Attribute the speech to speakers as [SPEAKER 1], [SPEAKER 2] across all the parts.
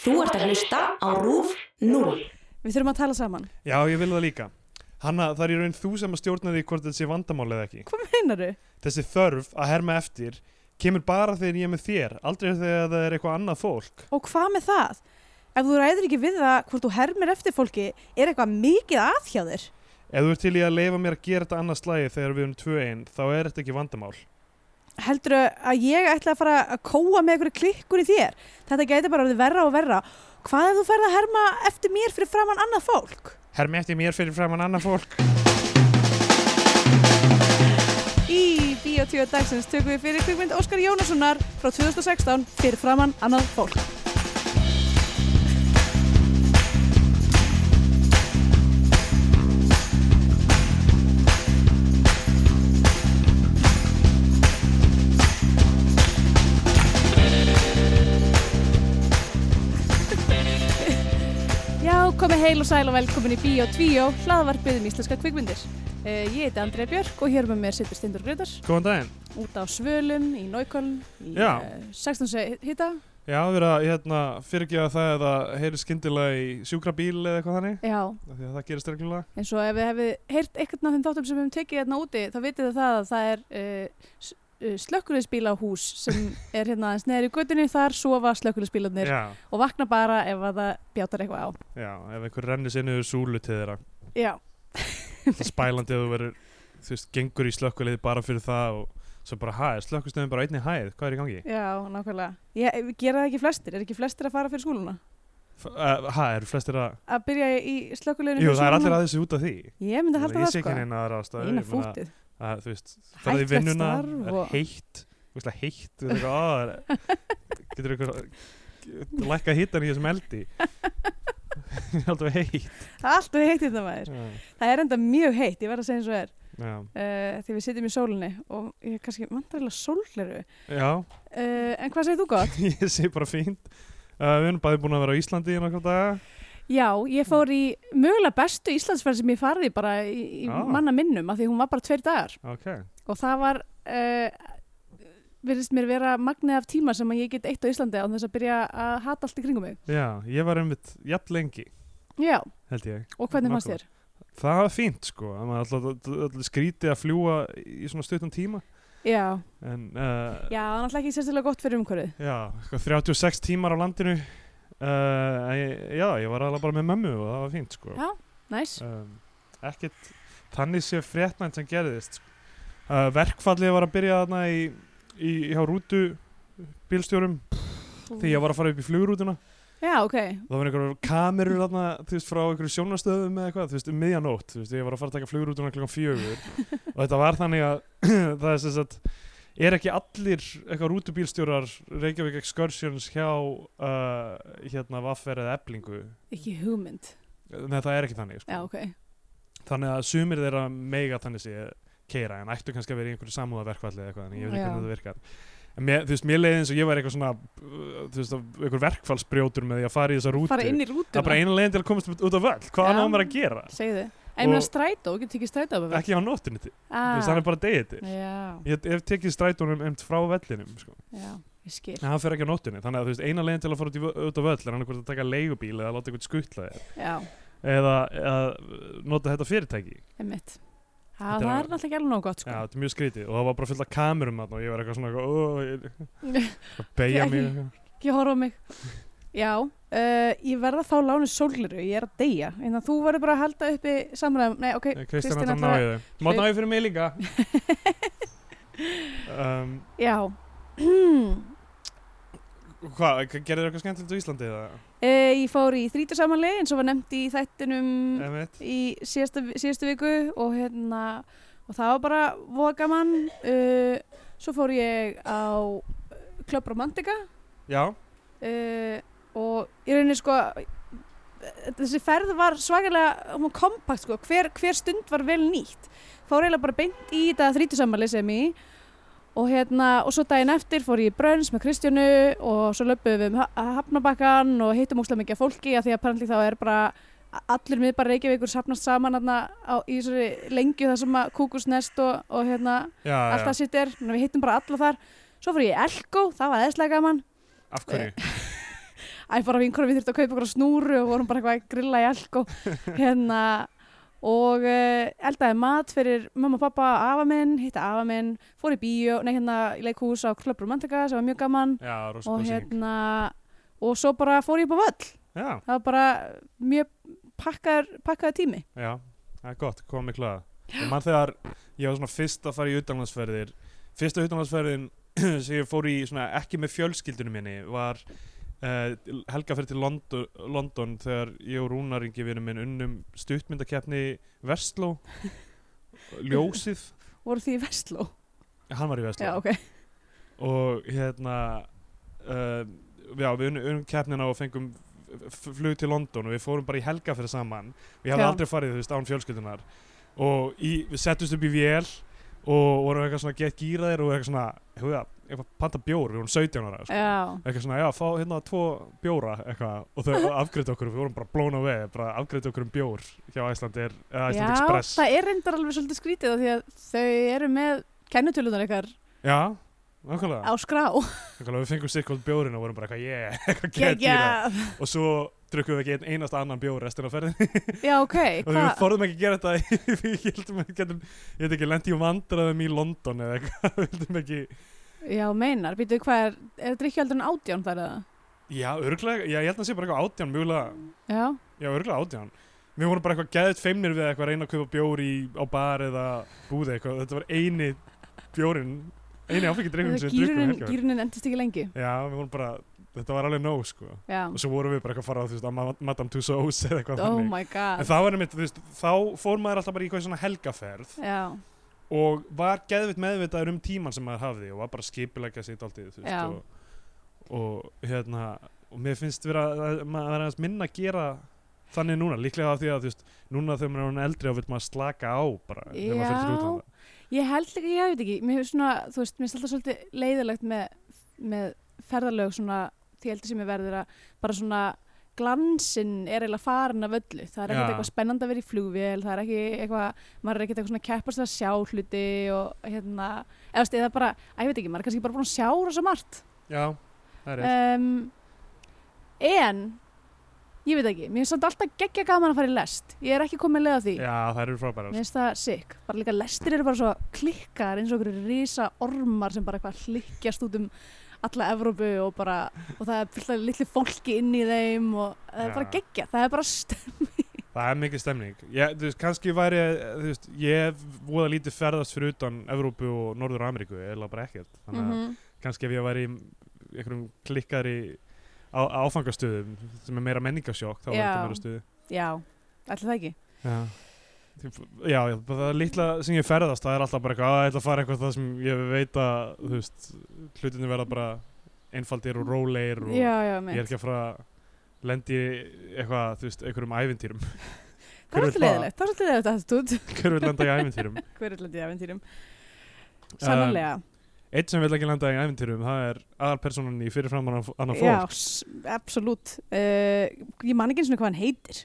[SPEAKER 1] Þú ert að hlusta á RÚF 0.
[SPEAKER 2] Við þurfum að tala saman.
[SPEAKER 3] Já, ég vil það líka. Hanna, það er í raun þú sem að stjórna því hvort þetta sé vandamál eða ekki.
[SPEAKER 2] Hvað meinaru?
[SPEAKER 3] Þessi þörf að herma eftir kemur bara þegar ég er með þér, aldrei þegar það er eitthvað annað fólk.
[SPEAKER 2] Og hvað með það? Ef þú ræður ekki við það hvort þú hermir eftir fólki, er eitthvað mikið að hjá þér?
[SPEAKER 3] Ef þú ert til í að leifa mér að gera þetta annað slægi þegar við erum tvö einn, þá er þetta ekki vandamál.
[SPEAKER 2] Heldur að ég ætla að fara að kóa með einhverju klikkur í þér? Þetta gæti bara að verða verra og verra. Hvað ef þú ferð að herma eftir mér fyrir framann annað fólk?
[SPEAKER 3] Hermi eftir mér fyrir framann annað fólk.
[SPEAKER 2] Í Bíotvíu dagsins tökum við fyrir kvikmynd Óskar Jónassonar frá 2016 fyrir framann annað fólk. Já, komið heil og sæl og velkomin í Bíotvíu, hlaðvarpið um íslenska kvikmyndir. Eh, Ég heiti Andrea Björk og hér með mér sittur Stindur Gröðars
[SPEAKER 3] Góðan daginn.
[SPEAKER 2] út á Svölum í Nóiköln í
[SPEAKER 3] Já.
[SPEAKER 2] eh, 16 seg- hita.
[SPEAKER 3] Já, við erum að hérna, fyrirgefa það eða heyri skyndilega í sjúkrabíl eða eitthvað þannig,
[SPEAKER 2] Já,
[SPEAKER 3] af því að það gerist reglulega.
[SPEAKER 2] eins og ef við hefði heyrt eitthvað af þeim þáttum sem við hefum tekið hérna úti þá vitið þið það að það er uh, slökkulisbílahús sem er hérna aðeins neðar í götunni þar sofa slökkulisbílarnir
[SPEAKER 3] Já,
[SPEAKER 2] og vakna bara ef að það bjátar eitthvað á
[SPEAKER 3] já, ef einhver rennir sinni yfir súlu til þeirra.
[SPEAKER 2] Já,
[SPEAKER 3] Það er spælandi að þú verður, þú veist, gengur í slökkulegði bara fyrir það og svo bara, hæ, slökkustöðin bara á einni hæð, hvað er í gangi?
[SPEAKER 2] já, nákvæmlega Ég eh, gera það ekki flestir, er ekki flestir að fara fyrir skóluna?
[SPEAKER 3] F- uh, Hæ, eru flestir að,
[SPEAKER 2] Að byrja í slökkuleginu
[SPEAKER 3] jú, það er allir aðeins út af því.
[SPEAKER 2] Ég myndi halda
[SPEAKER 3] Ég
[SPEAKER 2] það
[SPEAKER 3] sé
[SPEAKER 2] sko
[SPEAKER 3] ekki neina aðra ástæður.
[SPEAKER 2] Eina
[SPEAKER 3] ég meina,
[SPEAKER 2] fútið
[SPEAKER 3] að, Þú veist, það er
[SPEAKER 2] Hættulegt
[SPEAKER 3] vinnuna,
[SPEAKER 2] starf
[SPEAKER 3] það
[SPEAKER 2] og-
[SPEAKER 3] er heitt, þú veist, heitt, þú veist, eitthvað, á, það er- getur eitthvað, lækka hittan í þessum eldi. Það er alltaf heitt.
[SPEAKER 2] Það er alltaf heitt þetta maður
[SPEAKER 3] Já,
[SPEAKER 2] Það er enda mjög heitt, ég verð að segja eins og er
[SPEAKER 3] já.
[SPEAKER 2] uh, Því við sitjum í sólinni og ég kannski vantarlega sólleru
[SPEAKER 3] já,
[SPEAKER 2] uh, En hvað segir þú gott?
[SPEAKER 3] ég sé bara fínt. Uh, við erum bæði búin að vera á Íslandi í nokkra daga.
[SPEAKER 2] Já, ég fór í mögulega bestu Íslandsferð sem ég farið bara í, í
[SPEAKER 3] Já.
[SPEAKER 2] manna minnum af því hún var bara tveir dagar
[SPEAKER 3] Ok,
[SPEAKER 2] og það var uh, virðist mér vera magnið af tíma sem að ég get eitt á Íslandi án þess að byrja að hata allt í kringum mig.
[SPEAKER 3] já, ég var einmitt jafn lengi,
[SPEAKER 2] Já,
[SPEAKER 3] held ég.
[SPEAKER 2] og hvernig fannst þér?
[SPEAKER 3] Það var fínt, sko, að maður alltaf, alltaf, alltaf skríti að fljúa í svona stuttan tíma.
[SPEAKER 2] Já,
[SPEAKER 3] En, uh,
[SPEAKER 2] já, náttúrulega ekki sérstilega gott fyrir umhverfið.
[SPEAKER 3] já, sko, eitthvað 36 tímar á landinu. Uh, ég, já, ég var alveg bara með mömmu og það var fínt, sko.
[SPEAKER 2] Já. Næs.
[SPEAKER 3] Um, ekkert, þannig sé fréttnænt sem gerðist. Sko. Uh, verkfallið var að byrja þarna í, í, hjá rútu bílstjórum því ég var að fara upp í flugrútuna.
[SPEAKER 2] Já, ok.
[SPEAKER 3] Það var einhverjum kamerur þarna, þú veist, frá einhverjum sjónastöðum eða eitthvað, þú veist, um miðjanótt, þú veist, ég var að fara að taka flugur út um klokkan fjögur og þetta var þannig að það er sem sagt, er ekki allir eitthvað rútubílstjórar Reykjavík Excursions hjá uh, hérna Vaffer eða Eblingu,
[SPEAKER 2] Ekki hugmynd.
[SPEAKER 3] nei það er ekki þannig, sko.
[SPEAKER 2] Já, ok.
[SPEAKER 3] Þannig að sumir þeirra mega þannig sé keira en ættu kannski að vera í einhverju samúðaverkvalli eða eitthvað, en ég veit ekki
[SPEAKER 2] Já.
[SPEAKER 3] hvernig þetta virkar. En mér, þú veist, mér leiði eins og ég var eitthvað svona, uh, þú veist, einhver verkfallsbrjótur með því að fara í þessa rútu.
[SPEAKER 2] Fara inn í
[SPEAKER 3] Það
[SPEAKER 2] rútuna.
[SPEAKER 3] er bara eina leiðin til að komast út af völl. Hvað
[SPEAKER 2] Já.
[SPEAKER 3] annað á maður að gera?
[SPEAKER 2] Segðu. En ég meina
[SPEAKER 3] Og-
[SPEAKER 2] strætó, getur ekki strætó að
[SPEAKER 3] Ekki á nóttinni til. Ah. Það er bara degið til.
[SPEAKER 2] Já,
[SPEAKER 3] Ég hef tekið strætónum emt frá vellinum, sko.
[SPEAKER 2] já, ég skil.
[SPEAKER 3] En hann fer ekki á nóttinni. Þannig að þú veist, eina leiðin til að fara út, í, vö- út af völl er hann hvort að taka leigubíl eða láta eitthvað skutla þér.
[SPEAKER 2] Já,
[SPEAKER 3] Eða, eða uh, nota þetta fyrirtæki.
[SPEAKER 2] einmitt. Já,
[SPEAKER 3] Þetta
[SPEAKER 2] það
[SPEAKER 3] var-
[SPEAKER 2] er náttúrulega ekki alveg nóg gott,
[SPEAKER 3] Já,
[SPEAKER 2] sko.
[SPEAKER 3] þetta er mjög skrítið. Og það var bara fullt af kamerum þarna og ég var eitthvað svona, ó, ég, að
[SPEAKER 2] Ekki-
[SPEAKER 3] beigja mig.
[SPEAKER 2] Ekki horfa á mig. Já, uh, ég verða þá lánu sóliru, ég er að deyja. En þú verður bara að halda uppi samræðum. Nei, ok,
[SPEAKER 3] Kristján,
[SPEAKER 2] Kristín ætlar
[SPEAKER 3] þetta
[SPEAKER 2] að-
[SPEAKER 3] náði þau. Má náði fyrir mig líka. um,
[SPEAKER 2] já.
[SPEAKER 3] hvað, gerðu eitthvað skemmtilegt á Íslandi eða?
[SPEAKER 2] Uh, ég fór í þrítur samanlegi eins og var nefnt í þættinum
[SPEAKER 3] Einmitt.
[SPEAKER 2] í síðasta, síðastu viku og hérna, og það var bara voða gaman. Uh, svo fór ég á Club Romantica
[SPEAKER 3] Já,
[SPEAKER 2] uh, og í rauninni sko þessi ferð var svakalega um, kompakt sko, hver, hver stund var vel nýtt fór eiginlega bara beint í þetta þrítusamali sem í og hérna, og svo daginn eftir fór ég í Brönns með Kristjánu og svo löpum við um Ha- Hafnabakkan og hittum úslega mikið af fólki að því að parentlig þá er bara allir miður bara Reykjavíkur sapnast saman hérna á, í þessari lengju þar sem að kúkusnest og, og hérna
[SPEAKER 3] já,
[SPEAKER 2] allt
[SPEAKER 3] já.
[SPEAKER 2] það sitt er, Þannig að við hittum bara alla þar svo fór ég í Elko, það var eðslega gaman
[SPEAKER 3] Af hverju?
[SPEAKER 2] Æ, bara vinkurum við þurftum að kaupa eitthvað snúru og vorum bara eitthvað að grilla í alko hérna og uh, eldaði mat fyrir mamma og pappa, afa minn, hitta afa minn fór í bíó, nei hérna í leikhús á Club Romantica sem var mjög gaman
[SPEAKER 3] já, rosa
[SPEAKER 2] og
[SPEAKER 3] góð sýning.
[SPEAKER 2] hérna og svo bara fór ég upp á völl
[SPEAKER 3] já,
[SPEAKER 2] það var bara mjög pakkar, pakkaði tími
[SPEAKER 3] já, það er gott, komið mig klæða ég mann þegar ég var svona fyrst að fara í utanlandsferðir fyrsta utanlandsferðin sem ég fór í svona ekki með fjölskyldunum minni var uh, helga fyrir til London, London þegar ég og Rúnaringi vinur minn unnum stuttmyndakeppni Vestló Ljósið,
[SPEAKER 2] voru því í Vestló
[SPEAKER 3] hann var í Vestló
[SPEAKER 2] já, ok,
[SPEAKER 3] og hérna uh, já, við unnum unn keppnina og fengum f- f- flug til London og við fórum bara í helga fyrir saman við hefði
[SPEAKER 2] Já.
[SPEAKER 3] aldrei farið, þú veist, án fjölskyldunar og í, við settumst upp í vél og vorum eitthvað svona gett gýraðir og eitthvað svona, hefur það, eitthvað panta bjór við vorum 17 ára, sko.
[SPEAKER 2] já
[SPEAKER 3] eitthvað svona, já, fá hérna tvo bjóra, eitthvað, og þau afgriðt okkur, við vorum bara blown away, bara afgriðt okkur um bjór hjá Æslandir, eða Æsland
[SPEAKER 2] Já,
[SPEAKER 3] Express
[SPEAKER 2] það er reyndar alveg svolítið skrítið af því að þau eru með kennutölunar ykkar
[SPEAKER 3] já, nákvæmlega,
[SPEAKER 2] á skrá
[SPEAKER 3] nákvæmlega, við fengum sikkvöld bjórin og vorum bara eitthvað, yeah, eitthvað gett gýrað
[SPEAKER 2] Geggjað.
[SPEAKER 3] og svo drukkum við ekki einn einasta annan bjór restina af ferðinni
[SPEAKER 2] Já, ok,
[SPEAKER 3] og við
[SPEAKER 2] hvað
[SPEAKER 3] þorðum ekki að gera þetta í- við heldum ekki, getum, ég veit ekki, lendi í vandræðum í London eða eitthvað, við heldum ekki
[SPEAKER 2] Já, meinar, býtu hvað er er drikkjöldur en átján þar eða?
[SPEAKER 3] já, örglega, já, ég held að það sé bara eitthvað átján mjögulega,
[SPEAKER 2] Já,
[SPEAKER 3] já, örglega átján við vorum bara eitthvað geðut feimnir við eitthvað að reyna að kaupa bjór í, á bar eða búði eitthvað, þetta var eini bjórin eini áfengi dreikum sem um við drukkum
[SPEAKER 2] gýrunin,
[SPEAKER 3] helga
[SPEAKER 2] gýrunin endist ekki lengi
[SPEAKER 3] já, við vorum bara, þetta var alveg nóg sko.
[SPEAKER 2] Já,
[SPEAKER 3] og svo vorum við bara eitthvað að fara á, þú veist, að Ma- Madame Tussauds eða eitthvað
[SPEAKER 2] oh
[SPEAKER 3] þannig.
[SPEAKER 2] my
[SPEAKER 3] En
[SPEAKER 2] god
[SPEAKER 3] þá var einmitt, þú veist, þá fór maður alltaf bara í eitthvað svona helgaferð
[SPEAKER 2] Já,
[SPEAKER 3] og var geðvitt meðvitaður um tíman sem maður hafði og var bara skipilegja sitt alltið, þú
[SPEAKER 2] Já.
[SPEAKER 3] veist, og, og hérna, og mér finnst vera, að- maður er aðeins minna að gera þannig núna, líklega af því að, þú veist, núna þegar maður er orðinn eldri og vil maður slaka á bara, þegar maður fyrir
[SPEAKER 2] Já.
[SPEAKER 3] út á það.
[SPEAKER 2] ég held ekki, ég veit ekki Mér hefur svona, þú veist, mér er alltaf svolítið leiðilegt með, með ferðalög svona, því heldur sem ég verður að bara svona glansinn er eiginlega farin af öllu það er ekkert
[SPEAKER 3] Já.
[SPEAKER 2] eitthvað spennandi að vera í flugvél það er ekki eitthvað, maður er ekkert eitthvað svona að keppast við að sjá hluti og hérna eða þú veist, eða bara, að ég veit ekki, maður er kannski bara búin að sjá rosa margt
[SPEAKER 3] Já, það er rétt.
[SPEAKER 2] um, en ég veit ekki, mér finnst samt alltaf geggja gaman að fara í lest ég er ekki komin leið á því
[SPEAKER 3] Já, það eru frábærar.
[SPEAKER 2] Mér finnst það sick, bara líka lestir eru bara svo klikkar eins og okkur risa ormar sem bara eitthvað hlikkjast út um alla Evrópu og bara og það er fullt af litli fólki inn í þeim og það er
[SPEAKER 3] Já.
[SPEAKER 2] bara geggja, það er bara stöð
[SPEAKER 3] Það er mikið stemning. Ég, þú veist, kannski væri, þú veist, ég hef voða lítið ferðast fyrir utan Evrópu og Norður Ameríku, eða bara ekkert. Þannig
[SPEAKER 2] Mhm.
[SPEAKER 3] að kannski ef ég væri í m- einhverjum klikkari á, áfangastöðum sem er meira menningasjokk þá er
[SPEAKER 2] Já.
[SPEAKER 3] þetta meira stuði
[SPEAKER 2] Já, ætli það ekki
[SPEAKER 3] já. Typ- Já, já, bara það litla sem ég ferðast það er alltaf bara eitthvað, að ég ætla að fara eitthvað það sem ég veit að, þú veist, hlutinu verða bara einfaldir og rólegir og
[SPEAKER 2] Já, já,
[SPEAKER 3] ég er
[SPEAKER 2] meint,
[SPEAKER 3] ekki að fara að lendi í eitthvað, þú veist, einhverjum ævintýrum
[SPEAKER 2] það er
[SPEAKER 3] hver vill
[SPEAKER 2] alltaf
[SPEAKER 3] það?
[SPEAKER 2] leiðilegt, það er alltaf leiðilegt að þetta út
[SPEAKER 3] hver vil lenda í ævintýrum
[SPEAKER 2] Hver er landið í aventýrum? Sannarlega,
[SPEAKER 3] Eitt sem vil ekki lenda í ævintýrum, það er aðalpersonan í fyrirframan annan
[SPEAKER 2] já,
[SPEAKER 3] fólk
[SPEAKER 2] s- absolút uh, Ég man ekki eins og hvað hann heitir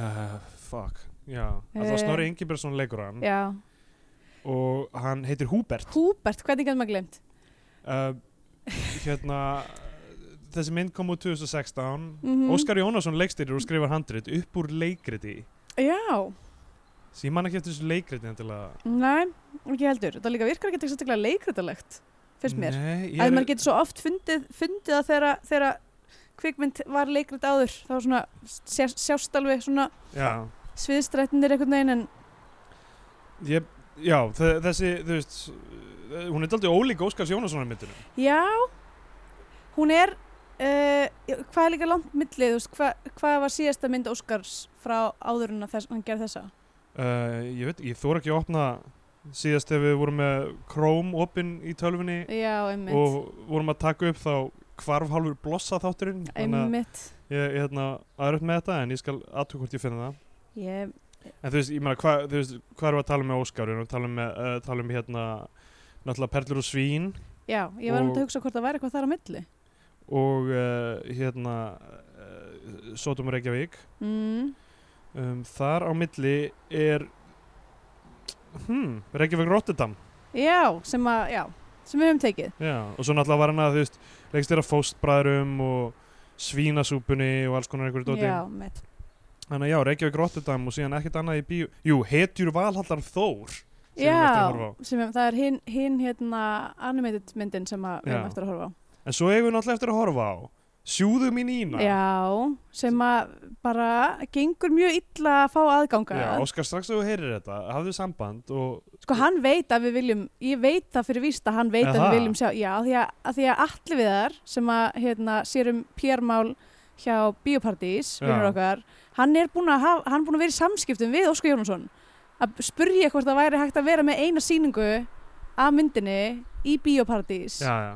[SPEAKER 3] uh, Fuck, já, það var
[SPEAKER 2] Eh.
[SPEAKER 3] Snorri Ingebergsson leikur hann
[SPEAKER 2] Já,
[SPEAKER 3] og hann heitir Húbert
[SPEAKER 2] Húbert, hvernig gæti maður glemt?
[SPEAKER 3] uh, hérna þessi mynd kom út 2016
[SPEAKER 2] Mhm.
[SPEAKER 3] Óskar Jónasson leikstyrir og skrifar handrit upp úr leikriti
[SPEAKER 2] Já,
[SPEAKER 3] sem ég man ekki eftir þessu leikriti endilega
[SPEAKER 2] Nei, ekki heldur. Það líka virkar ekki sérstaklega leikritalegt, finnst mér.
[SPEAKER 3] Nei, ég
[SPEAKER 2] Að
[SPEAKER 3] er,
[SPEAKER 2] maður getur svo oft fundið, fundið að þegar, þegar kvikmynd var leikrit áður, þá svona sér, sjást alveg svona
[SPEAKER 3] já,
[SPEAKER 2] sviðstrættinir einhvern veginn en
[SPEAKER 3] ég, já þe- þessi þú veist eh, hún er daldið ólík Óskars Jónassonar myndinu
[SPEAKER 2] já, hún er, uh, hvað er líka langt millið, þú veist, hvað, hvað var síðasta mynd Óskars frá áður en að þess, hann gerði þessa?
[SPEAKER 3] uh, ég veit, ég þóra ekki að opna síðast ef við vorum með Chrome opinn í tölfunni
[SPEAKER 2] Já, einmitt.
[SPEAKER 3] og vorum að taka upp þá hvarf hálfur blossa þátturinn þannig að
[SPEAKER 2] Einmitt.
[SPEAKER 3] ég, ég hérna, aðra upp með þetta en ég skal aðtöku hvort ég finna það
[SPEAKER 2] Ég,
[SPEAKER 3] En þú veist, ég meina, hvað þú veist, hvað erum við að tala um með Óskar? Við erum að tala um, með, uh, tala um hérna, náttúrulega Perlur og Svín
[SPEAKER 2] já, ég var um
[SPEAKER 3] Og-
[SPEAKER 2] að hugsa hvort það væri eitthvað þar á milli.
[SPEAKER 3] og uh, hérna, uh, Sótum og Reykjavík.
[SPEAKER 2] Mm.
[SPEAKER 3] Um, þar á milli er, hmm, Reykjavík Rotterdam.
[SPEAKER 2] Já, sem að, já, sem við höfum tekið.
[SPEAKER 3] Já, og svo náttúrulega var hann að, þú veist, leikst þér að fóstbræðrum og svínasúpunni og alls konar einhverju dóti
[SPEAKER 2] Já, mitt.
[SPEAKER 3] þannig að já, Reykjavík Rotterdam og síðan ekkert annað í bíó jú, hetjur Valhallar Þór sem við erum eftir að horfa á.
[SPEAKER 2] Já, sem við, það er hinn hin, hérna animated myndin sem að við erum
[SPEAKER 3] Já.
[SPEAKER 2] eftir að horfa á.
[SPEAKER 3] en svo eigum við náttúrulega eftir að horfa á Sjúðu mín ína
[SPEAKER 2] Já, sem að bara gengur mjög illa að fá aðganga.
[SPEAKER 3] Já, Óskar, strax að þú heyrir þetta, hafðu samband og
[SPEAKER 2] Sko hann veit að við viljum, ég veit það fyrir víst að hann veit að
[SPEAKER 3] Aha.
[SPEAKER 2] við viljum sjá, já, af því að, að því að allir við þar sem að hérna, sérum PR-mál hjá Bíopartís,
[SPEAKER 3] Já.
[SPEAKER 2] vinnur okkar, hann er búin að, hafa, hann er búin að vera í samskiptum við Óskar Jónsson að spurja hvort það væri hægt að vera með eina sýningu af myndinni í Bíopartís
[SPEAKER 3] já, já.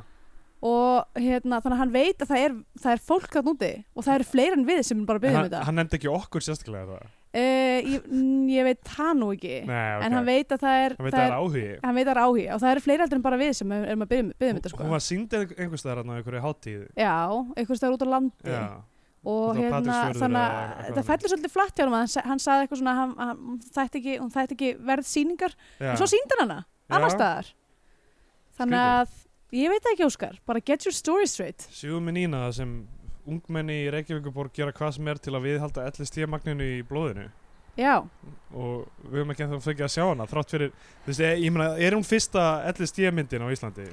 [SPEAKER 2] og hérna, þannig að hann veit að það er, það er fólk þarna úti og það eru fleira en við sem bara
[SPEAKER 3] En
[SPEAKER 2] byggjum
[SPEAKER 3] hann,
[SPEAKER 2] þetta.
[SPEAKER 3] hann nefndi ekki okkur sérstaklega það
[SPEAKER 2] Uh, ég, n- ég veit það nú ekki,
[SPEAKER 3] Nei, ok,
[SPEAKER 2] en hann veit að það er,
[SPEAKER 3] hann veit að það er áhugi
[SPEAKER 2] hann veit að það er áhuga og það eru fleiri heldur en bara við sem erum að byrja um þetta sko.
[SPEAKER 3] hún var sínd einhvers staðar þarna á einhverju hátíð
[SPEAKER 2] Já, einhvers staðar út á landi
[SPEAKER 3] já,
[SPEAKER 2] og
[SPEAKER 3] Út á
[SPEAKER 2] hérna,
[SPEAKER 3] Patreksfjörður
[SPEAKER 2] þannig
[SPEAKER 3] eða
[SPEAKER 2] að
[SPEAKER 3] eitthvað
[SPEAKER 2] þetta
[SPEAKER 3] þannig.
[SPEAKER 2] fellur svolítið flatt hjá hann hann, sa- hann saði eitthvað svona að hann, hann, hún þætti ekki, hún þætti ekki verð síningar
[SPEAKER 3] já.
[SPEAKER 2] og svo síndi hann hana,
[SPEAKER 3] Já.
[SPEAKER 2] annars staðar þannig að ég veit það ekki Óskar, bara get your story straight
[SPEAKER 3] Sjúðu minn ína það sem ungmenni í Reykjavíkuborg gera hvað sem er til að viðhalda LST-magninu í blóðinu
[SPEAKER 2] Já, uh,
[SPEAKER 3] og við höfum ekki ennþá fengið að sjá hana þrátt fyrir, þú veist, ég, ég meina, er hún fyrsta LSD-myndin á Íslandi?
[SPEAKER 2] uh,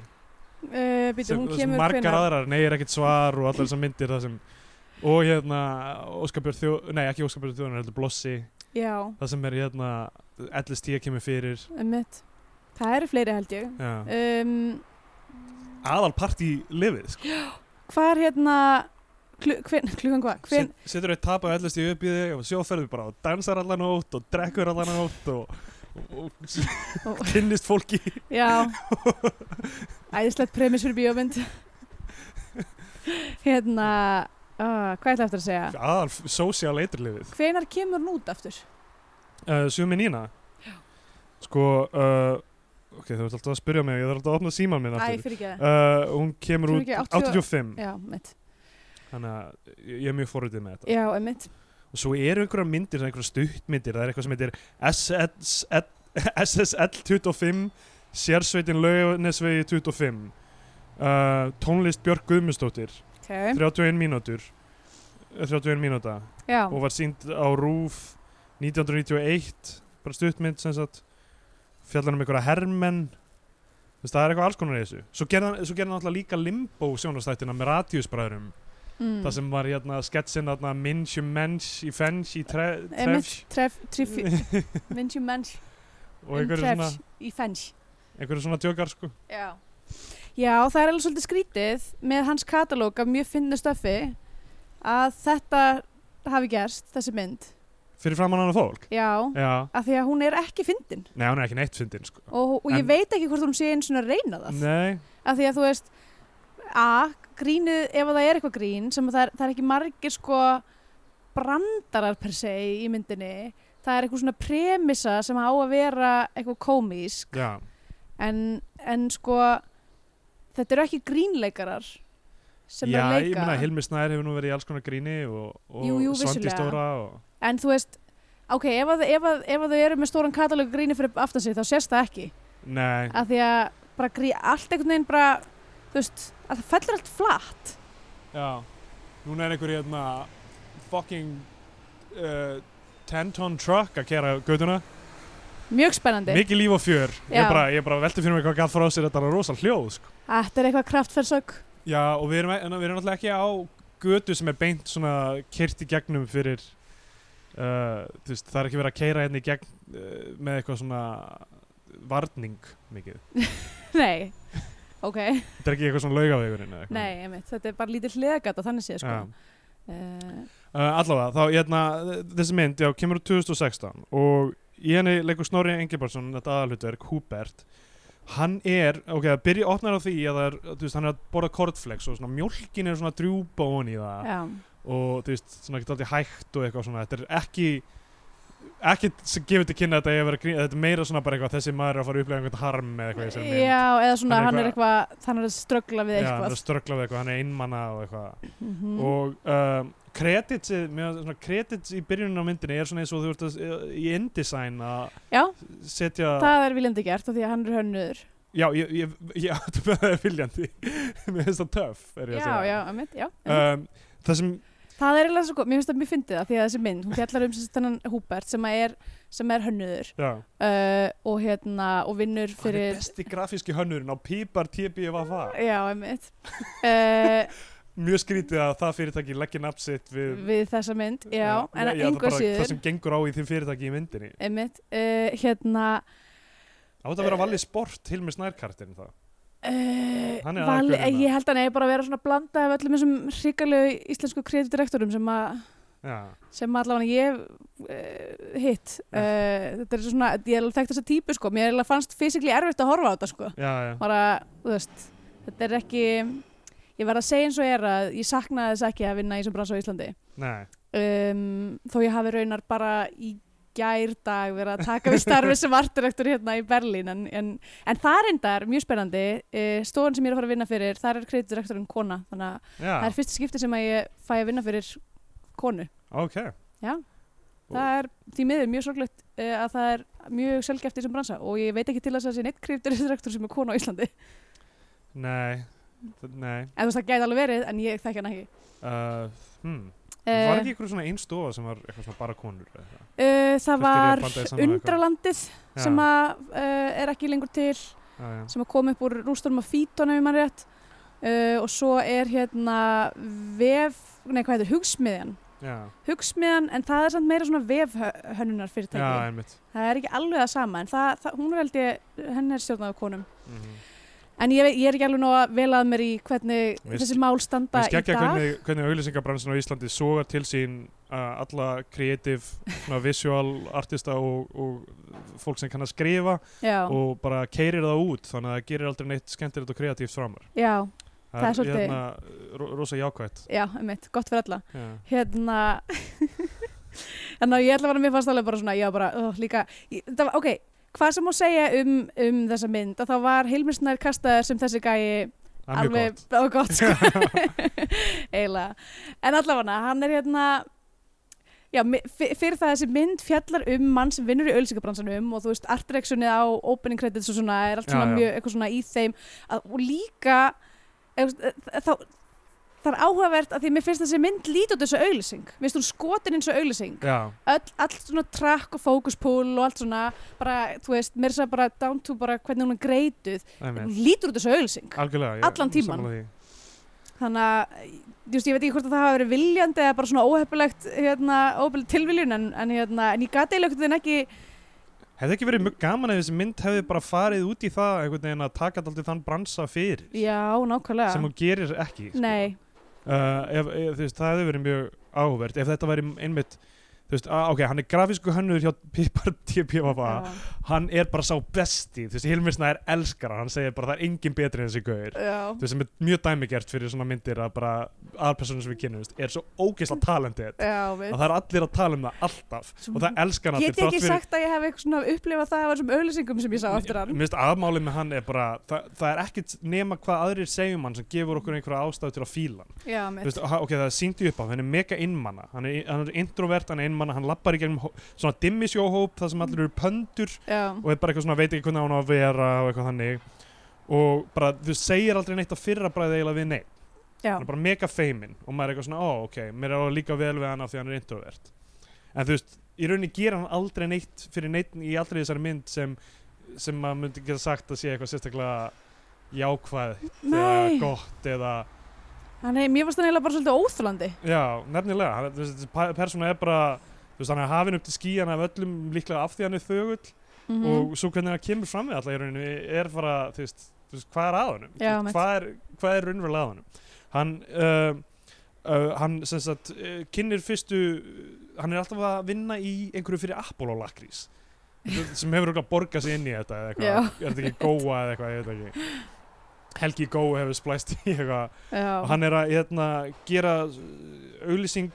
[SPEAKER 2] býtu, hún kemur
[SPEAKER 3] sem
[SPEAKER 2] hérna.
[SPEAKER 3] margar
[SPEAKER 2] hvenær?
[SPEAKER 3] aðrar, nei, er ekkert svar og allar þessar myndir það sem og hérna, Óskar Björn Þjó nei, ekki Óskar Björn Þjóðunar, heldur Blossi
[SPEAKER 2] Já,
[SPEAKER 3] það sem er hérna, LSD kemur fyrir
[SPEAKER 2] einmitt. það eru fleiri held ég
[SPEAKER 3] já.
[SPEAKER 2] um,
[SPEAKER 3] aðal part í lifið sko.
[SPEAKER 2] Hvað er hérna klu, hven, klugan hvað? Hven,
[SPEAKER 3] Set- setur eitt tap á LSD upp í þig og sjóferðu bara og dansar allan ótt og drekkur allan ótt og, og,
[SPEAKER 2] Og-
[SPEAKER 3] og kynnist fólki
[SPEAKER 2] Já Æðislegt premis fyrir bíómynd Hérna uh, Hvað ætla eftir að segja?
[SPEAKER 3] aðal social eiturlifið
[SPEAKER 2] Hvenar kemur hún út aftur?
[SPEAKER 3] uh, Sumi Nína sko uh, ok, þú ert alltaf að spyrja mig ég þarf alltaf að opna síman minn
[SPEAKER 2] Æ,
[SPEAKER 3] aftur Um.
[SPEAKER 2] fyrir ekki það
[SPEAKER 3] uh, hún kemur
[SPEAKER 2] Kemur
[SPEAKER 3] út
[SPEAKER 2] ekki
[SPEAKER 3] 85
[SPEAKER 2] Já, mitt
[SPEAKER 3] þannig að ég ég er mjög forröndið með þetta
[SPEAKER 2] Já, einmitt
[SPEAKER 3] og svo eru einhverja myndir, svona einhverja stuttmyndir það er eitthvað sem heitir SS SSL 25 sérsveitin laugarnesvegi 25 uh, tónlist Björk Guðmundsdóttir
[SPEAKER 2] Ok
[SPEAKER 3] 31 mínútur eh, 31 mínúta
[SPEAKER 2] Já,
[SPEAKER 3] og var sínd á RÚF 1991 bara stuttmynd sem sagt fjallar um einhverja hermenn Þú veist, það er eitthvað alls konar í þessu svo gerði hann, svo gerði hann alltaf líka limbo sjónastættina með radíusbræðurum
[SPEAKER 2] mm.
[SPEAKER 3] það sem var hérna sketsin hérna minnsjum menns í fenns í tre,
[SPEAKER 2] Einmitt,
[SPEAKER 3] trefs
[SPEAKER 2] tref, tref, vinci menns
[SPEAKER 3] og einhverju svona,
[SPEAKER 2] Í fenns
[SPEAKER 3] einhverju svona tjókar sko
[SPEAKER 2] Já Já, það er alveg svolítið skrítið með hans katalóg af mjög finnu stöfi að þetta hafi gerst, þessi mynd
[SPEAKER 3] fyrir framann annað fólk
[SPEAKER 2] Já,
[SPEAKER 3] já,
[SPEAKER 2] af því að hún er ekki fyndin
[SPEAKER 3] nei hún er ekki neitt fyndin sko
[SPEAKER 2] og, og ég
[SPEAKER 3] En-
[SPEAKER 2] veit ekki hvort hún sé eins og að reyna það
[SPEAKER 3] nei,
[SPEAKER 2] af því að þú veist a, grínið, ef það er eitthvað grín sem að það er, það er ekki margir sko brandarar per se í myndinni það er eitthvað svona premissa sem á að vera eitthvað komísk
[SPEAKER 3] já
[SPEAKER 2] en, en sko þetta eru ekki grínleikarar sem
[SPEAKER 3] já,
[SPEAKER 2] er að
[SPEAKER 3] ég
[SPEAKER 2] leika
[SPEAKER 3] meina Hilmi Snær hefur nú verið í alls konar gríni og, og
[SPEAKER 2] Jú, jú,
[SPEAKER 3] Svandi
[SPEAKER 2] vissulega.
[SPEAKER 3] Stóra og,
[SPEAKER 2] en þú veist ok, ef, að, ef, að, ef að þau eru með stóran katalógu gríni fyrir aftan sig þá sést það ekki
[SPEAKER 3] nei,
[SPEAKER 2] að því að bara grí, allt einhvern veginn bara, þú veist, að það fellur allt flatt.
[SPEAKER 3] já núna er einhverju hérna fucking uh, 10 ton truck að kera göduna
[SPEAKER 2] Mjög spennandi.
[SPEAKER 3] mikið líf og fjör ég
[SPEAKER 2] Já.
[SPEAKER 3] bara, ég bara velti fyrir mig hvað gaf frá sér þetta er rosal hljóð sko
[SPEAKER 2] Þetta er eitthvað kraftferðsök.
[SPEAKER 3] Já, og við erum, en við erum náttúrulega ekki á götu sem er beint svona kyrt í gegnum fyrir uh, þú veist, það er ekki verið að keira hérna í gegn uh, með eitthvað svona varning mikið.
[SPEAKER 2] Nei, ok,
[SPEAKER 3] Þetta er ekki eitthvað svona laugavegurinn eða eitthvað.
[SPEAKER 2] nei, einmitt, þetta er bara lítill hliðagata, þannig séð, sko. Uh,
[SPEAKER 3] Uh, allavega, þá hérna, þessi mynd, já, kemur úr 2016 og í henni leikur Snorri Engibarsson, þetta aðalhutverk, Húbert hann er, ok, það byrja opnar á því að það er, þú veist, hann er að borða kortflex og svona mjólkin er svona að drjúpa hon í það
[SPEAKER 2] já,
[SPEAKER 3] og þú veist, svona getur alltaf hægt og eitthvað svona, þetta er ekki ekki sem gefur til kynna að þetta eigi að vera grín, þetta er meira svona bara eitthvað þessi maður er að fara að upplega einhvern harm eða eitthvað í þessari mynd
[SPEAKER 2] já, eða svona
[SPEAKER 3] Hann
[SPEAKER 2] hann
[SPEAKER 3] er
[SPEAKER 2] er eitthvað, hann er að ströggla við
[SPEAKER 3] Já, hann er
[SPEAKER 2] eitthvað.
[SPEAKER 3] að ströggla við eitthvað, hann er einmanna og eitthvað
[SPEAKER 2] Mm -hmm.
[SPEAKER 3] og um, kredits, mér, finnst svona, kredits í byrjunum á myndinni er svona eins og þú ert að, í InDesign að
[SPEAKER 2] já,
[SPEAKER 3] setja
[SPEAKER 2] það er viljandi gert, af því að hann er hönnuður.
[SPEAKER 3] já, ég, ég, ég átti með það viljandi mér finnst það töff er ég
[SPEAKER 2] já,
[SPEAKER 3] að
[SPEAKER 2] já,
[SPEAKER 3] segja
[SPEAKER 2] einmitt, já, einmitt.
[SPEAKER 3] Um, það sem,
[SPEAKER 2] Það er eiginlega svo góð, mér finnst það mjög fyndið það því að þessi mynd, hún fjallar um sem sagt þennan Húbert sem að er, sem er hönnuður
[SPEAKER 3] já,
[SPEAKER 2] uh, og hérna, og vinnur
[SPEAKER 3] hann er
[SPEAKER 2] fyrir
[SPEAKER 3] besti grafíski hönnurinn á Pípar TBFA
[SPEAKER 2] Já, einmitt uh,
[SPEAKER 3] mjög skrítið að það fyrirtæki leggja nafn sitt við,
[SPEAKER 2] við þessa mynd, já, en
[SPEAKER 3] það
[SPEAKER 2] einhver
[SPEAKER 3] bara það
[SPEAKER 2] síður
[SPEAKER 3] sem gengur á í þeim fyrirtæki í myndinni
[SPEAKER 2] einmitt, uh, hérna
[SPEAKER 3] á þetta að vera valið sport Hilmi Snærkartin það
[SPEAKER 2] Uh,
[SPEAKER 3] Hann er
[SPEAKER 2] vali,
[SPEAKER 3] aðalgaurinn,
[SPEAKER 2] ég held að hann er bara að vera svona blanda af öllum þessum hrikalegu íslensku kreativdirektorum sem að
[SPEAKER 3] já,
[SPEAKER 2] sem allavega ég uh, hitt
[SPEAKER 3] Já.
[SPEAKER 2] uh, þetta er svona, ég hef alveg þekkt þessa típu sko mér eiginlega fannst fysikli erfitt að horfa á þetta sko
[SPEAKER 3] já, já,
[SPEAKER 2] bara, þú veist, þetta er ekki ég verð að segja eins og er að ég saknaði þess ekki að vinna í sem brans á Íslandi
[SPEAKER 3] nei
[SPEAKER 2] um, þó ég hafi raunar bara í gær dag verið að taka við starfi sem artdirektor hérna í Berlín en, en, en það er endar mjög spennandi uh, stofan sem ég er að fara að vinna fyrir, þar er kreitdirektorinn kona þannig að það
[SPEAKER 3] já,
[SPEAKER 2] er fyrsta skipti sem að ég fæ að vinna fyrir konu
[SPEAKER 3] ok
[SPEAKER 2] það er því miður mjög sorglegt uh, að það er mjög sjálfgeft í þessum bransa og ég veit ekki til þess að það sé neitt kreitdirektor sem er kona á Íslandi en
[SPEAKER 3] nei, það- nei
[SPEAKER 2] þú veist það gæti alveg verið en ég þekki hann ekki
[SPEAKER 3] uh, hmm. var
[SPEAKER 2] uh,
[SPEAKER 3] ekki einhver svona einn stofa sem var eitthvað svona bara konur eða eitthvað?
[SPEAKER 2] uh,
[SPEAKER 3] Þurftirðu
[SPEAKER 2] það
[SPEAKER 3] að
[SPEAKER 2] var
[SPEAKER 3] blanda þér saman við eitthvað?
[SPEAKER 2] undralandið
[SPEAKER 3] Já,
[SPEAKER 2] sem að uh, er ekki lengur til
[SPEAKER 3] já, já.
[SPEAKER 2] sem að kom upp úr rústunum af fítunum í mann rétt uh, og svo er hérna vef, nei hvað heitir, hugsmiðjan
[SPEAKER 3] Já,
[SPEAKER 2] hugsmiðjan, en það er samt meira svona vefhönnunar
[SPEAKER 3] já,
[SPEAKER 2] fyrirtæki
[SPEAKER 3] einmitt
[SPEAKER 2] það er ekki alveg það sama, en það, það, hún er held ég henn er stjórnað af konum
[SPEAKER 3] mm -hmm.
[SPEAKER 2] en ég, veit- ég er ekki alveg nóg að velað mér í hvernig
[SPEAKER 3] Mér
[SPEAKER 2] þessi mál standa
[SPEAKER 3] Mér
[SPEAKER 2] í
[SPEAKER 3] skekkja
[SPEAKER 2] dag
[SPEAKER 3] hvernig, hvernig auðlýsingabransin á Íslandi sogar til sín uh, alla kreatív, svona visual artista og, og fólk sem kann að skrifa
[SPEAKER 2] já,
[SPEAKER 3] og bara keirir það út þannig að það gerir aldrei neitt skemmtilegt og kreatíft framar
[SPEAKER 2] já, Það er svolítið-
[SPEAKER 3] hérna, ro- rosa jákvætt
[SPEAKER 2] já, einmitt, gott fyrir alla
[SPEAKER 3] Já,
[SPEAKER 2] hérna en ég ætla bara, mér fannst alveg bara svona já, bara, ó, líka, ég, það, var- ok hvað sem má segja um, um þessa mynd að þá var Hilmisnær kastaður sem þessi gæi
[SPEAKER 3] það er mjög gott
[SPEAKER 2] og gott sko. eiginlega en allavega hann er hérna já, mi- fyr- fyrir það að þessi mynd fjallar um mann sem vinnur í ölsingabransanum og þú veist artreksjunni á opening credits og svona er allt
[SPEAKER 3] Já,
[SPEAKER 2] svona
[SPEAKER 3] já.
[SPEAKER 2] mjög eitthvað svona í þeim að, og líka eða þú veist, eh, þá það er áhugavert að því mér finnst þessi mynd lít út þessu auglýsing, mér finnst hún skotin eins og auglýsing
[SPEAKER 3] Já,
[SPEAKER 2] öll, allt svona track og fókuspúl og allt svona, bara, þú veist, mér sér bara down to bara hvernig hún er greituð
[SPEAKER 3] einmitt
[SPEAKER 2] hún lítur út þessu auglýsing
[SPEAKER 3] Algjörlega, ég-
[SPEAKER 2] Mm. Allan tímann.
[SPEAKER 3] sammála því.
[SPEAKER 2] þannig að þú veist, ég veit ekki hvort að það hafa verið viljandi eða bara svona óheppilegt hérna, óheppilegt tilviljun en, en, hérna, en ég gat eiginlega einhvern veginn ekki
[SPEAKER 3] Hefði ekki verið mjög gaman ef þessi mynd hefði bara farið út í það einhvern veginn að taka alltaf þann bransa fyrir
[SPEAKER 2] já, nákvæmlega
[SPEAKER 3] sem hún gerir ekki sko.
[SPEAKER 2] nei,
[SPEAKER 3] uh, ef, ef, þú veist, Það hefði verið mjög áhugvert ef þetta væri einmitt þú veist, að, ok, hann er grafísku hönnur hjá Pipar TPFA, hann er bara sá besti, þú veist, Hilmir Snær elskar hann, hann segir bara það er engin betri en þessi gauður
[SPEAKER 2] já, já,
[SPEAKER 3] þú veist, sem er mjög dæmigert fyrir svona myndir að bara aðalpersonum sem við kynnumst er svo ógeðslega talendið
[SPEAKER 2] já
[SPEAKER 3] að
[SPEAKER 2] við
[SPEAKER 3] það er allir að tala um það alltaf
[SPEAKER 2] Svo
[SPEAKER 3] og það elskar hann allir,
[SPEAKER 2] get ég
[SPEAKER 3] þrátt
[SPEAKER 2] ekki
[SPEAKER 3] fyrir-
[SPEAKER 2] sagt að ég hef eitthvað svona upplifað það að vera sem auglýsingum sem ég sá eftir hann
[SPEAKER 3] Mér finnst aðmálið með hann er bara það, það er ekkert nema hvað aðrir segjum hann sem gefur okkur einhverja ástæðu til að fíla hann
[SPEAKER 2] já,
[SPEAKER 3] Þú
[SPEAKER 2] mitt,
[SPEAKER 3] veist, ha- ok, það er sýndi upp á, hann er mega innmanna hann er, hann er introvert, hann er innmanna hann lappar í gegnum hó- svona dimmisjóhóp það sem allir eru pöndur
[SPEAKER 2] já,
[SPEAKER 3] og er bara eitthvað svona veit ekki hvernig hann á að vera og eitthvað þannig og bara þú segir aldrei neitt að fyrra bræði eiginlega við neitt
[SPEAKER 2] já
[SPEAKER 3] hann er bara mega feimin og maður er eitthvað svona, ó ok, mér er alveg líka vel við hann af því hann er introvert en þú veist, í rauninni gera hann aldrei neitt fyrir neitt í aldrei þessari mynd sem sem maður myndi geta sagt að sé eitthvað sérstaklega jákvæð
[SPEAKER 2] nei,
[SPEAKER 3] eða gott eða
[SPEAKER 2] hann er, mér fannst hann eiginlega bara svolítið óþólandi
[SPEAKER 3] já, nefnilega, hann, þú veist, þessi persóna er bara þú veist, hann er hafin upp til skíjan af öllum líklega af því hann er þögull
[SPEAKER 2] mm
[SPEAKER 3] og svo hvernig hann kemur fram við alltaf í rauninni er bara, þú veist, þú veist hvað er að honum Þú
[SPEAKER 2] Já,
[SPEAKER 3] veist,
[SPEAKER 2] mitt.
[SPEAKER 3] hvað er, hvað er raunverulega að honum hann uh, uh, hann sem sagt uh, kynir fyrstu hann er alltaf að vinna í einhverju fyrir Apollo lakrís sem hefur örugglega borgað sig inn í þetta eða
[SPEAKER 2] Já.
[SPEAKER 3] eitthvað, er þetta ekki góa eða eitthvað, ég veit ekki Helgi Gói hefur splæst í eitthvað og
[SPEAKER 2] já,
[SPEAKER 3] hann er að hérna, gera uh, auðlýsing,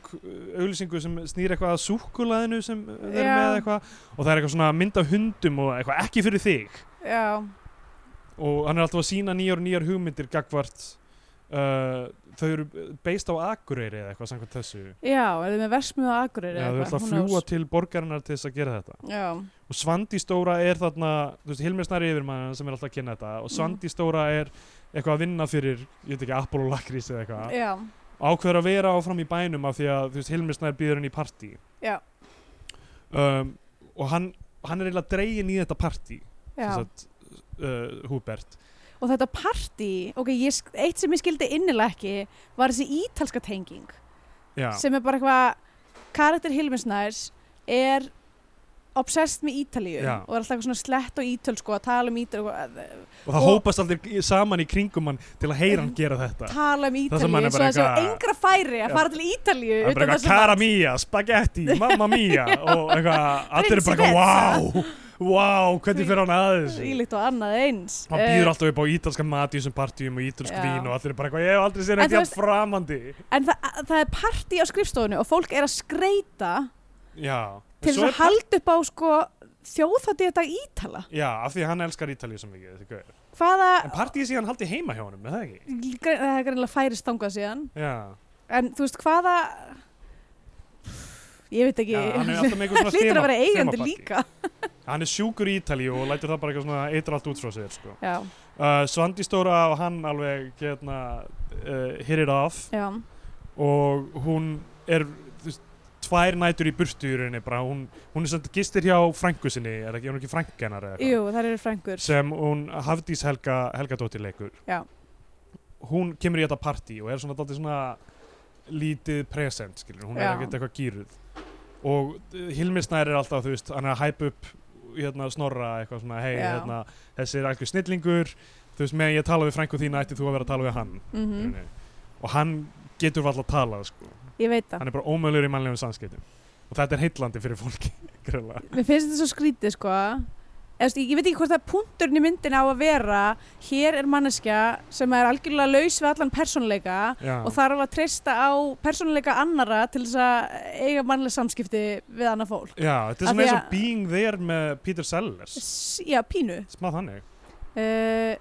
[SPEAKER 3] auðlýsingu sem snýr eitthvað að súkulaðinu sem þeir eru
[SPEAKER 2] Já.
[SPEAKER 3] með eitthvað og það er eitthvað svona mynd af hundum og eitthvað ekki fyrir þig
[SPEAKER 2] já,
[SPEAKER 3] og hann er alltaf að sína nýjar og nýjar hugmyndir gagvart uh, þau eru beist á Akureyri eða eitthvað samkvæmt þessu
[SPEAKER 2] Já, eða með versmiða Akureyri
[SPEAKER 3] Já, þau
[SPEAKER 2] eða
[SPEAKER 3] ætla að
[SPEAKER 2] eitthvað, who
[SPEAKER 3] fljúa
[SPEAKER 2] knows?
[SPEAKER 3] til borgarinnar til þess að gera þetta
[SPEAKER 2] Já,
[SPEAKER 3] og Svandi Stóra er þarna þú veist, Hilmir Snæri yfirmann sem er alltaf að kynna þetta
[SPEAKER 2] Mhm.
[SPEAKER 3] og Svandi Stóra er eitthvað að vinna fyrir ég veit ekki, Apollo Lakrís eða eitthvað
[SPEAKER 2] já,
[SPEAKER 3] ákveður að vera áfram í bænum af því að þú veist, Hilmir Snæri býður henni í partí
[SPEAKER 2] Já.
[SPEAKER 3] um, og hann, hann er eiginlega dregin í þetta partí
[SPEAKER 2] já.
[SPEAKER 3] sem sagt, uh, Húbert
[SPEAKER 2] Og þetta partí, ok, ég, sk- eitt sem ég skildi innilega ekki var þessi ítalska tenging
[SPEAKER 3] Já,
[SPEAKER 2] sem er bara eitthvað karakter Hilmisnæs er obsessed með Ítalíu
[SPEAKER 3] Já.
[SPEAKER 2] og er alltaf eitthvað svona slett og ítölsku að tala um Ítalíu og
[SPEAKER 3] og það
[SPEAKER 2] og-
[SPEAKER 3] hópast allir í- saman í kringum hann til að heyra hann gera þetta
[SPEAKER 2] tala um
[SPEAKER 3] sem hann
[SPEAKER 2] Ítalíu
[SPEAKER 3] er
[SPEAKER 2] svo
[SPEAKER 3] bara
[SPEAKER 2] það séu
[SPEAKER 3] eitthvað-
[SPEAKER 2] engra færi
[SPEAKER 3] Já.
[SPEAKER 2] að fara til Ítalíu
[SPEAKER 3] Það er bara
[SPEAKER 2] utan
[SPEAKER 3] eitthvað
[SPEAKER 2] þess að-
[SPEAKER 3] cara mía, spagetti, mamma mía og eitthvað, allir er bara
[SPEAKER 2] Principessa.
[SPEAKER 3] eitthvað, wow, wow, hvernig fer hann að þessu?
[SPEAKER 2] Ílíkt og annað eins
[SPEAKER 3] Hann býður alltaf upp á ítalska mat í þessum partíum og ítalsk
[SPEAKER 2] Eh. Já.
[SPEAKER 3] vín og allir er bara eitthvað, ég hef aldrei séð
[SPEAKER 2] En
[SPEAKER 3] neitt
[SPEAKER 2] þú
[SPEAKER 3] jafn
[SPEAKER 2] veist-
[SPEAKER 3] framandi.
[SPEAKER 2] Eh, En það, það er partí á skrifstofunni og fólk er að skreita
[SPEAKER 3] Já. En
[SPEAKER 2] til þess
[SPEAKER 3] svo er
[SPEAKER 2] að halda upp á sko þjóðhattíða dag Ítala
[SPEAKER 3] Já, af því að hann elskar Ítalíu svo mikið, þessi gauður.
[SPEAKER 2] Hvaða,
[SPEAKER 3] En partíið sé hann haldið heima hjá honum, er það ekki?
[SPEAKER 2] Gre- það er greinlega færist þangað síðan
[SPEAKER 3] Já.
[SPEAKER 2] en þú veist hvaða ég veit ekki
[SPEAKER 3] Já, hann er alltaf með eitthvað svona
[SPEAKER 2] hlýtur
[SPEAKER 3] þema-
[SPEAKER 2] að vera eigandi
[SPEAKER 3] þemapartí.
[SPEAKER 2] líka
[SPEAKER 3] Hann er sjúkur í Ítalíu og lætur það bara eitthvað svona eitra allt út frá sér, sko.
[SPEAKER 2] já,
[SPEAKER 3] Uh, Svandi Stóra og hann alveg, hérna, uh, hit it off.
[SPEAKER 2] já,
[SPEAKER 3] og hún er þú veist, tvær nætur í burtu í rauninni bara, hún, hún er samt gistir hjá frængu sinni, er ekki, hún er ekki frænka hennar eða
[SPEAKER 2] jú,
[SPEAKER 3] eitthvað,
[SPEAKER 2] það eru frængur
[SPEAKER 3] sem hún Hafdís Helga, Helgadóttir leikur
[SPEAKER 2] Já.
[SPEAKER 3] hún kemur í þetta partí og er svona dálítið svona lítið present, skilur, hún
[SPEAKER 2] Já.
[SPEAKER 3] er ekkert eitthvað gýruð og eh, Hilmir Snær er alltaf, þú veist, hann er að hæpa upp hérna snorra eitthvað svona, hei,
[SPEAKER 2] Já.
[SPEAKER 3] hérna þessi er algjör snillingur, þú veist, meðan ég tala við frængu þína ætti þú að vera að tala við hann
[SPEAKER 2] mm
[SPEAKER 3] mm. og hann getur alltaf að tala, sko
[SPEAKER 2] ég veit það
[SPEAKER 3] hann er bara ómöðlur í mannlegum samskiptum og þetta er heitlandi fyrir fólki greinlega.
[SPEAKER 2] mér finnst þetta svo skrítið sko Eða, þú veist, ég ég veit ekki hvort það er punkturinn í myndin á að vera hér er manneskja sem er algjörlega laus við allan persónuleika
[SPEAKER 3] Já.
[SPEAKER 2] og þarf að treysta á persónuleika annara til þess að eiga mannlega samskipti við annað fólk
[SPEAKER 3] Já, þetta
[SPEAKER 2] Af
[SPEAKER 3] er svona
[SPEAKER 2] því
[SPEAKER 3] eins
[SPEAKER 2] að-
[SPEAKER 3] og Being There með Peter Sellers
[SPEAKER 2] S já, pínu
[SPEAKER 3] smá þannig
[SPEAKER 2] uh,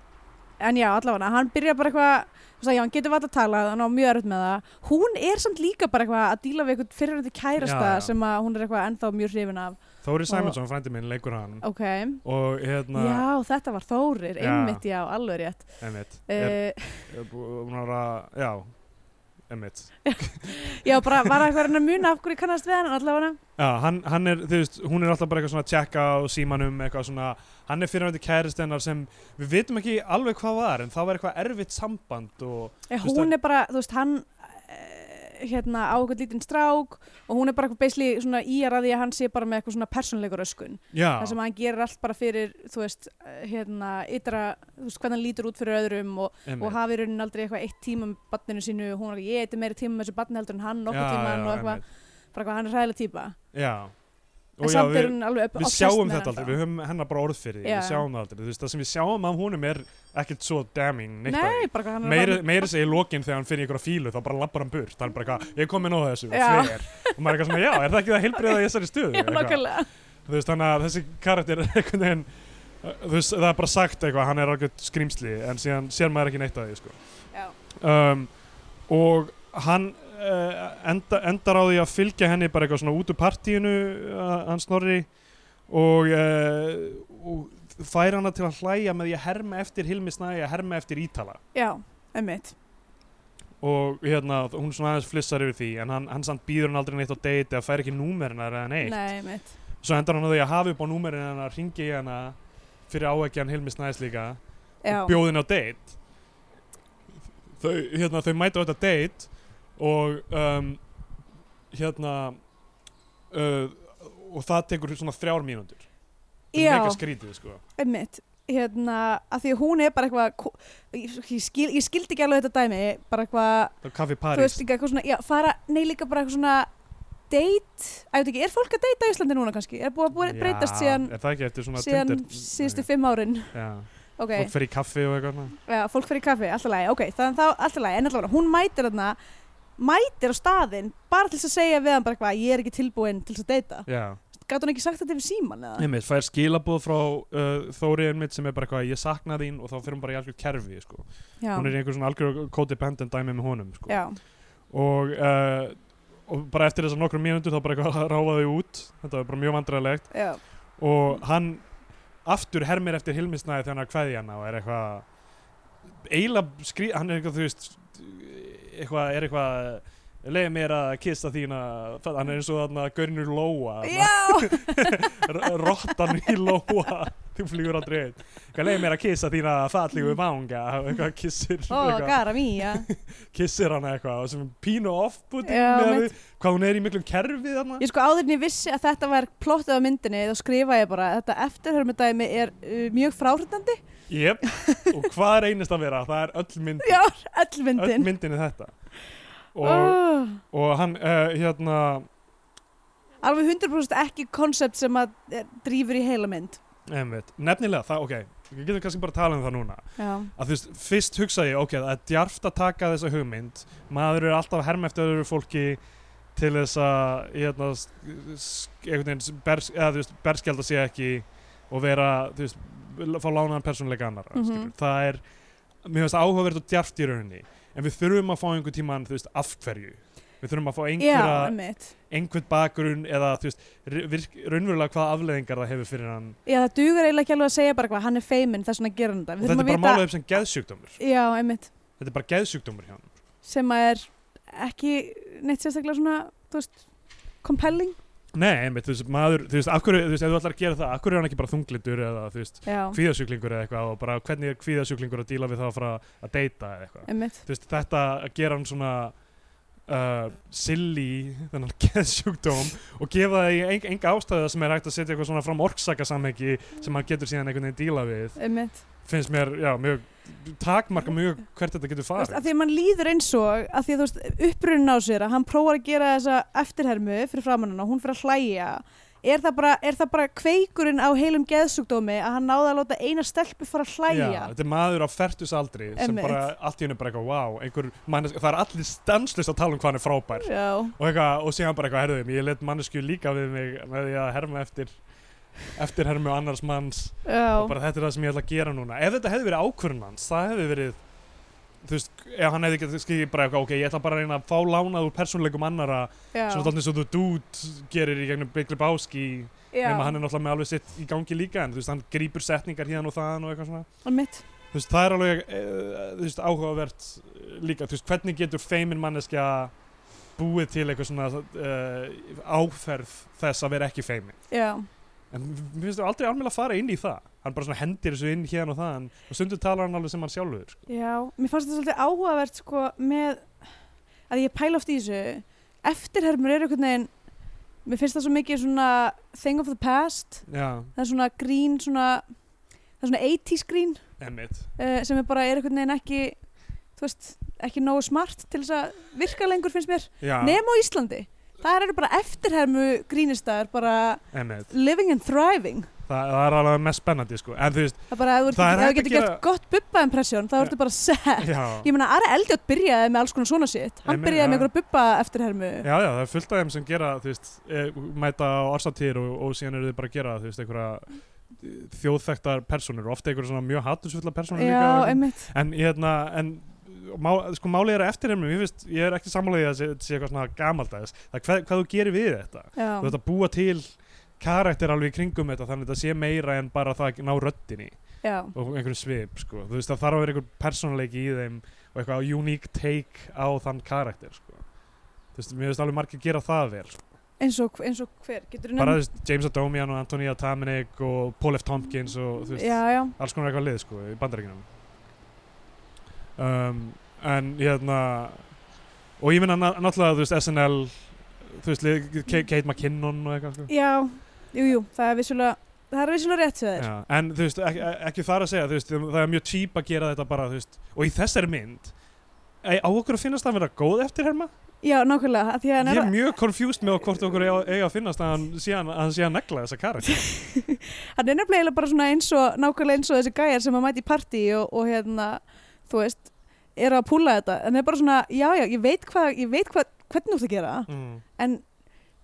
[SPEAKER 2] en já, allavega hann byrjar bara eitthvað þú veist, já, hann getur vall að tala, hann á mjög erut með það hún er samt líka bara eitthvað að díla við eitthvað fyrirhandi kærasta
[SPEAKER 3] Já, já.
[SPEAKER 2] sem að hún er eitthvað ennþá mjög hrifin af
[SPEAKER 3] Þóri Sæmundsson, frændi minn, leikur hann
[SPEAKER 2] ok,
[SPEAKER 3] og hérna,
[SPEAKER 2] já, þetta var Þórir
[SPEAKER 3] Já.
[SPEAKER 2] einmitt, já, alveg rétt
[SPEAKER 3] emitt er,
[SPEAKER 2] uh,
[SPEAKER 3] er, bú- hún var að, já emitt
[SPEAKER 2] já, bara var eitthvað að reyna að muna af hverju ég kannast við hann allavega
[SPEAKER 3] Já, hann, hann er, þú veist, hún er alltaf bara eitthvað svona að tjekka á símanum, eitthvað svona hann er fyrirvændi kærist hennar sem við vitum ekki alveg hvað var, en það var eitthvað erfitt samband og,
[SPEAKER 2] Eh,
[SPEAKER 3] Þú veist,
[SPEAKER 2] hún
[SPEAKER 3] hann-
[SPEAKER 2] er bara, þú veist, hann eh, hérna á eitthvað lítinn strák og hún er bara eitthvað beisli svona í að því að hann sé bara með eitthvað svona persónleikur öskun
[SPEAKER 3] já,
[SPEAKER 2] þar sem hann gerir allt bara fyrir þú veist, eh, hérna, ytra þú veist, hvernig hann lítur út fyrir öðrum og, og
[SPEAKER 3] einmitt.
[SPEAKER 2] hafi í rauninni aldrei eitthvað eitt tíma með barninu sínu og hún er ekki, ég eitthvað meiri tíma með þessu barni heldur en hann nokkuð
[SPEAKER 3] Já,
[SPEAKER 2] tíma og
[SPEAKER 3] já,
[SPEAKER 2] eitthvað,
[SPEAKER 3] einmitt.
[SPEAKER 2] bara eitthvað hann er hræðilega típa
[SPEAKER 3] Já.
[SPEAKER 2] en
[SPEAKER 3] Og já,
[SPEAKER 2] samt
[SPEAKER 3] við-
[SPEAKER 2] er hún alveg upp-
[SPEAKER 3] við
[SPEAKER 2] obsessed
[SPEAKER 3] sjáum
[SPEAKER 2] með
[SPEAKER 3] þetta
[SPEAKER 2] hann
[SPEAKER 3] aldrei,
[SPEAKER 2] þá.
[SPEAKER 3] við höfum hennar bara orð fyrir því,
[SPEAKER 2] Já.
[SPEAKER 3] við sjáum það aldrei, þú veist, það sem við sjáum af honum er ekkert svo damning neitt af
[SPEAKER 2] Nei,
[SPEAKER 3] því.
[SPEAKER 2] bara hvað hann
[SPEAKER 3] Meiri,
[SPEAKER 2] er
[SPEAKER 3] meiri segi í lokin þegar hann fyrir einhverja fílu þá bara lappar hann burt, það er bara eitthvað, ég kom inn á þessu og
[SPEAKER 2] Já.
[SPEAKER 3] fer, og maður er eitthvað svona, já, er það ekki það heilbriða í þessari stöðu?
[SPEAKER 2] Já,
[SPEAKER 3] Eitthvað.
[SPEAKER 2] nákvæmlega
[SPEAKER 3] þú veist, þannig að þessi karakter er einhvern veginn, uh, þú veist, það er bara sagt eitthvað, hann er algjörð skrýmsli, en síðan sér maður ekki neitt að því, sko
[SPEAKER 2] Já,
[SPEAKER 3] um, og hann uh, enda, endar á því að fylgja henni bara eitthvað svona út úr partíinu uh, hann snorri og, uh, og fær hana til að hlæja með því að herma eftir Hilmi Snæði að herma eftir Ítala
[SPEAKER 2] já, emmitt
[SPEAKER 3] og hérna, hún svona aðeins flissar yfir því en hann, hann samt býður hann aldrei neitt á date eða fær ekki númerina eða neitt
[SPEAKER 2] Nei, emmitt
[SPEAKER 3] svo endar hann á því að hafa upp á númerina hennar ringi í hana fyrir áækjan Hilmi Snæðis líka
[SPEAKER 2] Já,
[SPEAKER 3] bjóðin á date þau, hérna, þau mæta á þetta date og um, hérna uh, og það tekur svona þrjár mínútur Það er
[SPEAKER 2] Já.
[SPEAKER 3] mega skrítið sko
[SPEAKER 2] emmitt hérna, að því að hún er bara eitthvað ko- ég, ég, skil, ég skildi ekki alveg þetta dæmi bara eitthvað
[SPEAKER 3] það er kaffi
[SPEAKER 2] þú veist
[SPEAKER 3] París
[SPEAKER 2] líka eitthvað svona, já, fara, nei líka bara eitthvað svona date, að ég veit ekki, er fólk að date á Íslandi núna kannski? Er búið að búið
[SPEAKER 3] Já,
[SPEAKER 2] breytast síðan,
[SPEAKER 3] er það ekki eftir svona
[SPEAKER 2] síðan
[SPEAKER 3] Tinder-
[SPEAKER 2] síðustu fimm árin?
[SPEAKER 3] já,
[SPEAKER 2] Ok,
[SPEAKER 3] fólk fer í kaffi og eitthvað svona.
[SPEAKER 2] já, fólk fyrir kaffi, alltaf lagi, ok, þannig þá alltaf lagi, en alltaf hún mætir þarna, mætir á staðinn, bara til þess að segja við hann bara eitthvað, ég er ekki tilbúin til þess að deyta.
[SPEAKER 3] já,
[SPEAKER 2] Gat hún ekki sagt þetta yfir síman eða?
[SPEAKER 3] einmitt, fær skilabóð frá uh, Þóriðin mitt sem er bara eitthvað ég sakna þín og þá fyrir hún bara í algjör kerfi sko.
[SPEAKER 2] Já,
[SPEAKER 3] hún er í einhver svona algjör codependent dæmi með honum sko.
[SPEAKER 2] já,
[SPEAKER 3] og, uh, og bara eftir þessar nokkrum mínútur þá bara eitthvað ráfa þau út þetta var bara mjög vandræðilegt
[SPEAKER 2] já,
[SPEAKER 3] og hann aftur hermir eftir Hilmisnæði þegar hann er að kveðja hana og er eitthvað eiginlega skrý, hann er eitthvað þú veist eitthvað, er eitthvað leið mér að kissa þína hann er eins og þarna Görnur Lóa þarna.
[SPEAKER 2] já,
[SPEAKER 3] R- rottan í lóa þú flýgur aldrei einn eitthvað leið mér að kissa þína fallegu manga eitthvað kissir,
[SPEAKER 2] Mm. ó,
[SPEAKER 3] eitthvað,
[SPEAKER 2] gara mía,
[SPEAKER 3] kissir hana eitthvað og sem er pínu offbúti
[SPEAKER 2] Já,
[SPEAKER 3] með
[SPEAKER 2] mitt.
[SPEAKER 3] við, hvað hún er í miklum kerfi þarna
[SPEAKER 2] Ég sko áður en ég vissi að þetta var plottið á myndinni þá skrifa ég bara að þetta eftirhörmudæmi er uh, mjög fráhrindandi
[SPEAKER 3] yep. og hvað er einist að vera það er öll myndin,
[SPEAKER 2] Já, öll
[SPEAKER 3] öll
[SPEAKER 2] myndin
[SPEAKER 3] myndin er þetta og,
[SPEAKER 2] oh,
[SPEAKER 3] og hann uh, hérna
[SPEAKER 2] Alveg 100% ekki konsept sem að eh, drífur í heila mynd
[SPEAKER 3] einmitt, nefnilega það, ok við getum kannski bara að tala um það núna
[SPEAKER 2] Já,
[SPEAKER 3] að þú veist, fyrst hugsaði ég, ok, það er djarft að taka þessa hugmynd, maður er alltaf að herma eftir öðru fólki til þess að, hérna, s- s- einhvern veginn, s- bers, eða þú veist, berskjald að sé ekki og vera, þú veist, l- fá lánaðan persónuleika annara, mm
[SPEAKER 2] Mhm.
[SPEAKER 3] það er, mér finnst áhugavert og djarft í rauninni, en við þurfum að fá einhvern tíman, þú veist, af hverju, við þurfum að fá
[SPEAKER 2] já,
[SPEAKER 3] einhverja,
[SPEAKER 2] einmitt
[SPEAKER 3] einhvern bakgrunn eða, þú veist, r- virk- raunverulega hvaða afleðingar það hefur fyrir hann
[SPEAKER 2] Já, það dugur eiginlega ekki alveg að segja bara hvað hann er feiminn þess vegna gerir hann þetta
[SPEAKER 3] og
[SPEAKER 2] Við
[SPEAKER 3] þetta er
[SPEAKER 2] þurfum að
[SPEAKER 3] bara
[SPEAKER 2] vita
[SPEAKER 3] málað upp sem geðsjúkdómur,
[SPEAKER 2] Já, einmitt
[SPEAKER 3] þetta er bara geðsjúkdómur hjá hann.
[SPEAKER 2] sem að er ekki neitt sérstaklega svona, þú veist compelling
[SPEAKER 3] Nei, einmitt, þú veist, maður, þú veist, af hverju, þú veist, ef þú ætlar að gera það, af hverju er hann ekki bara þunglindur eða, þú veist,
[SPEAKER 2] Já,
[SPEAKER 3] kvíðasjúklingur eða eitthvað og bara hvernig er kvíðasjúklingur að díla við það að fara að deyta eða eitthvað.
[SPEAKER 2] einmitt
[SPEAKER 3] Þú veist, þetta að gera hann svona uh, silly, þennan geðsjúkdóm og gefa það í eng, enga ástæða sem er hægt að setja eitthvað svona fram orksakasamhengi sem hann getur síðan einhvern veginn díla við,
[SPEAKER 2] Einmitt
[SPEAKER 3] finnst mér, já, mjög, takmarka mjög hvert þetta getur
[SPEAKER 2] Þú veist,
[SPEAKER 3] farið.
[SPEAKER 2] að því að mann líður eins og að því að þú veist upprunin á sér að hann prófar að gera þessa eftirhermu fyrir framann hann og hún fyrir að hlæja er það bara, er það bara kveikurinn á heilum geðsugdómi að hann náði að láta eina stelpu fara að
[SPEAKER 3] Já,
[SPEAKER 2] hlæja
[SPEAKER 3] þetta er maður á fertusaldri sem
[SPEAKER 2] Einmitt.
[SPEAKER 3] bara allt í hennu bara eitthvað, wow, einhver, mannesk, það er allir stanslust að tala um hvað hann er frábær
[SPEAKER 2] Já,
[SPEAKER 3] og, eitthvað, og síðan bara eitthvað herðum ég let mannesku líka við mig með því að herma eftir eftir hermu annars manns og
[SPEAKER 2] já,
[SPEAKER 3] bara þetta er það sem ég ætla að gera núna ef þetta hefði verið ákvörðun hans, það hefði verið þú veist, ef hann hefði getið skikið bara eitthvað, ok, ég ætla bara að reyna að fá lánað úr persónleikum annara, svona
[SPEAKER 2] já,
[SPEAKER 3] þarna eins og þú dút gerir í gegnum Big Lebowski nema hann er náttúrulega með alveg sitt í gangi líka en þú veist, hann grýpur setningar hérna og þaðan og eitthvað svona
[SPEAKER 2] og mitt
[SPEAKER 3] þú veist, það er alveg uh, þú veist, áhugavert eh, líka, þú veist, hvernig getur feimin manneskja búið til eitthvað svona uh, áferð þess að vera ekki feimin
[SPEAKER 2] Já,
[SPEAKER 3] en mér finnst þú aldrei alveg að fara inn í það hann bara svona hendir þessu inn hérna og þaðan og stundum talar hann alveg sem hann sjálfur sko.
[SPEAKER 2] já, mér fannst þetta svolítið áhugavert sko með að ég pæla oft í þessu eftirhermur er einhvern veginn mér finnst það svo mikið svona thing of the past
[SPEAKER 3] já,
[SPEAKER 2] það er svona grín svona, það er svona 80s grín
[SPEAKER 3] emmitt
[SPEAKER 2] uh, sem er bara er einhvern veginn ekki þú veist, ekki nógu smart til þess að virka lengur finnst mér,
[SPEAKER 3] já,
[SPEAKER 2] nema á Íslandi það eru bara eftirhermu grínistaður bara
[SPEAKER 3] emmitt,
[SPEAKER 2] living and thriving
[SPEAKER 3] það, það er alveg mest spennandi sko. en þú veist,
[SPEAKER 2] það er bara, ef þú
[SPEAKER 3] Það er
[SPEAKER 2] ert- ef
[SPEAKER 3] hægt
[SPEAKER 2] þú getur
[SPEAKER 3] að
[SPEAKER 2] gert
[SPEAKER 3] gera-
[SPEAKER 2] gott bubba impression þá ertu bara set
[SPEAKER 3] já
[SPEAKER 2] ég meina, Ari Eldjátt byrjaði með alls konar svona sitt hann
[SPEAKER 3] Ég meina
[SPEAKER 2] byrjaði með
[SPEAKER 3] það.
[SPEAKER 2] einhverja bubba eftirhermu
[SPEAKER 3] Já, já, það er fullt af þeim sem gera, þú veist, eh, mæta á orsatýr og, og síðan eru þið bara að gera, þú veist, einhverja eh, þjóðþekktar persónur, ofta einhverja svona mjög hattusfulla persónur líka. og eitthvað.
[SPEAKER 2] einmitt
[SPEAKER 3] en hérna, en má, sko málið er eftir þeim, ég finnst, ég er ekki sammálaðið að þetta sé eitthvað svona gamaldags, það er hvað, hvað þú gerir við þetta.
[SPEAKER 2] já,
[SPEAKER 3] Þú ert að búa til karakter alveg í kringum þetta, þannig að þetta sé meira en bara það að ná röddinni
[SPEAKER 2] já,
[SPEAKER 3] og einhverjum svip, sko. Þú veist, það þarf að vera einhver persónuleiki í þeim og eitthvað unique take á þann karakter, sko. Þú veist, mér finnst alveg margir gera það vel, sko.
[SPEAKER 2] eins og, eins og hver getur
[SPEAKER 3] bara þú veist, James Adomian og Antonia Tamanik og Paul F. Tompkins og þú veist,
[SPEAKER 2] já, já,
[SPEAKER 3] alls konar eitthvað lið sko í bandaríkinum um, en hérna og ég minna náttúrulega þú veist SNL þú veist lið, Kate, Kate McKinnon og eitthvað sko.
[SPEAKER 2] já jú, jú, það er vissulega það er vissulega rétt við þér
[SPEAKER 3] Já, en þú veist, ekki, ekki þar að segja þú veist, það er mjög típ að gera þetta bara þú veist, og í þessari mynd ei, á okkur að finnast það að vera góð eftir herma
[SPEAKER 2] Já, nákvæmlega, að því að hann
[SPEAKER 3] ég
[SPEAKER 2] er
[SPEAKER 3] er mjög confused með hvort okkur eiga eiga að finnast að hann sé að, að, hann sé að negla þessa karakter
[SPEAKER 2] hann er nefnilega eiginlega bara svona eins og nákvæmlega eins og þessi gæjar sem að mæti í partí og, og hérna, þú veist eru að púla þetta, en það er bara svona já, já, ég veit hvað, ég veit hvað, hvernig þú ert að gera
[SPEAKER 3] mm.
[SPEAKER 2] en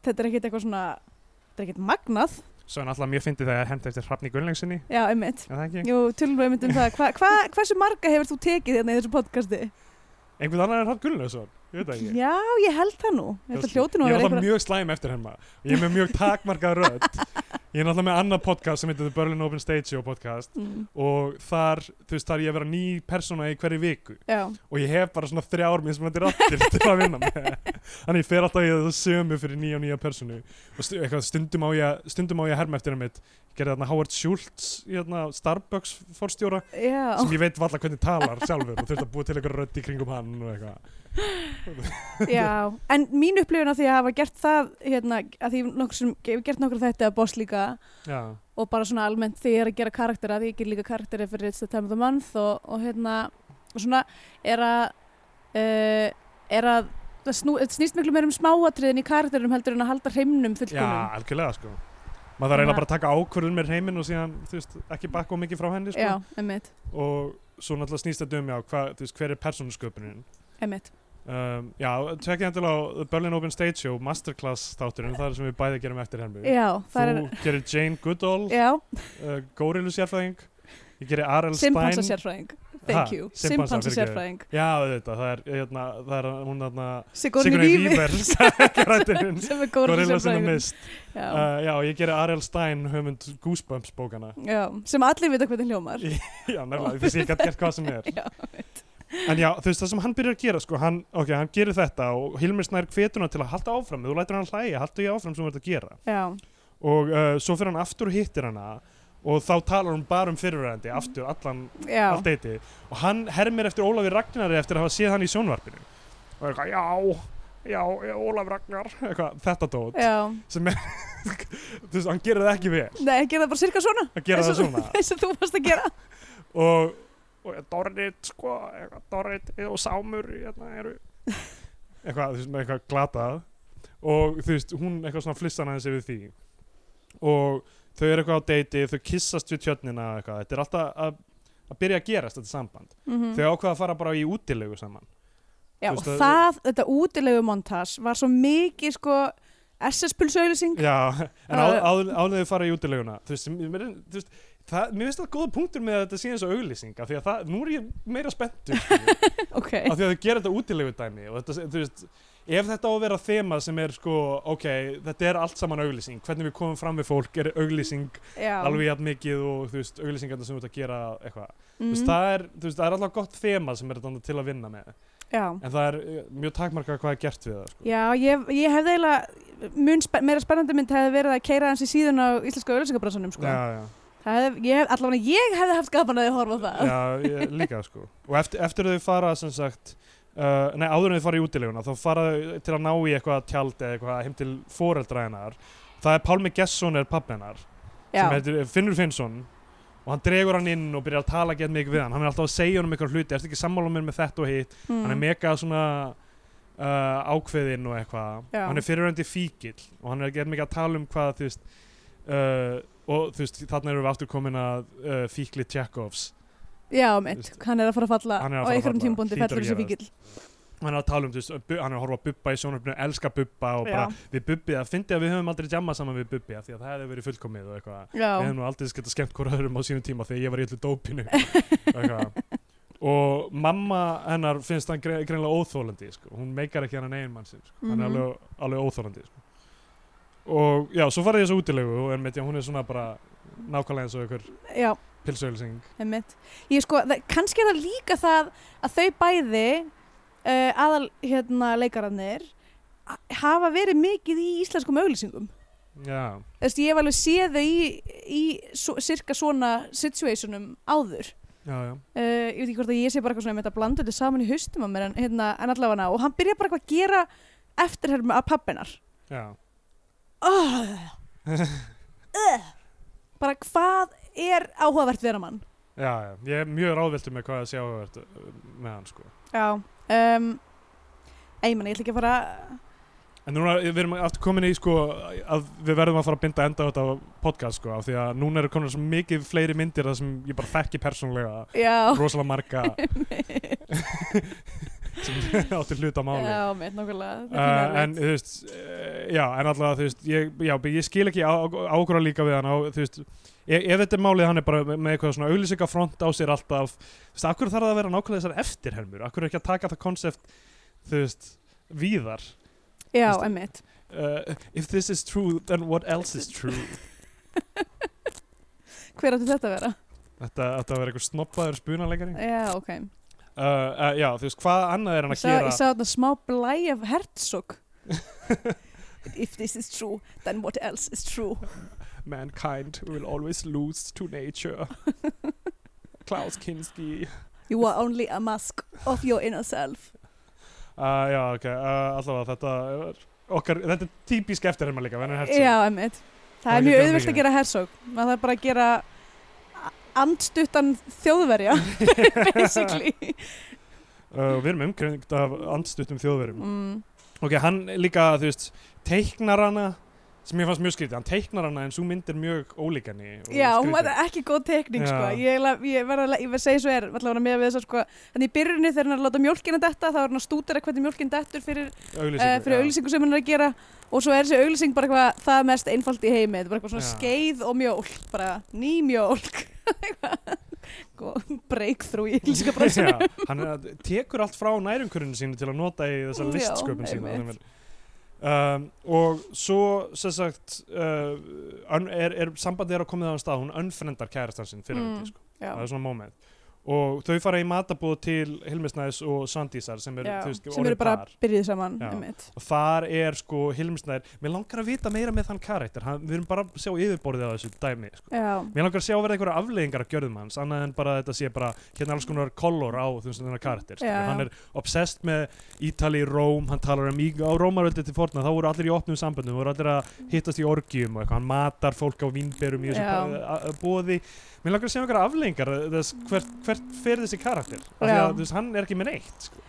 [SPEAKER 2] þetta er ekkert eitthvað svona þetta er ekkert magnað
[SPEAKER 3] Svo er alltaf mjög fyndið þegar hent eftir Hrafni Gunnlengsinni,
[SPEAKER 2] já, einmitt
[SPEAKER 3] er það ekki?
[SPEAKER 2] Jú, tölum við einmitt um það, hva, hva, hversu marga hefur þú tekið hérna í þessu podcasti?
[SPEAKER 3] Einhvern annar en Hrafn Gunnlegsson, ég veit það ekki.
[SPEAKER 2] Já, ég held það nú, þetta hljóti nú
[SPEAKER 3] Ég
[SPEAKER 2] að
[SPEAKER 3] er
[SPEAKER 2] vera
[SPEAKER 3] alltaf
[SPEAKER 2] einhver
[SPEAKER 3] mjög slæm eftir henn maður. Ég er með mjög takmarkað rödd. Ég er alltaf með annað podcast sem heitir The Berlin Open Stage Show podcast
[SPEAKER 2] Mm,
[SPEAKER 3] og þar, þú veist, þar ég að vera ný persóna í hverju viku
[SPEAKER 2] Já,
[SPEAKER 3] og ég hef bara svona þrjár mismunandi rattir til að vinna með þannig ég fer alltaf í það sömu fyrir nýja og nýja personu og stu, eitthvað, stundum, á ég, að- stundum á ég að herma eftir einmitt gerði þarna Howard Schultz í þarna Starbucks forstjóra
[SPEAKER 2] já,
[SPEAKER 3] sem ég veit valla hvernig talar sjálfur og þurfti að búa til eitthvað rödd í kringum hann og eitthvað
[SPEAKER 2] já En mín upplifun af því að hafa gert það hérna, að því nokkur sem, ég hef gert nokkur þetta að boss líka
[SPEAKER 3] já,
[SPEAKER 2] og bara svona almennt því ég er að gera karaktera því ég ger líka karakteri fyrir It's the Time of the Month og, og hérna og svona er að uh, er að það snú, þetta snýst miklu meir um smáatriðin í karakterum heldur en að halda hreimnum
[SPEAKER 3] já,
[SPEAKER 2] fullkomum
[SPEAKER 3] algjörlega sko maður þarf eiginlega bara að taka ákvörðun með heiminn og síðan, þú veist, ekki bakka of mikið frá henni sko.
[SPEAKER 2] já, emmitt,
[SPEAKER 3] og svo náttúrulega snýst þetta um já, hvað, þú veist, hver er persónusköpunin
[SPEAKER 2] emmitt
[SPEAKER 3] Um, já, tjekkið endilega á The Berlin Open Stage Show Masterclass þátturinn, það er sem við bæði gerum eftir hennu
[SPEAKER 2] já,
[SPEAKER 3] Þú
[SPEAKER 2] það er,
[SPEAKER 3] gerir Jane Goodall
[SPEAKER 2] já,
[SPEAKER 3] uh, Górilu sérfræðing Ég gerir Arel
[SPEAKER 2] simpansa
[SPEAKER 3] Stein
[SPEAKER 2] sérfræðing
[SPEAKER 3] Ha,
[SPEAKER 2] thank you,
[SPEAKER 3] simpansa,
[SPEAKER 2] simpansa
[SPEAKER 3] fyrirgefðu.
[SPEAKER 2] sérfræðing
[SPEAKER 3] Já, þetta, það er, hérna, það er hún þarna
[SPEAKER 2] Sigourney Weaver
[SPEAKER 3] Weaver, karakterinn
[SPEAKER 2] sem er góður
[SPEAKER 3] Gorilla sinna
[SPEAKER 2] sérfræðing
[SPEAKER 3] mist
[SPEAKER 2] já,
[SPEAKER 3] uh, Já, ég gerir Arel Stein höfund Goosebumps bókana
[SPEAKER 2] já, sem allir vita hvernig hljómar
[SPEAKER 3] Ég- Já, nefnilega, þess ég gæti gert hvað sem er
[SPEAKER 2] já,
[SPEAKER 3] En já, þú veist, það sem hann byrjar að gera, sko, hann, ok, hann gerir þetta og Hilmir Snær hvetuna til að halda áfram, þú lætur hann hlæja, halda ég áfram sem þú ert að gera.
[SPEAKER 2] já,
[SPEAKER 3] og uh, svo fyrir hann aftur og hittir hana og þá talar hún bara um fyrirræðandi aftur allan,
[SPEAKER 2] Mhm. já,
[SPEAKER 3] allt eiti og hann hermir eftir Ólafi Ragnari eftir að hafa séð hann í sjónvarpinu og er eitthvað, já, já, já Ólaf Ragnar eitthvað, þetta dót
[SPEAKER 2] já
[SPEAKER 3] sem er, þú veist, hann gerir það ekki vel
[SPEAKER 2] nei, gera það bara cirka svona
[SPEAKER 3] hann gerir
[SPEAKER 2] Eins
[SPEAKER 3] það
[SPEAKER 2] og-
[SPEAKER 3] svona
[SPEAKER 2] eins og þú varst að gera
[SPEAKER 3] og, og Dorrit, sko, eitthvað, Dorrit og Sámur, hérna, eru eitthvað, þú veist, með eitthvað glatað og þú veist, hún eitthvað svona flissan aðeins yfir því og þau eru eitthvað á deiti, þau kissast við tjörnina og eitthvað, þetta er alltaf að, að byrja að gerast þetta samband,
[SPEAKER 2] Mhm.
[SPEAKER 3] þau ákveða að fara bara í útilegu saman
[SPEAKER 2] Já,
[SPEAKER 3] Þú
[SPEAKER 2] og
[SPEAKER 3] veist að-
[SPEAKER 2] það, þetta útilegu montas var svo mikið sko SS-pulsauðlýsing
[SPEAKER 3] Já, en
[SPEAKER 2] Það-
[SPEAKER 3] áður áður en þau fara í útileguna þú veist, mér, er- þú veist það, mér finnst það góða punktur með að þetta sé eins og auglýsing af því að það, nú er ég meira spenntur skilurðu.
[SPEAKER 2] Ok,
[SPEAKER 3] af því að þau gerir þetta útilegu dæmi og þetta, þú veist, ef þetta á að vera þema sem er sko, ok, þetta er allt saman auglýsing, hvernig við komum fram við fólk er auglýsing
[SPEAKER 2] já
[SPEAKER 3] alveg jafn mikið og þú veist, auglýsingarna sem þú ert að gera eitthvað, þú veist,
[SPEAKER 2] mm,
[SPEAKER 3] það er þú veist, það er alltaf gott þema sem er þetta til að vinna með
[SPEAKER 2] Já,
[SPEAKER 3] en það er eh, mjög takmarkað hvað er gert við það, sko
[SPEAKER 2] já ég, ég hefði eiginlega mun spe meira spennandi mynd hefði verið að keira hans í síðun á íslenska auðlýsingabransunum sko.
[SPEAKER 3] já, já,
[SPEAKER 2] Það hefði, ég hef, allavega ég hefði haft gaman að þið horfa á það
[SPEAKER 3] já, ég, líka, sko og eftir, eftir þau fara, sem sagt Uh, nei, áður en þau fara í útileguna þá fara þau til að ná í eitthvað tjald eða eitthvað heim til foreldra hennar það er Pálmi Gesson er pappi hennar sem heitir eh, Finnur Finnsson og hann dregur hann inn og byrjar að tala gett mikið við hann hann er alltaf að segja honum einhver hluti, ertu ekki sammála mér með þetta og hitt
[SPEAKER 2] mm,
[SPEAKER 3] hann er mega svona uh, ákveðinn og eitthvað
[SPEAKER 2] Já.
[SPEAKER 3] hann er fyriröndi fíkil og hann er gett mikið að tala um hvað þú veist uh, og þú veist, þarna erum við aftur komin að uh, fíkli Tjekovs
[SPEAKER 2] Já, mitt, hann er að fara að falla
[SPEAKER 3] Hann er að
[SPEAKER 2] og
[SPEAKER 3] fara að
[SPEAKER 2] einhverjum
[SPEAKER 3] falla.
[SPEAKER 2] tímpundi
[SPEAKER 3] Hlýtur
[SPEAKER 2] fellur
[SPEAKER 3] að
[SPEAKER 2] þessi
[SPEAKER 3] gera
[SPEAKER 2] fíkil
[SPEAKER 3] hann er að tala um, þú veist, bu- hann er að horfa á Bubba í sjónarfinu, elska Bubba og
[SPEAKER 2] Já.
[SPEAKER 3] bara við Bubbi, það fyndi að við höfum aldrei jamma saman við Bubbi af því að það hefði verið fullkomið og eitthvað við
[SPEAKER 2] Já,
[SPEAKER 3] hefum nú aldrei geta skemmt hvort öðrum á sínum tíma þegar ég var í öllu dópinu Eitthvað. og mamma hennar finnst hann gre greinlega óþólandi sko. hún meikar ekki hennar negin mann sinn sko. hann
[SPEAKER 2] Mhm.
[SPEAKER 3] er alveg, alveg óþólandi sko. og já, svo farið þessu útilegu og en með því að hún er svona bara nákvæmlega eins og ykkur
[SPEAKER 2] já
[SPEAKER 3] pilsauðlýsing
[SPEAKER 2] Einmitt. Ég sko, það, kannski er það líka það að þau bæði uh, aðal hérna leikararnir a- hafa verið mikið í íslenskum auglýsingum.
[SPEAKER 3] já,
[SPEAKER 2] Þú veist, ég hef alveg séð þau í, í svo, cirka svona situationum áður.
[SPEAKER 3] já, já,
[SPEAKER 2] Uh, ég veit ekki hvort að ég sé bara eitthvað svona með þetta blanda þetta saman í haustum á mér en, hérna, en allavega og hann byrja bara eitthvað að gera eftirherma að pappinar.
[SPEAKER 3] já.
[SPEAKER 2] Oh. bara hvað er áhugavert vera mann?
[SPEAKER 3] já, já ég er mjög ráðviltur með hvað að sjá með hann sko.
[SPEAKER 2] Já um, Ei, mann, ég ætla ekki að fara
[SPEAKER 3] En núna við erum aftur komin í sko að við verðum að fara að binda enda á þetta podcast sko af því að núna eru komin svo mikið fleiri myndir þar sem ég bara þekki persónulega
[SPEAKER 2] Já,
[SPEAKER 3] rosalega marga sem átti hluta máli
[SPEAKER 2] Já, mitt nákvæmlega Þetta er
[SPEAKER 3] Uh,
[SPEAKER 2] pínu erfitt.
[SPEAKER 3] en þú veist, uh, já, en alltaf þú veist, ég, já, ég skil ekki ákvöra líka við hann á, þú veist, e, ef, ef þetta er málið hann er bara með með eitthvað svona auglýsingafront á sér alltaf, þú veist, akkur þarf það að vera nákvæmlega þessar eftirhermur, akkur er ekki að taka það konsept, þú veist, víðar
[SPEAKER 2] Já,
[SPEAKER 3] veist-
[SPEAKER 2] emmitt
[SPEAKER 3] uh, if this is true, then what else is true
[SPEAKER 2] Hver áttu þetta að vera?
[SPEAKER 3] þetta, þetta verður eitthvað snoppaður spunaleikari uh,
[SPEAKER 2] Já, ok
[SPEAKER 3] uh, já, þú veist, hvað annað er hann
[SPEAKER 2] Ég
[SPEAKER 3] að
[SPEAKER 2] sá, ég
[SPEAKER 3] gera
[SPEAKER 2] sá þetta smá blæ af Herzog If this is true, then what else is true
[SPEAKER 3] mankind will always lose to nature Klaus Kinski
[SPEAKER 2] You are only a mask of your inner self
[SPEAKER 3] Uh, já, ok, uh, allavega þetta er okkar, þetta er típisk eftir hennar líka, Werner Herzog.
[SPEAKER 2] Já, emmitt
[SPEAKER 3] Það
[SPEAKER 2] Það
[SPEAKER 3] er
[SPEAKER 2] er mjög
[SPEAKER 3] ekki
[SPEAKER 2] auðvelt
[SPEAKER 3] mikið.
[SPEAKER 2] að gera Herzog maður þarf bara að gera a- andstuttan þjóðverja basically
[SPEAKER 3] Uh, og við erum umkrengt af andstuttum þjóðverum.
[SPEAKER 2] mm.
[SPEAKER 3] Ok, hann líka, þú veist, teiknar hana, sem ég fannst mjög skrítið, hann teiknar hana en svo mynd er mjög ólík henni. og
[SPEAKER 2] Já, hún
[SPEAKER 3] skrýtin.
[SPEAKER 2] var ekki góð tekning sko.
[SPEAKER 3] Já.
[SPEAKER 2] ég, la- ég verð að, la- ég verð að segja svo er allavega með við þess að sko, hann í byrjunni þegar hann er að láta mjólkina detta þá er hann að stútera hvernig mjólkin dettur fyrir,
[SPEAKER 3] auglýsingu,
[SPEAKER 2] uh, fyrir
[SPEAKER 3] já.
[SPEAKER 2] auglýsingu sem hann er að gera og svo er þessi auglýsing bara eitthvað það mest einfalt í heimi, þetta er bara eitthvað svona
[SPEAKER 3] Já.
[SPEAKER 2] skeið og mjólk, bara ný mjólk Góð breakthrough í auglýsingabransunum
[SPEAKER 3] Já, hann er að- tekur allt frá nærumkörunum sínu til að nota í þessa
[SPEAKER 2] Já,
[SPEAKER 3] listsköpun sína
[SPEAKER 2] einmitt.
[SPEAKER 3] þannig vel. um, og svo sem sagt uh, un- er, er sambandi er að komið á hann stað hún önfrendar kærastan sinn fyrir
[SPEAKER 2] Mm.
[SPEAKER 3] mm. sko.
[SPEAKER 2] Já,
[SPEAKER 3] það er svona moment og þau fara í matabúð til Hilmisnæs og Sandísar sem eru
[SPEAKER 2] já,
[SPEAKER 3] þú veist,
[SPEAKER 2] sem
[SPEAKER 3] orðin
[SPEAKER 2] eru bara
[SPEAKER 3] par.
[SPEAKER 2] byrjuð saman
[SPEAKER 3] Já.
[SPEAKER 2] einmitt.
[SPEAKER 3] og þar er sko Hilmisnær mér langar að vita meira með þann karakter hann, við erum bara að sjá yfirborðið á þessu dæmi sko.
[SPEAKER 2] Já,
[SPEAKER 3] Mér langar að sjá að verða einhverja afleiðingar af gjörðum hans annað en bara að þetta sé bara hérna er alls konar kolor á þú veist þennan karakter
[SPEAKER 2] Já,
[SPEAKER 3] yeah.
[SPEAKER 2] já.
[SPEAKER 3] hann er obsessed með Ítali í Róm hann talar um í, á Rómaröldi til forna þá voru allir í opnum samböndum voru allir að hittast í orgjum og eitthvað hann matar fólk á vínberum í
[SPEAKER 2] Já.
[SPEAKER 3] þessum yeah. bóði Mér langar að sjá einhverja afleiðingar eh, þess hvert, hvert fer þessi karakter af því
[SPEAKER 2] Já.
[SPEAKER 3] að þú veist hann er ekki með neitt sko.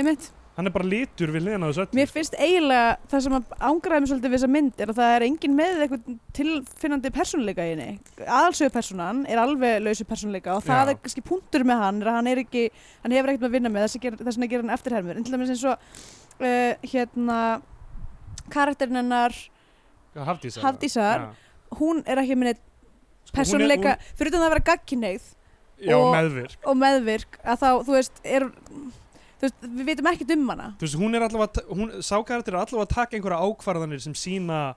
[SPEAKER 2] einmitt.
[SPEAKER 3] hann er bara litur við liðan á þessu öllu
[SPEAKER 2] Mér finnst eiginlega það sem að ángraði mig svolítið við þessa mynd er að það er engin með eitthvað tilfinnandi persónuleika í henni. Aðalsögu persónan er alveg lausu persónuleika og það
[SPEAKER 3] Já.
[SPEAKER 2] er kannski punktur með hann er að hann, er ekki, hann hefur ekkert með að vinna með þess að gera, þess að gera hann eftirhermur. En til dæmis eins og uh, hérna karakterin hennar
[SPEAKER 3] Hafdísar,
[SPEAKER 2] Hafdísar,
[SPEAKER 3] Já.
[SPEAKER 2] hún er ekki með neitt
[SPEAKER 3] Sko, hún er-
[SPEAKER 2] persónuleika fyrir utan það að vera gagkinnið
[SPEAKER 3] hún- Já,
[SPEAKER 2] og-
[SPEAKER 3] meðvirk
[SPEAKER 2] og meðvirk að þá, þú veist, er, þú veist við vitum ekkert um hana.
[SPEAKER 3] þú veist, hún er allavega, að ta- hún, sákarættir er allavega að taka einhverja ákvarðanir sem sína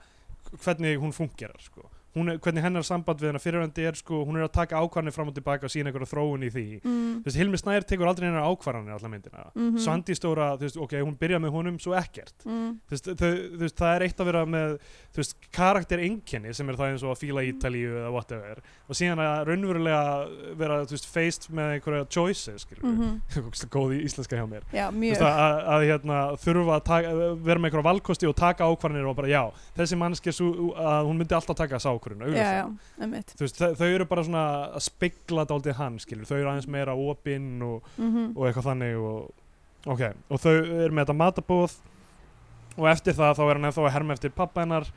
[SPEAKER 3] hvernig hún fungerar, sko. Hún er, hvernig hennar samband við hennar fyrirvændi er, sko, hún er að taka ákvarðanir fram og tilbaka og sína einhverja þróun í því.
[SPEAKER 2] Mm.
[SPEAKER 3] Þú veist, Hilmi Snær tekur aldrei hennar ákvarðanir allar myndina.
[SPEAKER 2] Mhm.
[SPEAKER 3] Svandi stóra, þú veist, ok, hún byrja með honum, svo ekkert.
[SPEAKER 2] Mm.
[SPEAKER 3] Þú veist, þau, þú veist, það er eitt að vera með, þú veist, karakter sem er það eins og að fíla Ítalíu eða whatever. Og síðan að raunverulega vera, þú veist, faced með einhverja choices, skilur við. Mm
[SPEAKER 2] mhm.
[SPEAKER 3] Góð í íslenska hjá mér.
[SPEAKER 2] Já,
[SPEAKER 3] Þú
[SPEAKER 2] mjög.
[SPEAKER 3] veist, að, að, að hérna, þurfa að taka, vera með einhverja valkosti og taka ákvarðanir og bara já, þessi mannski að hún myndi alltaf taka þessa ákvarðin
[SPEAKER 2] já, já, einmitt
[SPEAKER 3] Þú veist, þau, þau eru bara svona að spegla dálítið hann, skilur, þau eru aðeins meira opinn og,
[SPEAKER 2] mm
[SPEAKER 3] og eitthvað þannig og, ok, og þau eru með þetta matabóð og eftir það þá er hann ennþá að herma eftir pappa hennar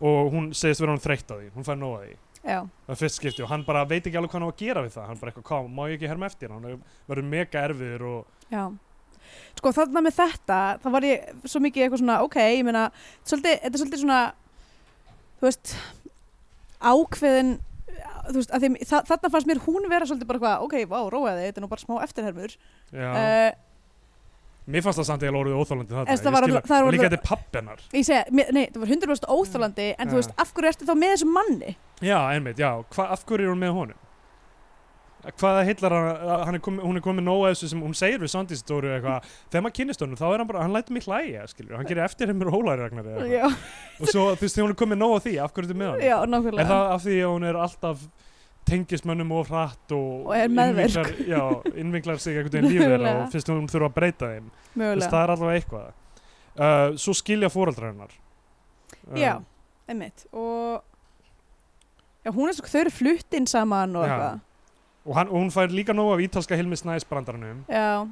[SPEAKER 3] og hún segist vera hann þreytt á því, hún fær nóg að því
[SPEAKER 2] já,
[SPEAKER 3] það er fyrst skipti og hann bara veit ekki alveg hvað hann á að gera við það, hann bara eitthvað, hvað, má ég ekki herma eftir hann verður mega erfiður og,
[SPEAKER 2] já sko þarna með þetta, þá var ég svo mikið eitthvað svona, ok, ég meina svolítið, þetta er svolítið svona þú veist, ákveðin þú veist, að því, þa þarna fannst mér hún vera svolítið bara hvað, ok, vá, róaði þetta er nú bara smá eftirhermur
[SPEAKER 3] já.
[SPEAKER 2] uh,
[SPEAKER 3] Mér fannst það samt eiginlega orðið óþólandi þarna.
[SPEAKER 2] Þess, það
[SPEAKER 3] Ég
[SPEAKER 2] var
[SPEAKER 3] skil
[SPEAKER 2] orðið- það var
[SPEAKER 3] Og líka
[SPEAKER 2] orðið-
[SPEAKER 3] þetta er pappennar.
[SPEAKER 2] ég segja, mér- nei, það var 100% óþólandi en þú
[SPEAKER 3] Mm. Já.
[SPEAKER 2] veist, af hverju ertu þá með þessum manni
[SPEAKER 3] Já, einmitt, já. Hva, af hverju er hún með honum? Hvaða heillar hann, hann er komi, hún er komið nóg að þessu sem hún segir við Sandís Dóru eitthvað, þegar maður kynnist honum, þá er hann bara, hann lætur mig hlæja, skilur, hann gerir eftir heimur hólæri ragnar eða eitthvað.
[SPEAKER 2] já,
[SPEAKER 3] Og svo, þú veist, þegar hún er komið nóg að því, af hverju ertu með honum?
[SPEAKER 2] já,
[SPEAKER 3] Er
[SPEAKER 2] nákvæmlega
[SPEAKER 3] það af því að hún er alltaf tengist mönnum of hratt og,
[SPEAKER 2] Og er meðvirk.
[SPEAKER 3] innvinklar- já, innvinklar sig einhvern veginn lífið þeirra
[SPEAKER 2] Mögulega.
[SPEAKER 3] og finnst hún þurfa að breyta þeim. Þú veist,
[SPEAKER 2] mögulega,
[SPEAKER 3] það er allavega eitthvað. Uh, svo skilja fóreldrar hennar. Um,
[SPEAKER 2] já, einmitt og já, hún er svo, þau eru fluttinn saman og
[SPEAKER 3] Já.
[SPEAKER 2] eitthvað
[SPEAKER 3] og, hann, og hún fær líka nóg af ítalska Hilmi Snæs brandaranum
[SPEAKER 2] Já,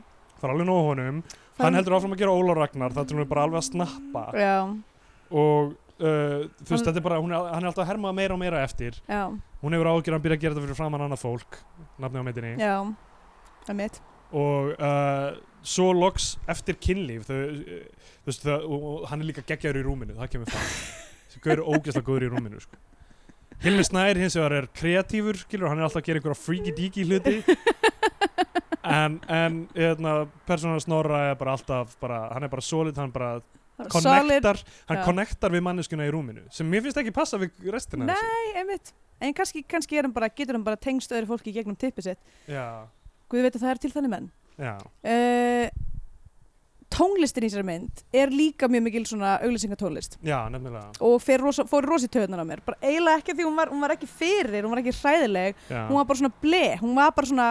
[SPEAKER 3] það er alveg nóg af honum, hann heldur áfram að gera Óla Ragnar það er hún bara alveg að snappa
[SPEAKER 2] Já,
[SPEAKER 3] og uh, þú veist,
[SPEAKER 2] Hann-
[SPEAKER 3] þetta er bara, hún er, hann er alltaf að herma meira og meira eftir
[SPEAKER 2] já,
[SPEAKER 3] hún hefur ágjör að hann byrja að gera þetta fyrir framann annað fólk nafni á myndinni
[SPEAKER 2] já Það er mitt
[SPEAKER 3] og uh, svo loks eftir kynlíf þau, eh, þú veist, það, og, og hann er líka geggjaður í rúminu, það kemur fram þessi gaur er ógeðslega góður í rúminu sko. Hilmi Snær hins vegar er kreatífur skilur, hann er alltaf að gera einhverja freaky deaky hluti en, en hérna, persónan snorra er bara alltaf, bara, hann er bara solid hann bara
[SPEAKER 2] Solid,
[SPEAKER 3] connectar hann
[SPEAKER 2] já.
[SPEAKER 3] connectar við manneskuna í rúminu sem mér finnst ekki passa við restina af
[SPEAKER 2] nei, einmitt en kannski, kannski er hann bara, getur hann bara tengst öðru fólki í gegnum tippið sitt
[SPEAKER 3] þessu. já,
[SPEAKER 2] Guð veit að það er til þannig menn
[SPEAKER 3] já,
[SPEAKER 2] uh, tónlistin í sér mynd er líka mjög mikil svona auglýsingatónlist
[SPEAKER 3] já, nefnilega
[SPEAKER 2] og fer rosa, fór rosi töðunar á mér bara eiginlega ekki af því hún var, hún var ekki fyrir hún var ekki hræðileg,
[SPEAKER 3] já,
[SPEAKER 2] hún var bara svona ble hún var bara svona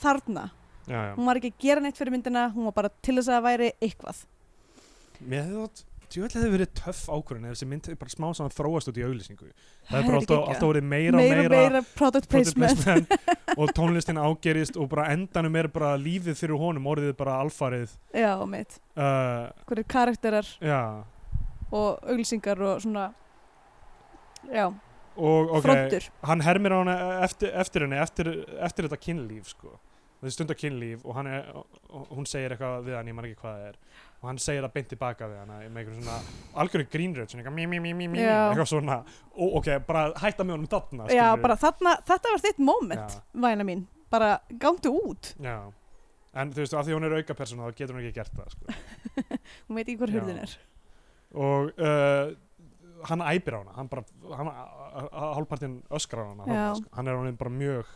[SPEAKER 2] þarna
[SPEAKER 3] já, já.
[SPEAKER 2] hún var ekki að gera neitt fyrir myndina hún var bara til þess að það væri eitthvað
[SPEAKER 3] Mér hefði þátt, djúvel hefði verið töff ákvörðin ef þessi mynd hefði bara smá saman þróast út í auglýsingu. Það hefði bara alltaf, alltaf verið meira og
[SPEAKER 2] meira, meira,
[SPEAKER 3] meira,
[SPEAKER 2] meira product
[SPEAKER 3] product
[SPEAKER 2] placement
[SPEAKER 3] placement og tónlistin ágerist og bara endanum er bara lífið fyrir honum, orðið bara alfarið.
[SPEAKER 2] já, mitt,
[SPEAKER 3] Uh,
[SPEAKER 2] hverju karakterar
[SPEAKER 3] já,
[SPEAKER 2] og auglýsingar og svona já,
[SPEAKER 3] og ok,
[SPEAKER 2] frontur
[SPEAKER 3] hann hermir á hana eftir, eftir henni, eftir, eftir þetta kynlíf, sko. Þessi stundar kynlíf og, hann er, og hún segir eitthvað við hann, ég man ekki hvað það er. Og hann segir það beint tilbaka við hana með einhverjum svona algjörðu grínröð, svona eitthvað mí, mí, mí, mí, mí,
[SPEAKER 2] Já.
[SPEAKER 3] eitthvað svona. Og ok, bara hætta með honum þarna,
[SPEAKER 2] já,
[SPEAKER 3] skilurðu.
[SPEAKER 2] bara þarna, þetta var þitt moment
[SPEAKER 3] Já.
[SPEAKER 2] væna mín, bara gándu út
[SPEAKER 3] Já, en þú veist, af því hún er auka persóna þá getur hún ekki gert það, sko.
[SPEAKER 2] hún veit ekki hvað
[SPEAKER 3] Já.
[SPEAKER 2] hurðin er
[SPEAKER 3] Og uh, hann æpir á hana, hann bara, hann, hálfpartinn öskrar á hana,
[SPEAKER 2] Já.
[SPEAKER 3] þarna, sko. hann er honum bara mjög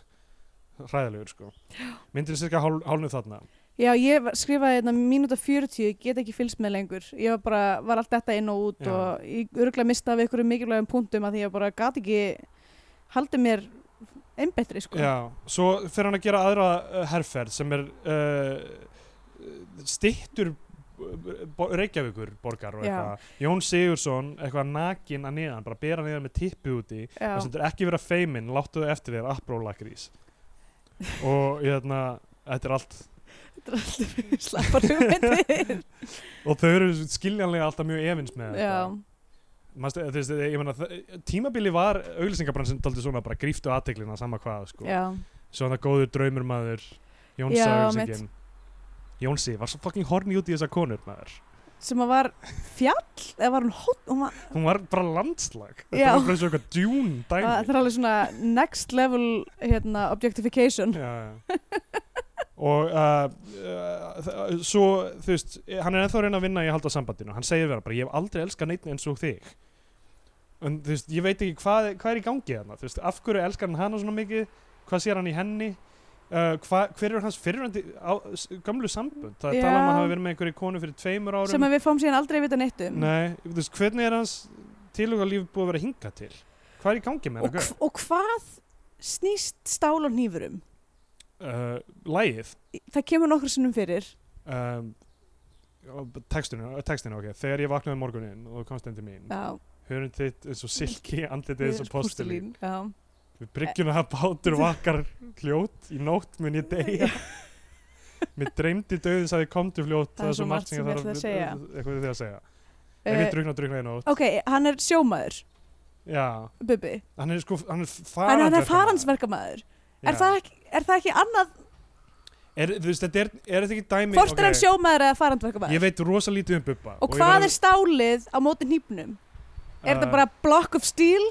[SPEAKER 3] hræðilegur, sko. Myndin er cirka hál, hálfnuð þarna.
[SPEAKER 2] Já, ég var- skrifaði hérna mínúta 40, ég get ekki fylgst með lengur. Ég var bara, var allt þetta inn og út
[SPEAKER 3] Já.
[SPEAKER 2] og ég örgulega mistaði við einhverjum mikilvægum punktum að því ég bara gat ekki haldið mér einbettri, sko.
[SPEAKER 3] Já, svo fer hann að gera aðra uh, herrferð sem er uh, stittur Reykjavíkur borgar eh, og
[SPEAKER 2] Já.
[SPEAKER 3] eitthvað Jón Sigursson eitthvað nakin að neðan, bara bera neðan með tippi úti
[SPEAKER 2] Já.
[SPEAKER 3] það sem þetta er ekki verið að feimin, láttu þau eftir þér aprólakrís og ég þarna, þetta er allt
[SPEAKER 2] Þetta er alltaf slappar hugmyndir.
[SPEAKER 3] og þau eru skiljanlega alltaf mjög efins með
[SPEAKER 2] Já,
[SPEAKER 3] Manstu, þú veist, ég meina, þ- tímabili var auglýsingabransin daldi svona bara gríftu aðteklina sama hvað sko.
[SPEAKER 2] já.
[SPEAKER 3] svona góður draumur maður Jónsi
[SPEAKER 2] Já,
[SPEAKER 3] auglýsingin Jónsi var svo fucking horni út í þessa konur maður
[SPEAKER 2] Sem að var fjall, eða var hún hótt, hún var,
[SPEAKER 3] hún var bara landslag þetta
[SPEAKER 2] Já.
[SPEAKER 3] var bara svo eitthvað djún dæmi
[SPEAKER 2] það er alveg svona next level, hérna, objectification.
[SPEAKER 3] já, já. og uh, uh, þ- svo þú veist hann er ennþá að reyna að vinna í að halda sambandinu hann segir vera bara ég hef aldrei elskað neitt eins og þig en þú veist ég veit ekki hvað, hvað er í gangi þarna þú veist af hverju elskar hann hana svona mikið hvað sér hann í henni Uh, hva, hver er hans fyrirvændi á, s- gömlu sambund það er
[SPEAKER 2] Já.
[SPEAKER 3] talað um að hann hafi verið með einhverju konu fyrir tveimur árum
[SPEAKER 2] Sem að við fáum síðan aldrei að vita neitt um.
[SPEAKER 3] Nei, þú veist, hvernig er hans tilugalíf búið að vera hingað til? Hvað er í gangi með
[SPEAKER 2] og,
[SPEAKER 3] hann?
[SPEAKER 2] hv- og hvað snýst stál og nýfurum?
[SPEAKER 3] Uh, lægið,
[SPEAKER 2] Það kemur nokkur sinnum fyrir.
[SPEAKER 3] um, textinu, eh, textinu, ok, þegar ég vaknaði um morguninn og þú komst inn til mín,
[SPEAKER 2] Já.
[SPEAKER 3] hörun þitt eins og silki, andlitið eins og postulín,
[SPEAKER 2] já.
[SPEAKER 3] við bryggjum að bátur vakar hljót, í nótt mun ég deyja. Mér dreymdi döðins að ég kom til fljót, það er svo margt sem ég
[SPEAKER 2] ætlaði
[SPEAKER 3] þarf
[SPEAKER 2] að segja.
[SPEAKER 3] eitthvað því að segja. Ef
[SPEAKER 2] Uh,
[SPEAKER 3] ég drukna, drukna ég nótt.
[SPEAKER 2] ok, hann er sjómaður
[SPEAKER 3] Já,
[SPEAKER 2] Bubi,
[SPEAKER 3] hann er sko, hann
[SPEAKER 2] hann,
[SPEAKER 3] er
[SPEAKER 2] hann er
[SPEAKER 3] farandverkamaður.
[SPEAKER 2] faransverkamaður er,
[SPEAKER 3] Já.
[SPEAKER 2] það ekki, er það ekki annað
[SPEAKER 3] Er, þú veist, þetta er, er þetta ekki dæmi
[SPEAKER 2] hvort
[SPEAKER 3] ok,
[SPEAKER 2] er hann sjómaður eða farandverkamaður
[SPEAKER 3] Ég veit rosa lítið um Bubba
[SPEAKER 2] og hvað er stálið á móti hnípnum er
[SPEAKER 3] Ah.
[SPEAKER 2] þetta bara block of steel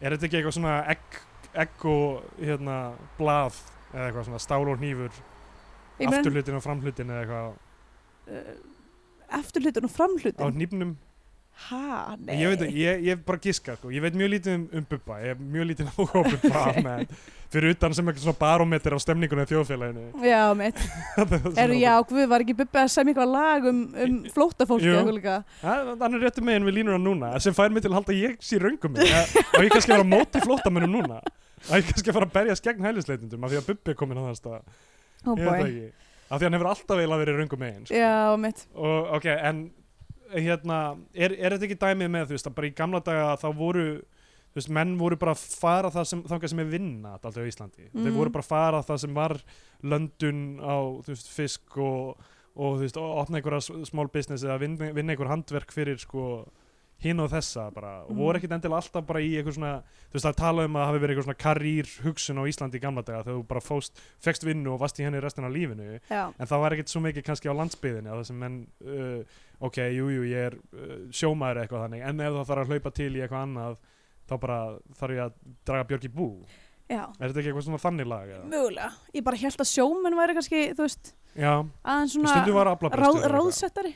[SPEAKER 3] Er þetta ekki eitthvað svona egg, egg og hérna, blað eða eitthvað svona stál og hnífur
[SPEAKER 2] Ég meina,
[SPEAKER 3] afturhlutin og framhlutin eða eitthvað
[SPEAKER 2] uh, afturhlutun og
[SPEAKER 3] á
[SPEAKER 2] framhlutun
[SPEAKER 3] hnífnum
[SPEAKER 2] ha, nei
[SPEAKER 3] Ég veit ekki, ég, ég bara giska sko. Ég veit mjög lítið um, um Bubba Ég hef mjög lítið áhuga á Bubba almennt. Fyrir utan sem eitthvað svona barómeter á stemningunni í þjóðfélaginu
[SPEAKER 2] já, mitt,
[SPEAKER 3] Það er
[SPEAKER 2] er,
[SPEAKER 3] svona-
[SPEAKER 2] já, guð var ekki Bubi að semja eitthvað lag um, um flóttafólki
[SPEAKER 3] Jú.
[SPEAKER 2] eða eitthvað líka
[SPEAKER 3] Það hann er réttu meginn við línuna núna sem fær mig til að halda að ég sé röngum mig og ég kannski að vera á móti flóttamönnum núna og ég kannski að fara að berjast gegn hælisleitundum af því að Bubbi er komin á þann stað
[SPEAKER 2] oh
[SPEAKER 3] ég veit það
[SPEAKER 2] boy,
[SPEAKER 3] ekki af því hann hefur alltaf eiginlega verið röngum meginn sko.
[SPEAKER 2] já, mitt
[SPEAKER 3] og ok, en hérna, er, er þetta ekki dæmið með þú veist að bara í gamla daga þá voru þú veist, menn voru bara að fara það sem þangað sem er vinna alltaf á Íslandi
[SPEAKER 2] Mhm.
[SPEAKER 3] þeir voru bara að fara það sem var löndun á þú veist, fisk og, og þú veist, og opna einhverja s- small business eða vinna, vinna einhver handverk fyrir sko hinn og þessa bara, og
[SPEAKER 2] Mm.
[SPEAKER 3] voru ekkit endilega alltaf bara í eitthvað svona, þú veist það er talað um að það hafi verið eitthvað svona karýr hugsun á Íslandi í gamla daga þegar þú bara fóst, fekst vinnu og vast í henni restina af lífinu
[SPEAKER 2] já,
[SPEAKER 3] en það var ekkert svo mikið kannski á landsbyðinni að þessum menn, uh, ok, jú, jú, ég er uh, sjómaður eða eitthvað þannig, en ef það þarf að hlaupa til í eitthvað annað þá bara þarf ég að draga Björk í bú
[SPEAKER 2] já,
[SPEAKER 3] er þetta ekki eitthvað svona þannig lag? eða?
[SPEAKER 2] mögulega ég bara held að sjómenn væri kannski, þú veist
[SPEAKER 3] Já,
[SPEAKER 2] aðeins
[SPEAKER 3] Svona,
[SPEAKER 2] svona
[SPEAKER 3] stundum var
[SPEAKER 2] ráð,
[SPEAKER 3] aflabrestur
[SPEAKER 2] ráðsettari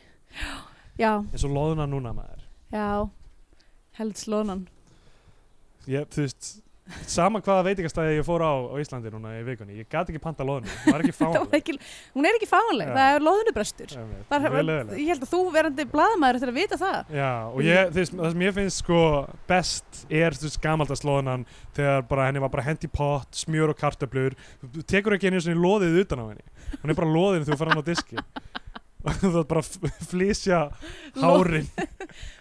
[SPEAKER 2] já,
[SPEAKER 3] eins og loðuna núna maður
[SPEAKER 2] já held slónan
[SPEAKER 3] ég, þú veist, sama hvaða veitingastæði ég fór á á Íslandi núna í vikunni ég gat ekki panta loðuna, hún var ekki
[SPEAKER 2] Það var
[SPEAKER 3] fáanleg
[SPEAKER 2] ekki, hún er ekki fáanleg,
[SPEAKER 3] Já.
[SPEAKER 2] það er loðunubrestur
[SPEAKER 3] Einmitt,
[SPEAKER 2] það,
[SPEAKER 3] mjög leiðinlegt.
[SPEAKER 2] ég held að þú verandi blaðmaður til að vita það
[SPEAKER 3] Já, og ég, þú veist, það sem ég finnst sko best er, þú veist, gamaldast loðunan þegar bara henni var bara hent í pott, smjör og kartöflur, þú þú tekur ekki einu svona loðið utan á henni, hún er bara loðin þegar þú fer hann á diski og þú þarf bara að flysja hárin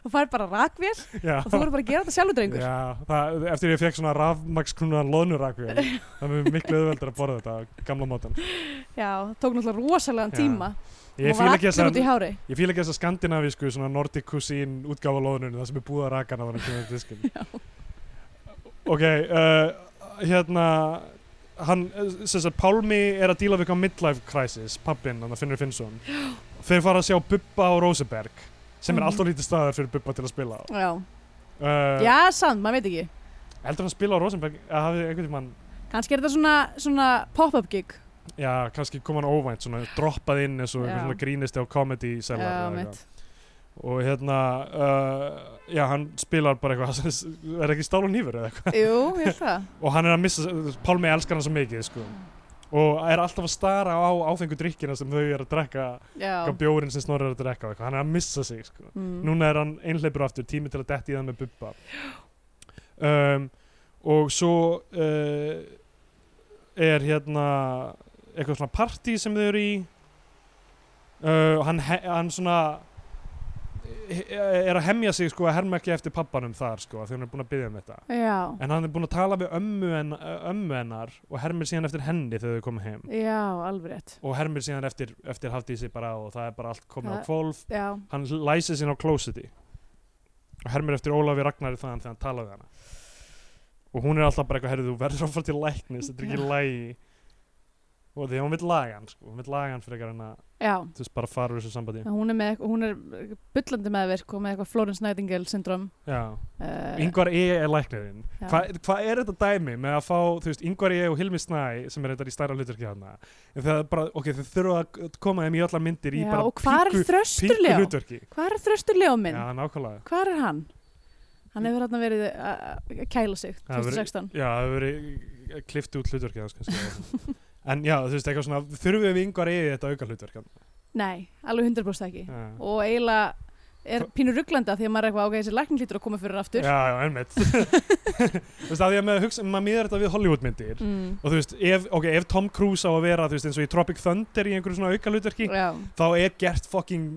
[SPEAKER 2] og fær bara rakvél og
[SPEAKER 3] Já,
[SPEAKER 2] þú verður bara að gera þetta sjálfur drengur
[SPEAKER 3] já það, eftir ég fekk svona rafmakskrúnan loðnurakvér það er miklu auðveldur að borða þetta á gamla mátan
[SPEAKER 2] já, það tók náttúrulega rosalega
[SPEAKER 3] Já.
[SPEAKER 2] tíma
[SPEAKER 3] Ég
[SPEAKER 2] og var
[SPEAKER 3] fíla ekki
[SPEAKER 2] allir
[SPEAKER 3] þessa-
[SPEAKER 2] út í hári
[SPEAKER 3] ég fíla ekki þess að skandinavísku svona nordic cuisine útgáfa loðuninu það sem er búið að raka hana þannig að diskin ok uh, hérna hann, eh, sem sagt, Pálmi er að díla við eitthvað midlife crisis, pappinn, hann að Finnur Finnsson þeir fara að sjá Bubba og Roseberg sem er
[SPEAKER 2] Mhm.
[SPEAKER 3] alltaf lítið staðar fyrir Bubba til að spila á
[SPEAKER 2] já,
[SPEAKER 3] uh,
[SPEAKER 2] já samt, maður veit ekki
[SPEAKER 3] heldur hann að spila á Rosenberg að hafi einhvern tímann,
[SPEAKER 2] kannski er þetta svona, svona pop-up gig
[SPEAKER 3] já, kannski kom hann óvænt svona, droppað inn eins og
[SPEAKER 2] Já.
[SPEAKER 3] einhver svona grínisti á comedy seller eða
[SPEAKER 2] já,
[SPEAKER 3] eitthvað.
[SPEAKER 2] mitt
[SPEAKER 3] og hérna uh, já, hann spilar bara eitthvað er ekki stál og nýfur eða eitthvað
[SPEAKER 2] jú, ég held það
[SPEAKER 3] og hann er að missa, Pálmi elskar hann svo mikið sko. og er alltaf að stara á áfengu drikkina sem þau eru að drekka
[SPEAKER 2] já,
[SPEAKER 3] eitthvað bjórin sem snorri er að drekka og eitthvað. hann er að missa sig sko.
[SPEAKER 2] mm.
[SPEAKER 3] núna er hann einhleipur aftur, tími til að detti í það með bubba um, og svo uh, er hérna eitthvað svona partí sem þau eru í uh, og hann, he- hann svona er að hemja sig sko að herma ekki eftir pappanum þar sko þegar hann er búin að byggja um þetta
[SPEAKER 2] já,
[SPEAKER 3] en hann er búin að tala við ömmu, en, ömmu hennar og hermir síðan eftir henni þegar þau koma heim
[SPEAKER 2] já, alveg rétt
[SPEAKER 3] og hermir síðan eftir, eftir Hafdísi bara og það er bara allt komið á
[SPEAKER 2] Það-
[SPEAKER 3] kvolf
[SPEAKER 2] já,
[SPEAKER 3] hann læsir sín á klósiti og hermir eftir Ólafi Ragnari þaðan þegar hann talaði við hana og hún er alltaf bara eitthvað, herrðu, þú verður að fara til læknis þetta er ekki í lægi og því að hún vil laga hann, sko, hún vil laga hann fyrir eitthvað en að,
[SPEAKER 2] já
[SPEAKER 3] þú veist, bara fara úr þessu sambandi
[SPEAKER 2] En Hún er, með, hún er bullandi meðverk og með eitthvað Florence Nightingale syndrom
[SPEAKER 3] já,
[SPEAKER 2] uh,
[SPEAKER 3] yngvar E er læknirinn
[SPEAKER 2] Já.
[SPEAKER 3] Hva- hvað er þetta dæmi með að fá, þú veist, yngvar E og Hilmi Snæ sem er þetta í stærra hluturki þarna en það er bara, ok, þau þurfa að koma þeim í allar myndir í
[SPEAKER 2] Já,
[SPEAKER 3] bara
[SPEAKER 2] og hvað er
[SPEAKER 3] pinku-
[SPEAKER 2] þröstur
[SPEAKER 3] pinku
[SPEAKER 2] Leó?
[SPEAKER 3] hluturki
[SPEAKER 2] Hvað er þröstur Leó minn?
[SPEAKER 3] já, nákvæmlega
[SPEAKER 2] Hvað er hann? Hann hefur hann verið að að kæla sig
[SPEAKER 3] Það hefur verið-
[SPEAKER 2] 2016
[SPEAKER 3] Já, það hefur verið klift út hlutverkið hans kannski eða eitthvað. En já, þú veist, eitthvað svona, þurfum við yngvar eigið þetta auka hlutverk hann?
[SPEAKER 2] Nei, alveg 100% ekki
[SPEAKER 3] Já,
[SPEAKER 2] og eiginlega er pínu rugglanda því að maður er eitthvað, ok, þessi lækning hlýtur að koma fyrir aftur
[SPEAKER 3] já, já, einmitt. þú veist, að því að með hugsa, maður miðar þetta við Hollywoodmyndir
[SPEAKER 2] mm,
[SPEAKER 3] og þú veist, ef, ok, ef Tom Cruise á að vera, þú veist, eins og í Tropic Thunder í einhverju svona auka hlutverki,
[SPEAKER 2] já,
[SPEAKER 3] þá er gert fucking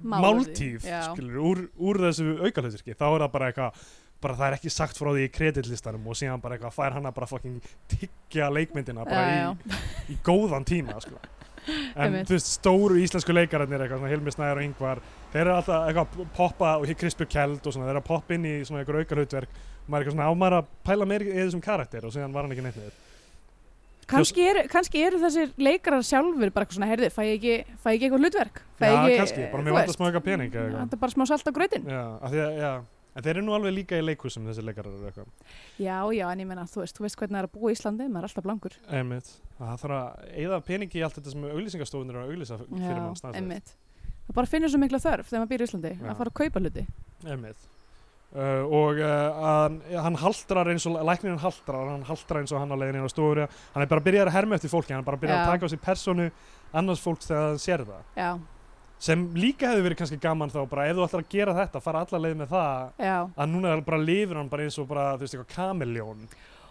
[SPEAKER 2] Mál úr því,
[SPEAKER 3] máltíf,
[SPEAKER 2] já.
[SPEAKER 3] skilur, úr, úr þessu auka hlutverki. Þá er það bara eitthvað, bara það er ekki sagt frá því í kreditlistanum og síðan bara eitthvað, fær hann að bara fucking tyggja leikmyndina bara
[SPEAKER 2] já,
[SPEAKER 3] í,
[SPEAKER 2] já.
[SPEAKER 3] í góðan tíma sko. en
[SPEAKER 2] Einmitt.
[SPEAKER 3] þú veist, stóru íslensku leikararnir eitthvað, svona Hilmi Snæður og Ingvar þeir eru alltaf eitthvað að poppa og hér Krispjör Kjeld og svona, þeir eru að poppa inn í svona einhver aukarhautverk og maður er eitthvað svona, á maður að pæla meir í þessum karakter og síðan var hann ekki neitt með
[SPEAKER 2] Kannski, er, kannski eru þessir leikarar sjálfur bara eitthvað svona, herði, fæ ég ekki, fæ ég ekki eitthvað hlutverk? Fæ
[SPEAKER 3] Já,
[SPEAKER 2] ég ekki,
[SPEAKER 3] kannski, bara mér
[SPEAKER 2] þú
[SPEAKER 3] vantar
[SPEAKER 2] veist,
[SPEAKER 3] smá eitthvað pening eða eitthvað.
[SPEAKER 2] Þetta er bara smá salt á grötin
[SPEAKER 3] já, af því að, já, en þeir eru nú alveg líka í leikhúsum þessi leikarar eru eitthvað,
[SPEAKER 2] Já, já, en ég menna, þú veist, þú veist hvernig það er að búa í Íslandi, maður er alltaf blankur.
[SPEAKER 3] einmitt Og það þarf að eigða peningi í allt þetta sem auglýsingastofunir eru að auglýsa f- fyrir mann
[SPEAKER 2] Já,
[SPEAKER 3] staðsett.
[SPEAKER 2] einmitt. Það bara finnir svo mikla þörf þegar maður býr í Íslandi,
[SPEAKER 3] Já.
[SPEAKER 2] að fara að kaupa hluti.
[SPEAKER 3] Einmitt. Uh, og uh, hann, hann haldrar eins og læknirinn haldrar, hann haldrar eins og hann á leiðinni inn á stofur, hann er bara að byrja að herma eftir fólki hann er bara að byrja að
[SPEAKER 2] Já.
[SPEAKER 3] taka á sig personu annars fólks þegar hann sér það
[SPEAKER 2] Já,
[SPEAKER 3] sem líka hefði verið kannski gaman þá bara ef þú ætlar að gera þetta, fara alla leið með það
[SPEAKER 2] já.
[SPEAKER 3] að núna er bara lifir hann bara eins og bara þú veist eitthvað kameljón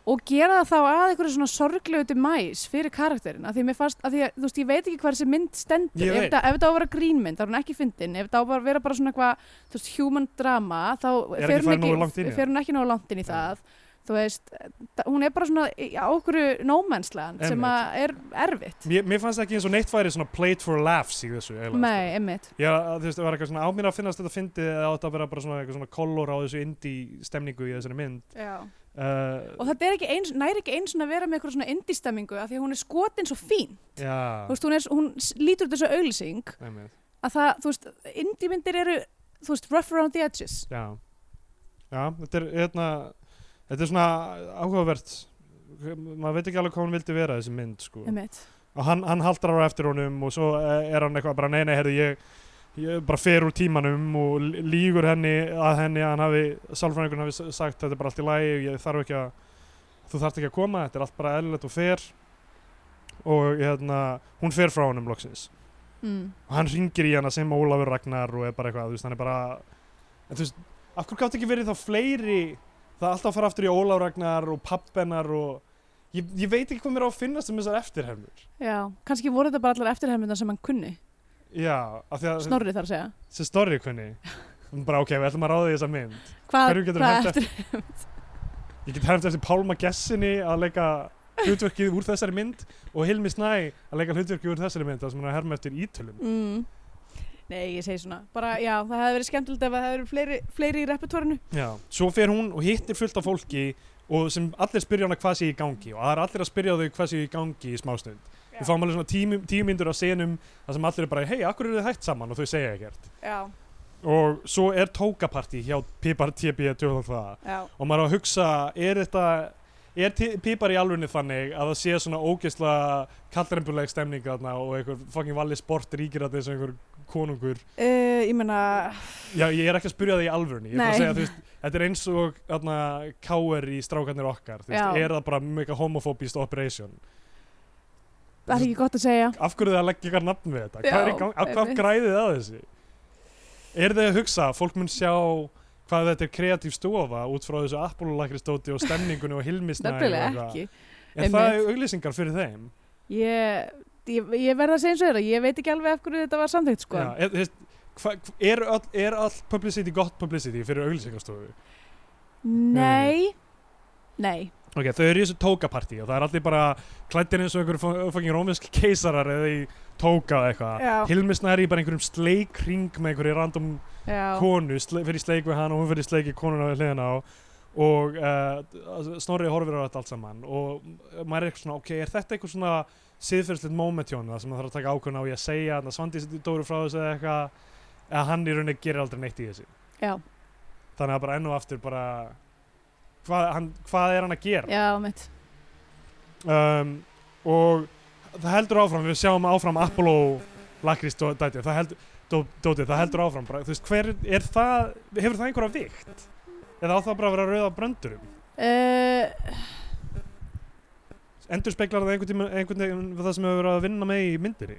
[SPEAKER 2] Og gera það þá að einhverju svona sorglegu til mæs fyrir karakterin, af því mér fannst, af því að, þú veist, ég veit ekki hvað þessi mynd stendur.
[SPEAKER 3] Ég
[SPEAKER 2] ef
[SPEAKER 3] veit.
[SPEAKER 2] þetta- Ef þetta á að vera grínmynd, þá er hún ekki fyndin, ef þetta á að vera bara svona eitthvað, þú veist, human drama, þá
[SPEAKER 3] Er ekki
[SPEAKER 2] fer hún
[SPEAKER 3] farin
[SPEAKER 2] ekki,
[SPEAKER 3] nógu langt inn í það?
[SPEAKER 2] fer hún ekki nógu langt inn í
[SPEAKER 3] Já.
[SPEAKER 2] það. þú veist, þa- hún er bara svona í- á okkur nómenslegan sem að er erfitt
[SPEAKER 3] Mér, mér fannst ekki eins og neitt væri svona played for laughs í þessu eiginlega, sko.
[SPEAKER 2] Nei, einmitt,
[SPEAKER 3] Já, þú veist, það var eitthvað svona á mér að finnast þetta fyndið eða átt að vera bara svona eitthvað svona kolor á þessu indie stemningu í þessari mynd.
[SPEAKER 2] já
[SPEAKER 3] Uh,
[SPEAKER 2] og þetta er ekki eins, næri ekki eins svona að vera með eitthvað svona indistemmingu af því að hún er skotin svo fín
[SPEAKER 3] já,
[SPEAKER 2] þú veist, hún, er, s- hún s- lítur út þessu auðlýsing
[SPEAKER 3] einmitt,
[SPEAKER 2] að það, þú veist, indímyndir eru þú veist, rough around the edges
[SPEAKER 3] já. Já, þetta er, hérna, þetta er svona áhugavert, maður veit ekki alveg hvað hún vildi vera þessi mynd, sko.
[SPEAKER 2] einmitt,
[SPEAKER 3] og hann, hann haldar á eftir honum og svo eh, er hann eitthvað bara nei nei herri ég, ég bara fer úr tímanum og lí- lýgur henni að henni að hann hafi, sálfræðingurinn hafi s- sagt þetta er bara allt í lagi, ég þarf ekki að þú þarft ekki að koma, þetta er allt bara eðlilegt og fer og hérna hún fer frá honum loksins
[SPEAKER 2] mm.
[SPEAKER 3] og hann ringir í hana sem Ólafur Ragnar og er bara eitthvað, þú veist, hann er bara en þú veist, af hverju gátt ekki verið þá fleiri það er alltaf að fara aftur í Ólafur Ragnar og pappennar og ég, ég veit ekki hvað mér á að finnast um þessar eftirhermur
[SPEAKER 2] já, kannski voru þetta bara allar eftirhermyndar sem hann kunni,
[SPEAKER 3] Já, af því að
[SPEAKER 2] snorri þar að segja
[SPEAKER 3] sem Snorri kunni Hún bara ok, við ætlum að ráða í þessa mynd
[SPEAKER 2] hvað,
[SPEAKER 3] Hverju getur
[SPEAKER 2] hvað
[SPEAKER 3] hent
[SPEAKER 2] eftir,
[SPEAKER 3] Ég get hefnt eftir Pálma Gessinni að leika hlutverkið úr þessari mynd og Hilmi Snæ að leika hlutverkið úr þessari mynd þar sem hann er að herma eftir ítölum
[SPEAKER 2] mm. nei, ég segi svona bara, já, það hefði verið skemmtilegt ef það hefði verið fleiri, fleiri í repertórinu
[SPEAKER 3] Já, svo fer hún og hittir fullt af fólki og sem allir spyrja hana hvað sé í gangi og það er allir að spyrja þau hvað sé í gangi í smástund
[SPEAKER 2] Já.
[SPEAKER 3] Við fáum alveg svona tíu, tíu myndur á senum þar sem allir er bara, hei, akkur eru þið hægt saman og þau segja ekkert
[SPEAKER 2] já,
[SPEAKER 3] og svo er tókapartí hjá Pipar TB 2003
[SPEAKER 2] já,
[SPEAKER 3] og maður er að hugsa er þetta er ti- pípar í alvunni þannig að það sé svona ógeðsla kallrembuleg stemning þarna og einhver fucking valli sport ríkir að þessu einhver konungur
[SPEAKER 2] uh, ég meina
[SPEAKER 3] já ég er ekki að spyrja það í alvunni ég er
[SPEAKER 2] Nei.
[SPEAKER 3] bara að segja þú veist þetta er eins og þarna káer í strákarnir okkar þú veist
[SPEAKER 2] Já.
[SPEAKER 3] er það bara mega homofóbist operation
[SPEAKER 2] það er ekki gott að segja
[SPEAKER 3] af hverju þið að leggja ykkar nafn við þetta hvað er í
[SPEAKER 2] Já,
[SPEAKER 3] gang af hvað
[SPEAKER 2] einmitt.
[SPEAKER 3] græðið þið að þessu er þið að hugsa fólk mun sjá hvað þetta er kreatív stofa út frá þessu appululakristóti og stemningunni og hilmisnæ
[SPEAKER 2] nefnilega ekki
[SPEAKER 3] Er það auglýsingar fyrir þeim?
[SPEAKER 2] ég, ég, ég verð að segja eins og þeirra ég veit ekki alveg af hverju þetta var samþygt sko.
[SPEAKER 3] Já, er, þú veist, hva, er, all, er all publicity gott publicity fyrir auglýsingarstofu?
[SPEAKER 2] nei nei,
[SPEAKER 3] Ok, þau eru í þessu tókapartí og það er allir bara klættir eins og einhver fo- fucking rómversk keisarar eða í tóka
[SPEAKER 2] Já.
[SPEAKER 3] eða eitthvað Hilmisna er í bara einhverjum sleik ring með einhverju random
[SPEAKER 2] já,
[SPEAKER 3] konu sle, fyrir sleik við hann og hún fyrir sleik í konuna við hliðina á og uh, Snorri horfir á þetta allt saman og maður er eitthvað svona, ok, er þetta eitthvað svona siðferðslegt moment hjá hann það sem maður þarf að taka ákvörðun á ég að segja þannig að Svandi setur Dóru frá þessu eða eitthvað eða hann í rauninni gerir aldrei neitt í þessu
[SPEAKER 2] já,
[SPEAKER 3] þannig að bara enn og aftur bara hvað, hann, hvað er hann að gera
[SPEAKER 2] já, mitt
[SPEAKER 3] um, og það heldur áfram við sjáum áfram Apollo lakrist og dæti það heldur, dó, dóti, það heldur áfram bara, þú veist, hver er það hefur það einhverja vikt eða á það bara að vera rauða bröndurum
[SPEAKER 2] uh,
[SPEAKER 3] endur speklar það einhvern tíma einhvern veginn við það sem hefur verið að vinna með í myndinni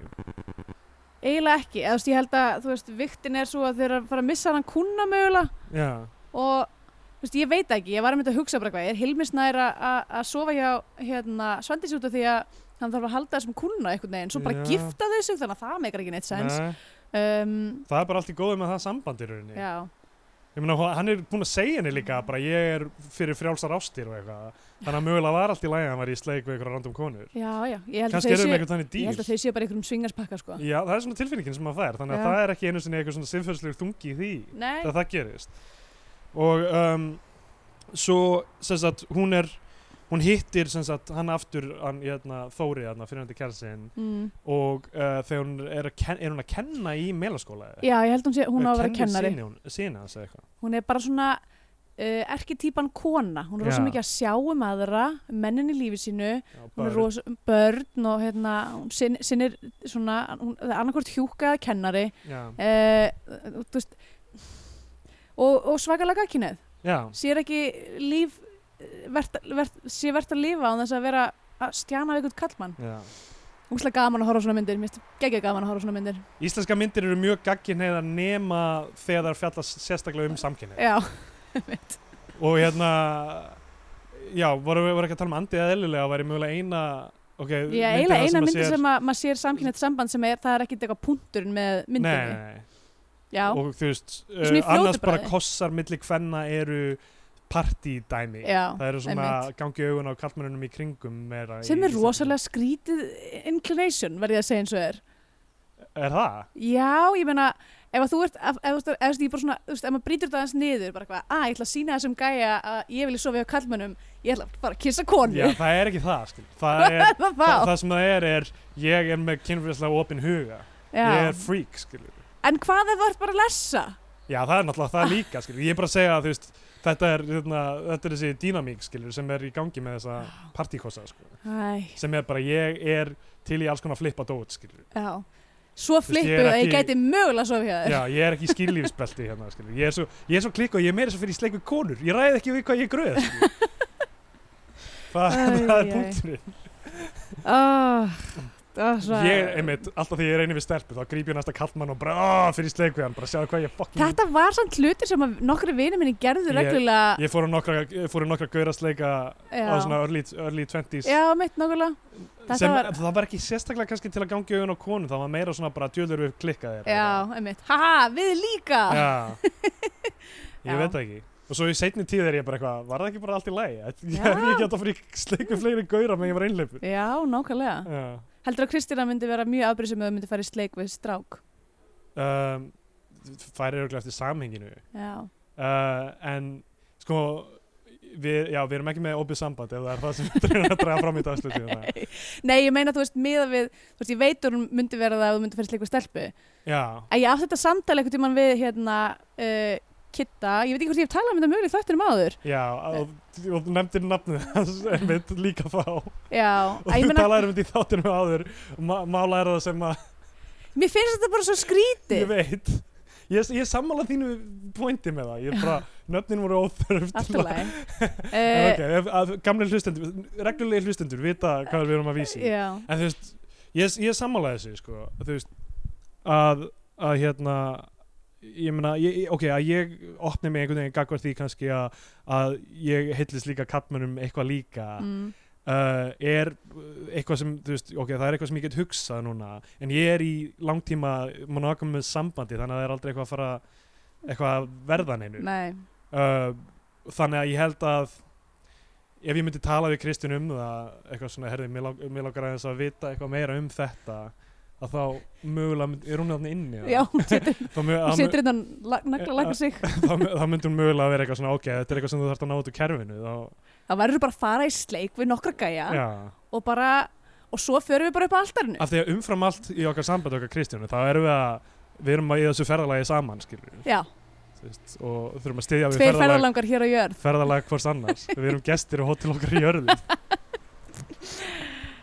[SPEAKER 2] eiginlega ekki, eða þú veist, ég held að þú veist, viktin er svo að þeir eru að fara að missa hann kuna mögulega
[SPEAKER 3] já,
[SPEAKER 2] og þú veist, ég veit ekki, ég var að mynda að hugsa bara hvað, er Hilmis nær að- að að sofa hjá hérna, Svandís út af því að hann þarf að halda þessum kuna einhvern veginn, svo bara
[SPEAKER 3] Já.
[SPEAKER 2] gifta þau sig þannig að það meikar ekki neitt sens
[SPEAKER 3] Nei,
[SPEAKER 2] um,
[SPEAKER 3] það er bara allt í góðu með það sambandi í rauninni
[SPEAKER 2] já,
[SPEAKER 3] ég meina, hó- hann er búin að segja henni líka bara ég er fyrir frjálsar ástir og eitthvað þannig að mögulega var allt í lagi að hann var í sleik við einhverja random konur
[SPEAKER 2] já, já ég held, að
[SPEAKER 3] kannski
[SPEAKER 2] þau
[SPEAKER 3] erum við
[SPEAKER 2] séu,
[SPEAKER 3] einhvern þannig
[SPEAKER 2] ég held
[SPEAKER 3] dýr
[SPEAKER 2] að þau séu bara í einhverjum svingarspakka sko.
[SPEAKER 3] Já, það er svona tilfinningin sem maður fær þannig að
[SPEAKER 2] Já.
[SPEAKER 3] það er ekki einu sinni eitthvað svona sinnfjölslegur þungi í því
[SPEAKER 2] Nei,
[SPEAKER 3] þegar það gerist og um, svo sem sagt hún er hún hittir sem sagt hann aftur hann, hérna, Þóri hérna fyrir hann til kærsin
[SPEAKER 2] mm.
[SPEAKER 3] og uh, þegar hún er, að ken, er hún að kenna í meilaskóla
[SPEAKER 2] já, ég held hún sé, hún á að vera kennari
[SPEAKER 3] sína hans eða eitthvað
[SPEAKER 2] hún er bara svona uh, erki típan kona, hún er
[SPEAKER 3] Já.
[SPEAKER 2] rosa mikið að sjá um aðra mennin í lífi sínu,
[SPEAKER 3] Já,
[SPEAKER 2] hún
[SPEAKER 3] bara-
[SPEAKER 2] er rosa um börn og hérna, hún sin, sinnir svona, hún, það er annarkvort hjúkaða kennari
[SPEAKER 3] já,
[SPEAKER 2] uh, þú veist og, og svakalega gagkinnið
[SPEAKER 3] já,
[SPEAKER 2] sér ekki líf eh, vert, vert, sé vert að lifa án þess að vera að stjana við einhvern kallmann
[SPEAKER 3] já.
[SPEAKER 2] Úslega gaman að horfa á svona myndir, mér finnst geggja gaman að horfa á svona myndir
[SPEAKER 3] Íslenska myndir eru mjög gaggin heiða nema þegar það fjallast sérstaklega um samkynni
[SPEAKER 2] Já,
[SPEAKER 3] og hérna já, vorum við voru ekki að tala um andið eða eðlilega væri mögulega eina ok,
[SPEAKER 2] ég er eiginlega eina myndi sem að maður sér samkynnet samband sem er, það er ekkit eitthvað punkturinn með myndinni
[SPEAKER 3] nei, nei, nei.
[SPEAKER 2] Já,
[SPEAKER 3] og þú veist,
[SPEAKER 2] Svona í
[SPEAKER 3] uh, annars
[SPEAKER 2] fljótu
[SPEAKER 3] bara
[SPEAKER 2] bragði.
[SPEAKER 3] kossar milli hvenna eru partydæmi
[SPEAKER 2] Já,
[SPEAKER 3] það eru svona
[SPEAKER 2] einmitt.
[SPEAKER 3] gangi augun á kallmennunum í kringum meira
[SPEAKER 2] sem
[SPEAKER 3] í
[SPEAKER 2] er rosalega skrítið inclination verði ég að segja eins og er
[SPEAKER 3] er það?
[SPEAKER 2] Já, ég meina, ef að þú ert, ef, ef, ef, ef, ef, svona, þú veist, ef maður brýtur það aðeins niður, bara eitthvað, að ég ætla að sína þessum gæja að ég vilja sofa hjá kallmönnum, ég ætla bara að kissa konu.
[SPEAKER 3] Já, það er ekki það skil. það, er, það,
[SPEAKER 2] það
[SPEAKER 3] það sem það er er ég er með kynfélagslega opinn huga ég
[SPEAKER 2] Já.
[SPEAKER 3] er freak skilur.
[SPEAKER 2] En hvað ef þú ert bara að lessa?
[SPEAKER 3] Já, það er náttúrulega það líka, skilur. Ég er bara að segja að þú veist, þetta er, hérna, þetta er þessi dýnamík, skilur, sem er í gangi með þessa partíkossa, sko.
[SPEAKER 2] Æ,
[SPEAKER 3] Sem er bara, ég er til í alls konar flippa dót, skilur.
[SPEAKER 2] já. Svo
[SPEAKER 3] veist, ég er
[SPEAKER 2] flippu að ég
[SPEAKER 3] ekki-
[SPEAKER 2] gæti mögulega að sofa hjá þér.
[SPEAKER 3] Já, ég er ekki í skýrlífsbelti hérna, skilur. Ég er svo, ég er svo klikk og ég er meira svo fyrir í sleik við konur. Ég ræði ekki við hvað ég er gröð, skilur. Það,
[SPEAKER 2] Æ,
[SPEAKER 3] það er
[SPEAKER 2] æ.
[SPEAKER 3] punkturinn.
[SPEAKER 2] Oh, það er svo...
[SPEAKER 3] Ég, einmitt, alltaf því ég er einu við stelpu, þá grýp ég næsta kallmann og bara, "Ah, fyrir í sleik við hann, bara sjáðu hvað ég fucking
[SPEAKER 2] Þetta var samt hlutur sem að nokkri vinið minni gerðu
[SPEAKER 3] Ég-
[SPEAKER 2] reglulega.
[SPEAKER 3] Ég fór á nokkra, ég fór á nokkra gaurasleika á
[SPEAKER 2] Já.
[SPEAKER 3] svona early, early 20s
[SPEAKER 2] Já, mitt nokkulega. Þetta
[SPEAKER 3] sem,
[SPEAKER 2] var-
[SPEAKER 3] það var ekki sérstaklega kannski til að gangi augun á konu það var meira svona bara djöður við klikka þér
[SPEAKER 2] Já, einmitt. Haha, við líka.
[SPEAKER 3] já. ég
[SPEAKER 2] Já.
[SPEAKER 3] veit það ekki og svo í seinni tíð er ég bara eitthvað var það ekki bara allt í læg
[SPEAKER 2] Já.
[SPEAKER 3] ég hef ekki átt að fyrir sleiku fleiri gaurar með ég var einleipur
[SPEAKER 2] Já, nákvæmlega.
[SPEAKER 3] já.
[SPEAKER 2] Heldur að Kristina myndi vera mjög afbrísum eða myndi fara í sleik við strák?
[SPEAKER 3] um, færi örgulega eftir samhenginu
[SPEAKER 2] Já.
[SPEAKER 3] uh, en sko við, já, við erum ekki með opið samband ef það er það sem við erum að draga fram í hérna. dagslutu
[SPEAKER 2] Nei, ég meina, þú veist, miða við, þú veist, ég veit að hún myndi vera það að þú myndi fara í sleik við stelpu.
[SPEAKER 3] já,
[SPEAKER 2] En ég átti þetta samtali einhvern tímann við, hérna, uh, Kitta, ég veit ekki hvort ég hef talað um þetta mögulega í þættinum áður.
[SPEAKER 3] já og, og þú nefndir nafnið hans einmitt líka þá
[SPEAKER 2] Já,
[SPEAKER 3] og
[SPEAKER 2] að ég
[SPEAKER 3] þú
[SPEAKER 2] meina,
[SPEAKER 3] talaðir um þetta í þáttunum áður og ma- mála er það sem að
[SPEAKER 2] mér finnst þetta bara svo skrítið.
[SPEAKER 3] ég veit ég, ég sammála þínu pointi með það ég er bara, nöfnin voru óþörf
[SPEAKER 2] Allt í lagi.
[SPEAKER 3] uh,
[SPEAKER 2] Uh,
[SPEAKER 3] okay, gamlega hlustendur, reglulegi hlustendur vita hvað við erum að vísi
[SPEAKER 2] Já,
[SPEAKER 3] en þú veist, ég, ég sammála þessu sko, þú veist að, að hérna ég meina, ég, ég- ok, að ég opni mig einhvern veginn gagvart því kannski að, að ég heillist líka kattmönnum eitthvað líka
[SPEAKER 2] mm,
[SPEAKER 3] uh, er uh, eitthvað sem, þú veist, ok, það er eitthvað sem ég get hugsað núna, en ég er í langtíma monogamous sambandi, þannig að það er aldrei eitthvað að fara eitthvað að verða neinu
[SPEAKER 2] nei,
[SPEAKER 3] uh, þannig að ég held að ef ég myndi tala við Kristján um það, eitthvað svona, herði, mér lang- mig langar aðeins að vita eitthvað meira um þetta að þá mögulega, mynd, er hún þarna inni eða?
[SPEAKER 2] já, hún setur,
[SPEAKER 3] þá, mjög,
[SPEAKER 2] hún
[SPEAKER 3] að, mjög,
[SPEAKER 2] setur innan nagla laka sig.
[SPEAKER 3] þá, mjög, þá myndi hún mögulega að vera eitthvað svona, ok, þetta er eitthvað sem þú þarft að ná út úr kerfinu þá,
[SPEAKER 2] Það verður bara að fara í sleik við nokkra gæja
[SPEAKER 3] já.
[SPEAKER 2] og bara, og svo förum við bara upp á altarinu.
[SPEAKER 3] af því að umfram allt í okkar sambandi okkar Kristjánu þá erum við að við erum að í þessu ferðalagi saman skilur
[SPEAKER 2] Já,
[SPEAKER 3] veist, og þurfum að styðja við
[SPEAKER 2] tveir
[SPEAKER 3] ferðalag,
[SPEAKER 2] ferðalangar hér á jörð.
[SPEAKER 3] ferðalag hvors annars við erum gestir og hótel okkar í jörðu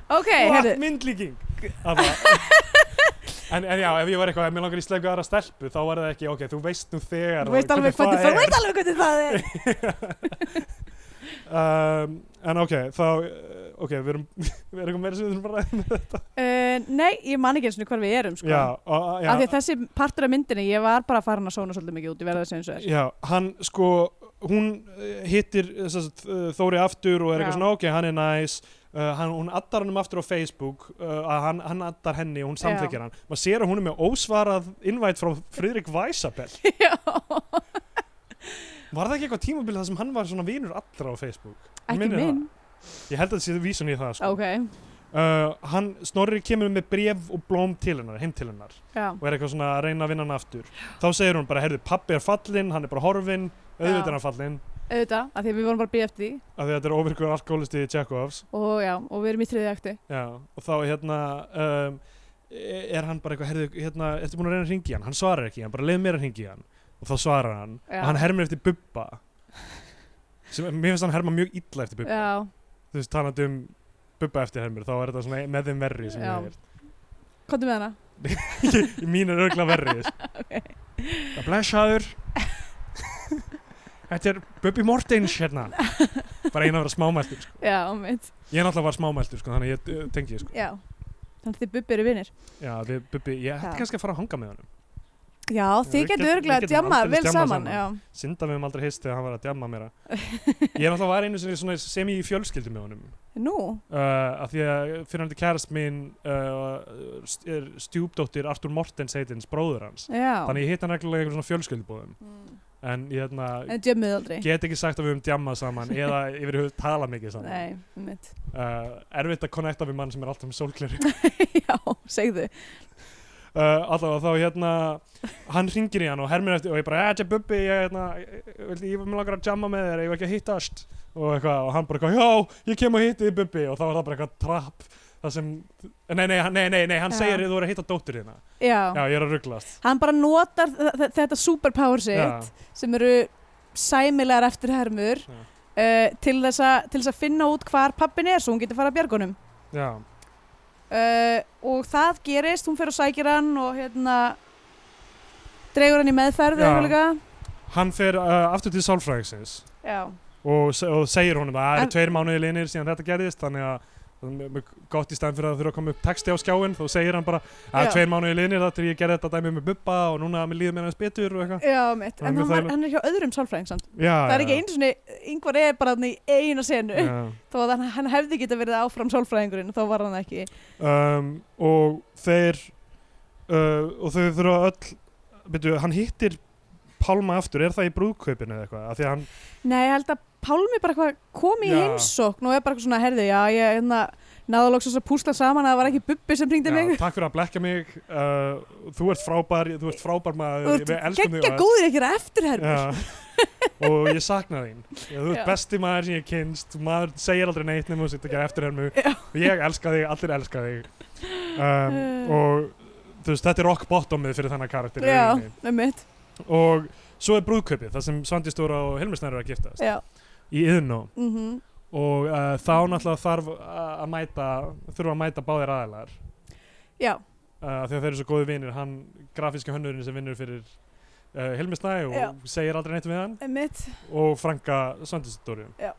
[SPEAKER 2] Ok,
[SPEAKER 3] What
[SPEAKER 2] herðu,
[SPEAKER 3] myndlíking Það var- en, en já, ef ég var eitthvað ef mér langar í sleiku aðra stelpu þá var það ekki ok, þú veist nú þegar
[SPEAKER 2] þú veist alveg hvernig það, þú veist alveg hvernig það er.
[SPEAKER 3] um, en ok, þá uh, ok, við erum, við erum eitthvað meira sem við erum bara að ræða um þetta
[SPEAKER 2] Uh, nei, ég man ekki eins og hvað við erum, sko.
[SPEAKER 3] já, og, já,
[SPEAKER 2] Af því að þessi partur af myndinni, ég var bara farin að sóna svolítið mikið út, ég verði að segja eins og er.
[SPEAKER 3] Já, hann sko, hún eh, hittir eh, sem sagt, eh, Þóri aftur og
[SPEAKER 2] Já.
[SPEAKER 3] er eitthvað svona, ok, hann er næs, uh, hann, hún addar hann aftur á Facebook, uh, að hann, hann addar henni og hún
[SPEAKER 2] Já.
[SPEAKER 3] samþekir hann. Maður sér að hún er með ósvarað innvætt frá Friðrik Væsabell.
[SPEAKER 2] Já,
[SPEAKER 3] Var það ekki eitthvað tímabilið þar sem hann var svona vinur allra á Facebook? Mig
[SPEAKER 2] ekki
[SPEAKER 3] minnir
[SPEAKER 2] minn.
[SPEAKER 3] Það. Ég held að það sé vísun í það, sko.
[SPEAKER 2] Ok,
[SPEAKER 3] Uh, hann, Snorri kemur með bref og blóm til hennar, heim til hennar
[SPEAKER 2] já.
[SPEAKER 3] og er eitthvað svona að reyna að vinna hann aftur. Þá segir hún bara, herðu, pappi er fallinn, hann er bara horfinn, auðvitað
[SPEAKER 2] Já.
[SPEAKER 3] er hann fallinn.
[SPEAKER 2] Auðvitað, af því að við vorum bara að býja eftir því.
[SPEAKER 3] af því að þetta er óvirkur alkoholisti Tjekovs
[SPEAKER 2] Og já, og við erum í þriði akti.
[SPEAKER 3] já, og þá hérna um, e- er hann bara eitthvað herðu, hérna, ertu búin að reyna að ringi hann hann svarar ekki, í hann bara leið mér að ringi hann og þá svarar hann,
[SPEAKER 2] Já.
[SPEAKER 3] og hann hermir eftir Bubba sem, mér finnst hann herma mjög illa eftir Bubba,
[SPEAKER 2] Já,
[SPEAKER 3] þú veist, talandi um Bubba eftir hermir, þá er þetta svona með þeim verri sem
[SPEAKER 2] Já.
[SPEAKER 3] ég
[SPEAKER 2] komdu með hana.
[SPEAKER 3] hef heyrt mín er örgla verri það blessaður þetta er Bubbi Mortens hérna bara eina að vera smámæltur sko.
[SPEAKER 2] Já, mitt.
[SPEAKER 3] ég er náttúrulega var smámæltur, sko, þannig ég eh, tengi sko.
[SPEAKER 2] Já. Þannig að þið bubbi eru vinnir.
[SPEAKER 3] Já, við, Bubbi, ég
[SPEAKER 2] Já.
[SPEAKER 3] ætti kannski að fara að hanga með honum
[SPEAKER 2] Já, þið
[SPEAKER 3] við
[SPEAKER 2] getur
[SPEAKER 3] getum-
[SPEAKER 2] örgulega
[SPEAKER 3] við
[SPEAKER 2] að
[SPEAKER 3] getum
[SPEAKER 2] djamma
[SPEAKER 3] aldeilis
[SPEAKER 2] vel
[SPEAKER 3] djammað
[SPEAKER 2] saman. Já,
[SPEAKER 3] Synda við höfum aldrei heist þegar hann var að djamma mér Ég er alltaf var einu sinni svona sem ég í fjölskyldu með honum
[SPEAKER 2] nú.
[SPEAKER 3] uh, af því að fyrirhandi kærast mín uh, st- er stjúpdóttir Artur Mortens heitins bróður hans
[SPEAKER 2] Já.
[SPEAKER 3] Þannig ég hitt hann reglulega í einhverjum svona fjölskyldubóðum
[SPEAKER 2] Mm.
[SPEAKER 3] en ég hérna,
[SPEAKER 2] en djömmuð aldrei
[SPEAKER 3] get ekki sagt að við höfum djammað saman eða yfir höfum tala mikið saman
[SPEAKER 2] Nei, mitt
[SPEAKER 3] uh, erfitt að connecta við mann sem er alltaf með sólgleri uh,
[SPEAKER 2] Já, segðu
[SPEAKER 3] Eh, allavega þá hérna hann ringir í hann og hermir eftir og ég bara, eða Bubbi, ég, hérna, ég, ég, ég vil langar að jamma með þér, ég vil ekki að hittast og, eitthvað, og hann bara, eitthvað, já, ég kem og hitti þig, Bubbi og þá var það bara eitthvað trapp það sem, nei, nei, hann- nei, nei, nei hann
[SPEAKER 2] Já.
[SPEAKER 3] segir þú er að hitta dóttur þína
[SPEAKER 2] Já,
[SPEAKER 3] já, ég er að rugglast
[SPEAKER 2] hann bara notar þ- þ- þetta superpower sitt sem eru sæmilegar eftirhermur
[SPEAKER 3] Já.
[SPEAKER 2] uh, til, þess að, til þess að finna út hvar pappin er svo hún getur fara að bjargunum
[SPEAKER 3] já, já,
[SPEAKER 2] uh, og það gerist, hún fer og sækir hann og hérna dregur hann í meðferð
[SPEAKER 3] Já.
[SPEAKER 2] eða eitthvað líka.
[SPEAKER 3] hann fer uh, aftur til sálfræðingsins
[SPEAKER 2] Já,
[SPEAKER 3] og, se- og segir honum að það
[SPEAKER 2] En-
[SPEAKER 3] eru tveir mánuði linir síðan þetta gerðist þannig að það er mjög- mjög gott í stæðan fyrir að það þurfa að koma upp texti á skjáin þá segir hann bara að
[SPEAKER 2] Já.
[SPEAKER 3] tveir mánuði linir þetta er ég gerði þetta dæmi með bubba og núna mér líður mér aðeins betur og eitthvað
[SPEAKER 2] já mitt,
[SPEAKER 3] Hann
[SPEAKER 2] en
[SPEAKER 3] er
[SPEAKER 2] hann, var,
[SPEAKER 3] þægileg-
[SPEAKER 2] hann er hjá öðrum sálfræðing samt.
[SPEAKER 3] Já,
[SPEAKER 2] Það er ekki
[SPEAKER 3] já.
[SPEAKER 2] einu sinni, yngvar er bara þarna í eina senu
[SPEAKER 3] Já.
[SPEAKER 2] þó að hann, hann hefði geta verið áfram sálfræðingurinn þá var hann ekki.
[SPEAKER 3] um, og þeir uh, og þau þurfa öll byrju, hann hittir Pálma aftur, er það í brúðkaupinu eða eitthvað af því að hann,
[SPEAKER 2] Nei, ég held að Pálmi bara eitthvað kom í
[SPEAKER 3] Já.
[SPEAKER 2] heimsókn og er bara eitthvað svona, herði, já, ég hérna, náðu loksins að púsla saman að það var ekki Bubbi sem
[SPEAKER 3] já,
[SPEAKER 2] ringdi mig.
[SPEAKER 3] takk fyrir að blekka mig uh, þú ert frábær, þú ert frábær maður
[SPEAKER 2] Þú
[SPEAKER 3] við
[SPEAKER 2] ert
[SPEAKER 3] elskum þig
[SPEAKER 2] geggja
[SPEAKER 3] öll.
[SPEAKER 2] góður ekki eftirhermur.
[SPEAKER 3] Já. og ég sakna þín Já, þú
[SPEAKER 2] Já.
[SPEAKER 3] ert besti maður sem ég kynst maður segir aldrei neitt nema þú sitt að gera eftir hennu
[SPEAKER 2] Já.
[SPEAKER 3] og ég elska þig, allir elska þig um,
[SPEAKER 2] Eh.
[SPEAKER 3] og þú veist, þetta er rock bottomið fyrir þennan karakter í
[SPEAKER 2] Já,
[SPEAKER 3] rauninni.
[SPEAKER 2] með mitt.
[SPEAKER 3] og svo er brúðkaupið, það sem Svandi Stóra og Hilmi Snær eru að giftast
[SPEAKER 2] Já,
[SPEAKER 3] í yðnó
[SPEAKER 2] mhm.
[SPEAKER 3] og uh, þá náttúrulega þarf uh, að að mæta þurfa að mæta báðir aðilar uh,
[SPEAKER 2] Já,
[SPEAKER 3] af því að þeir eru svo góði vinir, hann grafíski hönnurinn sem vinnur fyrir uh, Hilmi Snær og
[SPEAKER 2] Já.
[SPEAKER 3] segir aldrei neitt um við hann
[SPEAKER 2] mitt.
[SPEAKER 3] og Franka Svandisdóri
[SPEAKER 2] Já.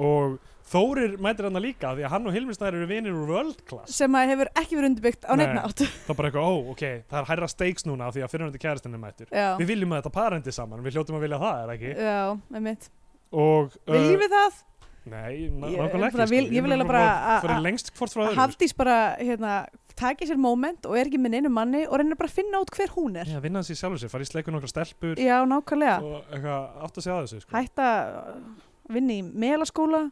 [SPEAKER 3] og Þórir mætir hann líka því að hann og Hilmir Snær eru vinir úr World Class
[SPEAKER 2] Sem að hefur ekki verið undirbyggt á
[SPEAKER 3] Nei.
[SPEAKER 2] neitt nátt.
[SPEAKER 3] þá bara eitthvað, ó, ok, það er hærra steiks núna af því að fyrirhandi kæristinn er mættur
[SPEAKER 2] Já,
[SPEAKER 3] við viljum að þetta parendi saman, við hljótum að vilja það, er það ekki
[SPEAKER 2] já, með mitt.
[SPEAKER 3] og, eh,
[SPEAKER 2] Viljum við það?
[SPEAKER 3] nei, ná-
[SPEAKER 2] Ég-
[SPEAKER 3] nákvæmlega
[SPEAKER 2] bara
[SPEAKER 3] ekki sko.
[SPEAKER 2] vil- ég vil eiginlega bara að-
[SPEAKER 3] fyrir
[SPEAKER 2] að-
[SPEAKER 3] lengst hvort frá sko. öðru
[SPEAKER 2] Hafdís bara, hérna, taki sér moment og er ekki með neinu manni og reynir bara að finna út hver hún er.
[SPEAKER 3] já, vinna hans í sjálfur sér, fara í sleikun okkar stelpur
[SPEAKER 2] Já, nákvæmlega.
[SPEAKER 3] og eitthvað, átt að segja að þessu sko.
[SPEAKER 2] Hætta að vinna í melaskóla.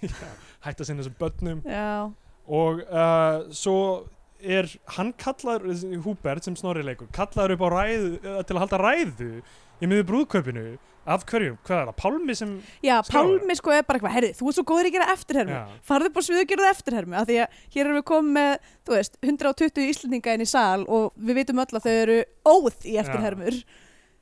[SPEAKER 3] hætta sinni þessum börnum
[SPEAKER 2] Já,
[SPEAKER 3] og uh, svo er hann kallar Húbert sem snorri leikur, kallar upp á ræðu uh, til að halda ræðu í miður brúðkaupinu af hverjum, hvað er það, Pálmi sem
[SPEAKER 2] já
[SPEAKER 3] Skráðu.
[SPEAKER 2] Pálmi sko er bara eitthvað, herri, þú ert svo góður í að gera eftirhermu.
[SPEAKER 3] Já.
[SPEAKER 2] Farðu upp á sviðu og gera það eftirhermu. Af því að hér erum við komið með, þú veist, 120 íslendinga inn í sal og við vitum öll að þau eru óð í eftirhermur.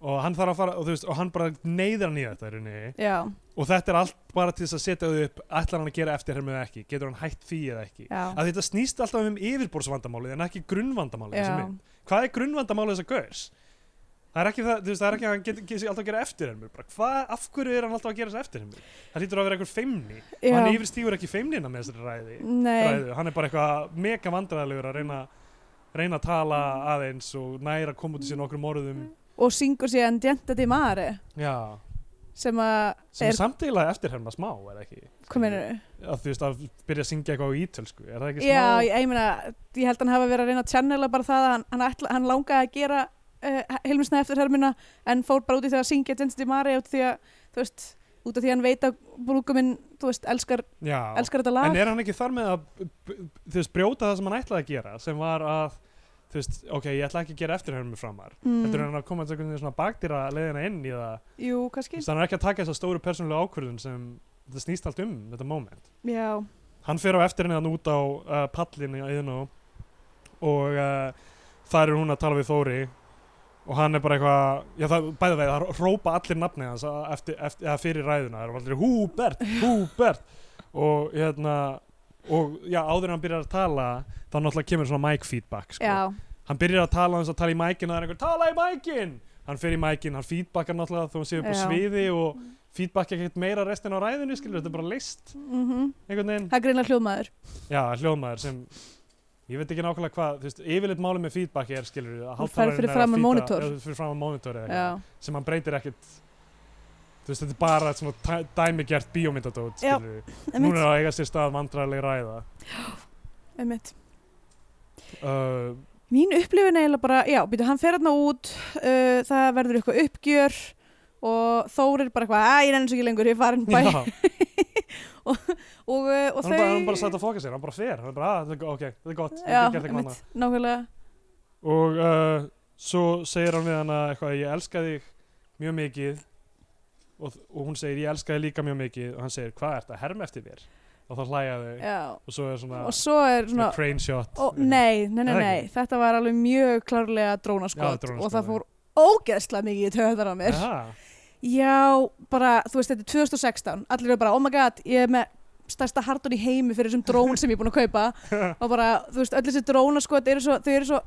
[SPEAKER 3] og hann þarf að fara og, þú veist, og hann bara neyðir hann í þetta í rauninni.
[SPEAKER 2] Já,
[SPEAKER 3] og þetta er allt bara til þess að setja þau upp ætlar hann að gera eftir hermið ekki, getur hann hætt því eða ekki
[SPEAKER 2] já,
[SPEAKER 3] að þetta snýst alltaf um yfirborðsvandamálið en ekki grunnvandamálið
[SPEAKER 2] já.
[SPEAKER 3] þessi mynd. hvað er grunnvandamálið þessa gauðs? Það er ekki það, þú veist, það er ekki að hann getur get, alltaf að gera eftirhermur, bara hvað, af hverju er hann alltaf að gera þess eftirhermur? Það hlýtur að vera einhver feimni og hann
[SPEAKER 2] já.
[SPEAKER 3] yfirstígur ekki feimnina með þessari ræði,
[SPEAKER 2] Nei,
[SPEAKER 3] ræðu, hann er bara eitthvað mega vandræðilegur að reyna, reyna að tala aðeins og næra að koma út í sér nokkrum orðum,
[SPEAKER 2] og syngur sér Andienta di Mare
[SPEAKER 3] já,
[SPEAKER 2] sem að
[SPEAKER 3] sem er
[SPEAKER 2] er,
[SPEAKER 3] samtíðilega eftirherma smá, er það ekki?
[SPEAKER 2] hvað meinarðu?
[SPEAKER 3] Að þú veist, að byrja að syngja eitthvað á ítölsku, er það ekki smá?
[SPEAKER 2] Já, ég, ég meina, ég held hann hafa verið að reyna að channela bara það að hann, hann, ætla, hann langaði að gera uh, Hilmisna eftir hermina en fór bara út í það að syngja Jensi Mari út því að, þú veist, út af því að hann veit að brúkuminn, þú veist, elskar,
[SPEAKER 3] Já.
[SPEAKER 2] elskar þetta lag.
[SPEAKER 3] En er hann ekki þar með að b- b- þú veist, brjóta það sem hann ætlaði að gera sem var að, þú veist, ok, ég ætla ekki að gera eftirhermi framar
[SPEAKER 2] Mm.
[SPEAKER 3] Þetta er hann að koma til einhvern veginn svona bakdýra leiðina inn í það
[SPEAKER 2] Jú,
[SPEAKER 3] Þú
[SPEAKER 2] kannski.
[SPEAKER 3] veist, hann er ekki að taka þessa stóru persónulega ákvörðun sem þetta snýst allt um, þetta moment
[SPEAKER 2] Já,
[SPEAKER 3] Hann fer á eftir henni þannig út á uh, pallinni að yðnó og uh, þar er hún að tala við Þóri og hann er bara eitthvað, já það, bæða veið, það hrópa allir nafni hans að- eftir, eftir, eða fyrir ræðuna, það eru allir Húbert, Húbert og hérna, og já áður en hann byrjar að tala, þá náttúrulega kemur svona mic feedback, sko
[SPEAKER 2] já,
[SPEAKER 3] hann byrjar að tala hans að tala í mækinn og það er einhver tala í mækinn hann fer í mækinn, hann feedbackar náttúrulega þó hann sé upp á
[SPEAKER 2] Já.
[SPEAKER 3] sviði og feedback ekkert meira restin á ræðinu skilur, þetta er bara list
[SPEAKER 2] mhm,
[SPEAKER 3] einhvern veginn,
[SPEAKER 2] það er greinlega hljóðmaður.
[SPEAKER 3] já, hljóðmaður sem ég veit ekki nákvæmlega hvað, þú veist, yfirleitt málið með feedback er skilur, að
[SPEAKER 2] Þú ferð fyrir
[SPEAKER 3] hálftalarinn er að
[SPEAKER 2] framan
[SPEAKER 3] feeda-
[SPEAKER 2] monitor.
[SPEAKER 3] já, fyrir framan monitor eða
[SPEAKER 2] Já,
[SPEAKER 3] eitthvað, sem hann breytir ekkert þú veist, þetta er bara svona tæ- dæmigert bíómyndadót,
[SPEAKER 2] Já,
[SPEAKER 3] skilur núna
[SPEAKER 2] einmitt,
[SPEAKER 3] er að eiga sér stað vandræðileg ræða
[SPEAKER 2] einmitt.
[SPEAKER 3] uh,
[SPEAKER 2] Mín upplifin er eiginlega bara, já, býtu, hann fer hérna út, uh, það verður eh, eitthvað uppgjör, og Þór er bara eitthvað, að ég rennir svo ekki lengur, ég er farin bæ
[SPEAKER 3] Já,
[SPEAKER 2] og, uh, og þau
[SPEAKER 3] hann bara, hann bara sætt að foka sér, hann bara fer, hann bara, að, þetta er go- ok, þetta er gott, ég
[SPEAKER 2] já,
[SPEAKER 3] get gert eitthvað annað.
[SPEAKER 2] einmitt, nákvæmlega
[SPEAKER 3] Og uh, svo segir hann við hann að eitthvað, ég elska þig mjög mikið og, og hún segir, ég elska þig líka mjög mikið og hann segir, hvað er þetta, herm eftir mér? Og þá hlæja þau
[SPEAKER 2] já.
[SPEAKER 3] og svo er svona,
[SPEAKER 2] og svo er
[SPEAKER 3] svona
[SPEAKER 2] svona
[SPEAKER 3] crane shot.
[SPEAKER 2] ó, nei, nei, nei,
[SPEAKER 3] Er það
[SPEAKER 2] nei, þetta var alveg mjög klárlega
[SPEAKER 3] Já,
[SPEAKER 2] drónaskot
[SPEAKER 3] drónaskot,
[SPEAKER 2] og það
[SPEAKER 3] já.
[SPEAKER 2] fór ógeðslega mikið í töðar á mér
[SPEAKER 3] Já,
[SPEAKER 2] Já, bara, þú veist, þetta er 2016 Allir eru bara, oh my god, ég er með stærsta hardon í heimi fyrir þessum drón sem ég er búin að kaupa og bara, þú veist, öll þessi drónaskot eru svo, þau eru svo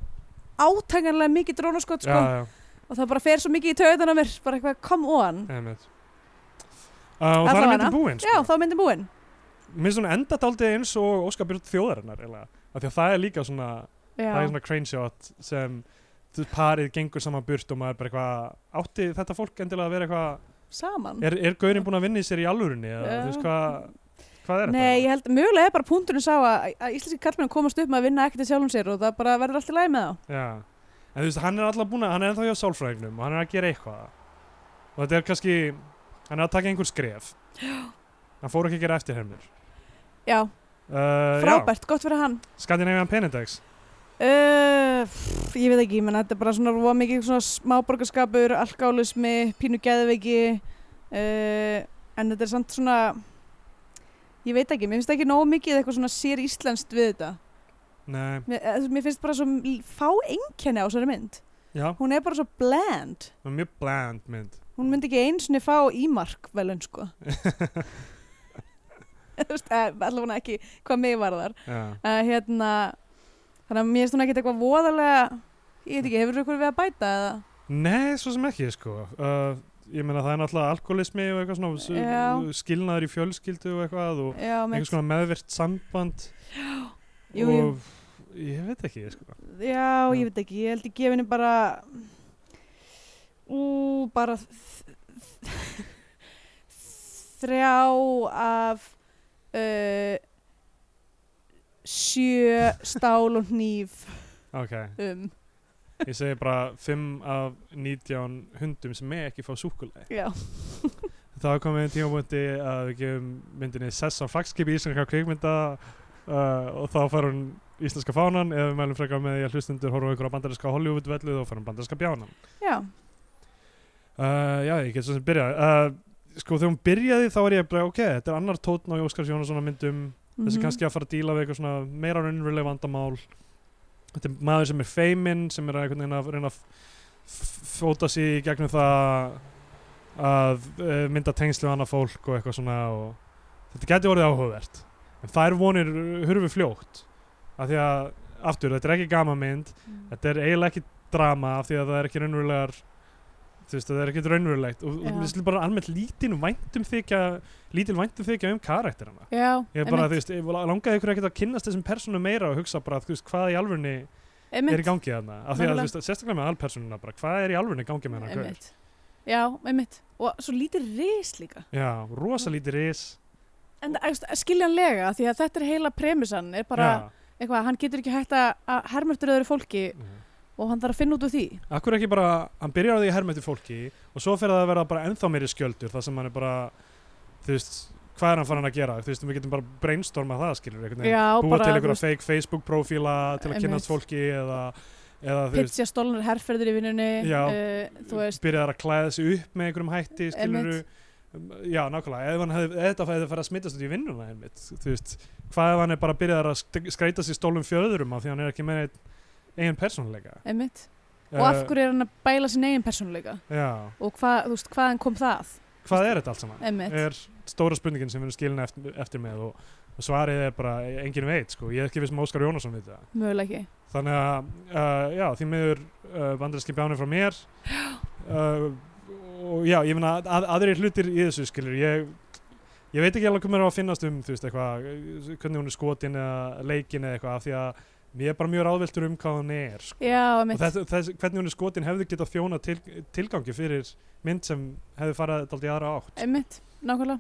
[SPEAKER 2] átækanlega mikið drónaskot,
[SPEAKER 3] já,
[SPEAKER 2] sko
[SPEAKER 3] já,
[SPEAKER 2] og það bara fer svo mikið í tautan á mér, bara eitthvað, come on
[SPEAKER 3] einmitt. Uh, og það er
[SPEAKER 2] Allavega.
[SPEAKER 3] myndin búin, sko.
[SPEAKER 2] Já, þá myndum búin
[SPEAKER 3] Mér finnst hún enda daldið eins og Óskar Björn þjóðarinnar, eiginlega. Af því að það er líka svona, það er
[SPEAKER 2] Já,
[SPEAKER 3] svona crane shot sem þú- parið gengur saman burt og maður bara eitthvað, átti þetta fólk endilega að vera eitthvað,
[SPEAKER 2] saman
[SPEAKER 3] er, er gaurinn búinn að vinna í sér í alvörunni eða
[SPEAKER 2] Já.
[SPEAKER 3] þú veist hvað, hvað er
[SPEAKER 2] Nei, ég
[SPEAKER 3] þetta?
[SPEAKER 2] held, mögulega er bara punkturinn sá að, að íslenski kallmenn komast upp með að vinna ekkert í sjálfum sér og það bara verður allt í læg með þá
[SPEAKER 3] Já, en þú veist, hann er alltaf búinn að, hann er ennþá hjá sálfræðingnum og hann er að gera eitthvað og þetta er kannski, hann er að taka einhver skref. Já. Hann fór ekki að gera eftirhermur.
[SPEAKER 2] Já,
[SPEAKER 3] Uh,
[SPEAKER 2] frábært, gott fyrir hann
[SPEAKER 3] Já, Skandinavian Penindex.
[SPEAKER 2] Uh, pff, ég veit ekki, menn þetta er bara svona voða mikið svona smáborgarskapur, alkálusmi, pínu geðveiki uh, en þetta er samt svona ég veit ekki, mér finnst ekki nógu mikið eitthvað svona sér íslenskt við þetta
[SPEAKER 3] Nei,
[SPEAKER 2] mér, eh, þú veist, mér finnst bara svo l- fá einkenni á þessari mynd
[SPEAKER 3] já,
[SPEAKER 2] hún er bara svo bland
[SPEAKER 3] mjög bland mynd.
[SPEAKER 2] hún myndi ekki einsinni fá ímark velun sko Þú veist, eh, allavega ekki hvað mig var þar
[SPEAKER 3] Já.
[SPEAKER 2] uh, hérna þannig að mér finnst hún ekkert eitthvað voðalega ég veit ekki, hefur þú eitthvað við að bæta eða
[SPEAKER 3] Nei, svo sem ekki, sko. Uh, ég meina, það er náttúrulega alkoholismi og eitthvað svona,
[SPEAKER 2] Já.
[SPEAKER 3] s- skilnaður í fjölskyldu og eitthvað og
[SPEAKER 2] já, með,
[SPEAKER 3] einhvers konar meðvirt samband
[SPEAKER 2] jú, jú,
[SPEAKER 3] og ég veit ekki, sko.
[SPEAKER 2] já, ég veit ekki ég held ég gefinni bara ú, bara þ- þ- þrjá af uh, sjö stál og hníf
[SPEAKER 3] Ok,
[SPEAKER 2] um,
[SPEAKER 3] ég segi bara 5 af 19 hundum sem með ekki fá súkuleg.
[SPEAKER 2] já,
[SPEAKER 3] Það er komið einn tímabúndi að við gefum myndinni sess á flagskipi íslenska kvikmynda uh, og þá fær hún íslenska fánan eða við mælum frekar með því að hlustundur horfa ykkur á bandarinska Hollywood-vellu þá fær hún bandarinska bjánan.
[SPEAKER 2] já,
[SPEAKER 3] Uh, já, ég get svo sem byrjað. Uh, sko, þegar hún byrjaði þá er ég bara, ok, þetta er annar tótn á Jóskars Jónassonar myndum, þessi
[SPEAKER 2] Mhm.
[SPEAKER 3] kannski að fara að díla við eitthvað svona meira raunveruleg vandamál. Þetta er maður sem er feiminn, sem er að einhvern veginn að reyna að f- fóta sig í gegnum það að uh, mynda tengslu annað fólk og eitthvað svona og þetta geti orðið áhugavert. En þær vonir hurfi fljótt. Af því að, aftur, þetta er ekki gama mynd, þetta er eiginlega ekki drama af því að það er ekki raunverulegar þú veist, það er ekki raunverulegt og,
[SPEAKER 2] Já.
[SPEAKER 3] og við slum bara almennt lítil væntum þykja lítil væntum þykja um karakterina
[SPEAKER 2] já,
[SPEAKER 3] ég bara, þú veist, ég langaði ykkur ekkert að kynnast þessum persónum meira og hugsa bara, þú veist, hvað í alvörni
[SPEAKER 2] einmitt,
[SPEAKER 3] er í gangi þarna af því að,
[SPEAKER 2] Nákvæmlega.
[SPEAKER 3] þú veist, sérstaklega með alpersonuna bara, hvað er í alvörni í gangi með hana gaur?
[SPEAKER 2] einmitt. já, einmitt og svo lítið ris líka
[SPEAKER 3] já, rosa lítið ris
[SPEAKER 2] En það- æst, skiljanlega, því að þetta er heila premissan, er bara eitthvað, hann getur ekki hægt að að herma eftir öðru fólki
[SPEAKER 3] já. Já.
[SPEAKER 2] og hann þarf að finna út úr því.
[SPEAKER 3] Akkur ekki bara, hann byrjar á því að herma eftir fólki og svo fer það að vera bara ennþá meiri skjöldur þar sem hann er bara, þú veist, hvað er hann farin að gera? Þú veist, við getum bara brainstorma það, skilur, einhvern veginn.
[SPEAKER 2] Já,
[SPEAKER 3] Búa
[SPEAKER 2] bara,
[SPEAKER 3] til
[SPEAKER 2] þú
[SPEAKER 3] einhverja
[SPEAKER 2] veist,
[SPEAKER 3] fake Facebook profíla til að
[SPEAKER 2] Einmitt.
[SPEAKER 3] kynast fólki eða, eða þú veist,
[SPEAKER 2] pitja stólnar herrferðir í vinnunni,
[SPEAKER 3] Já.
[SPEAKER 2] uh, þú veist,
[SPEAKER 3] byrjar að klæða sig upp með einhverjum hætti, skilur,
[SPEAKER 2] Einmitt.
[SPEAKER 3] já, nákvæmlega, ef hann hefði, ef þetta hefði farið að smittast út í vinnuna, einmitt, þú veist, hvað ef hann er bara að byrja að skreita sér stólum fjöðurum af því að hann er ekki með einn eigin persónuleika?
[SPEAKER 2] einmitt. Og af
[SPEAKER 3] Eh,
[SPEAKER 2] hverju er hann að bæla sin eigin persónuleika?
[SPEAKER 3] Já,
[SPEAKER 2] Og hvað, þú veist, hvaðan kom það?
[SPEAKER 3] hvað er þetta allt saman?
[SPEAKER 2] Einmitt.
[SPEAKER 3] er stóra spurningin sem við erum skilin eftir, eftir með og, og svarið er bara engin veit sko, ég er ekki viss með Óskar Jónasson við það
[SPEAKER 2] Mögulega ekki.
[SPEAKER 3] þannig að, uh, já, því miður uh, bandarinski bjánir frá mér uh, og já, ég meina að, aðrir hlutir í þessu skilur ég, ég veit ekki alveg hvað mér á að finnast um þú veist, eitthvað, hvernig hún er skotin eða leikin eða eitthvað, af því að mér er bara mjög ráðveldur um hvað hún er sko.
[SPEAKER 2] Já,
[SPEAKER 3] og
[SPEAKER 2] einmitt.
[SPEAKER 3] þess, þess, hvernig hún er skotin hefði getað þjóna til, tilgangi fyrir mynd sem hefði farið dálítið í aðra átt
[SPEAKER 2] Einmitt, nákvæmlega.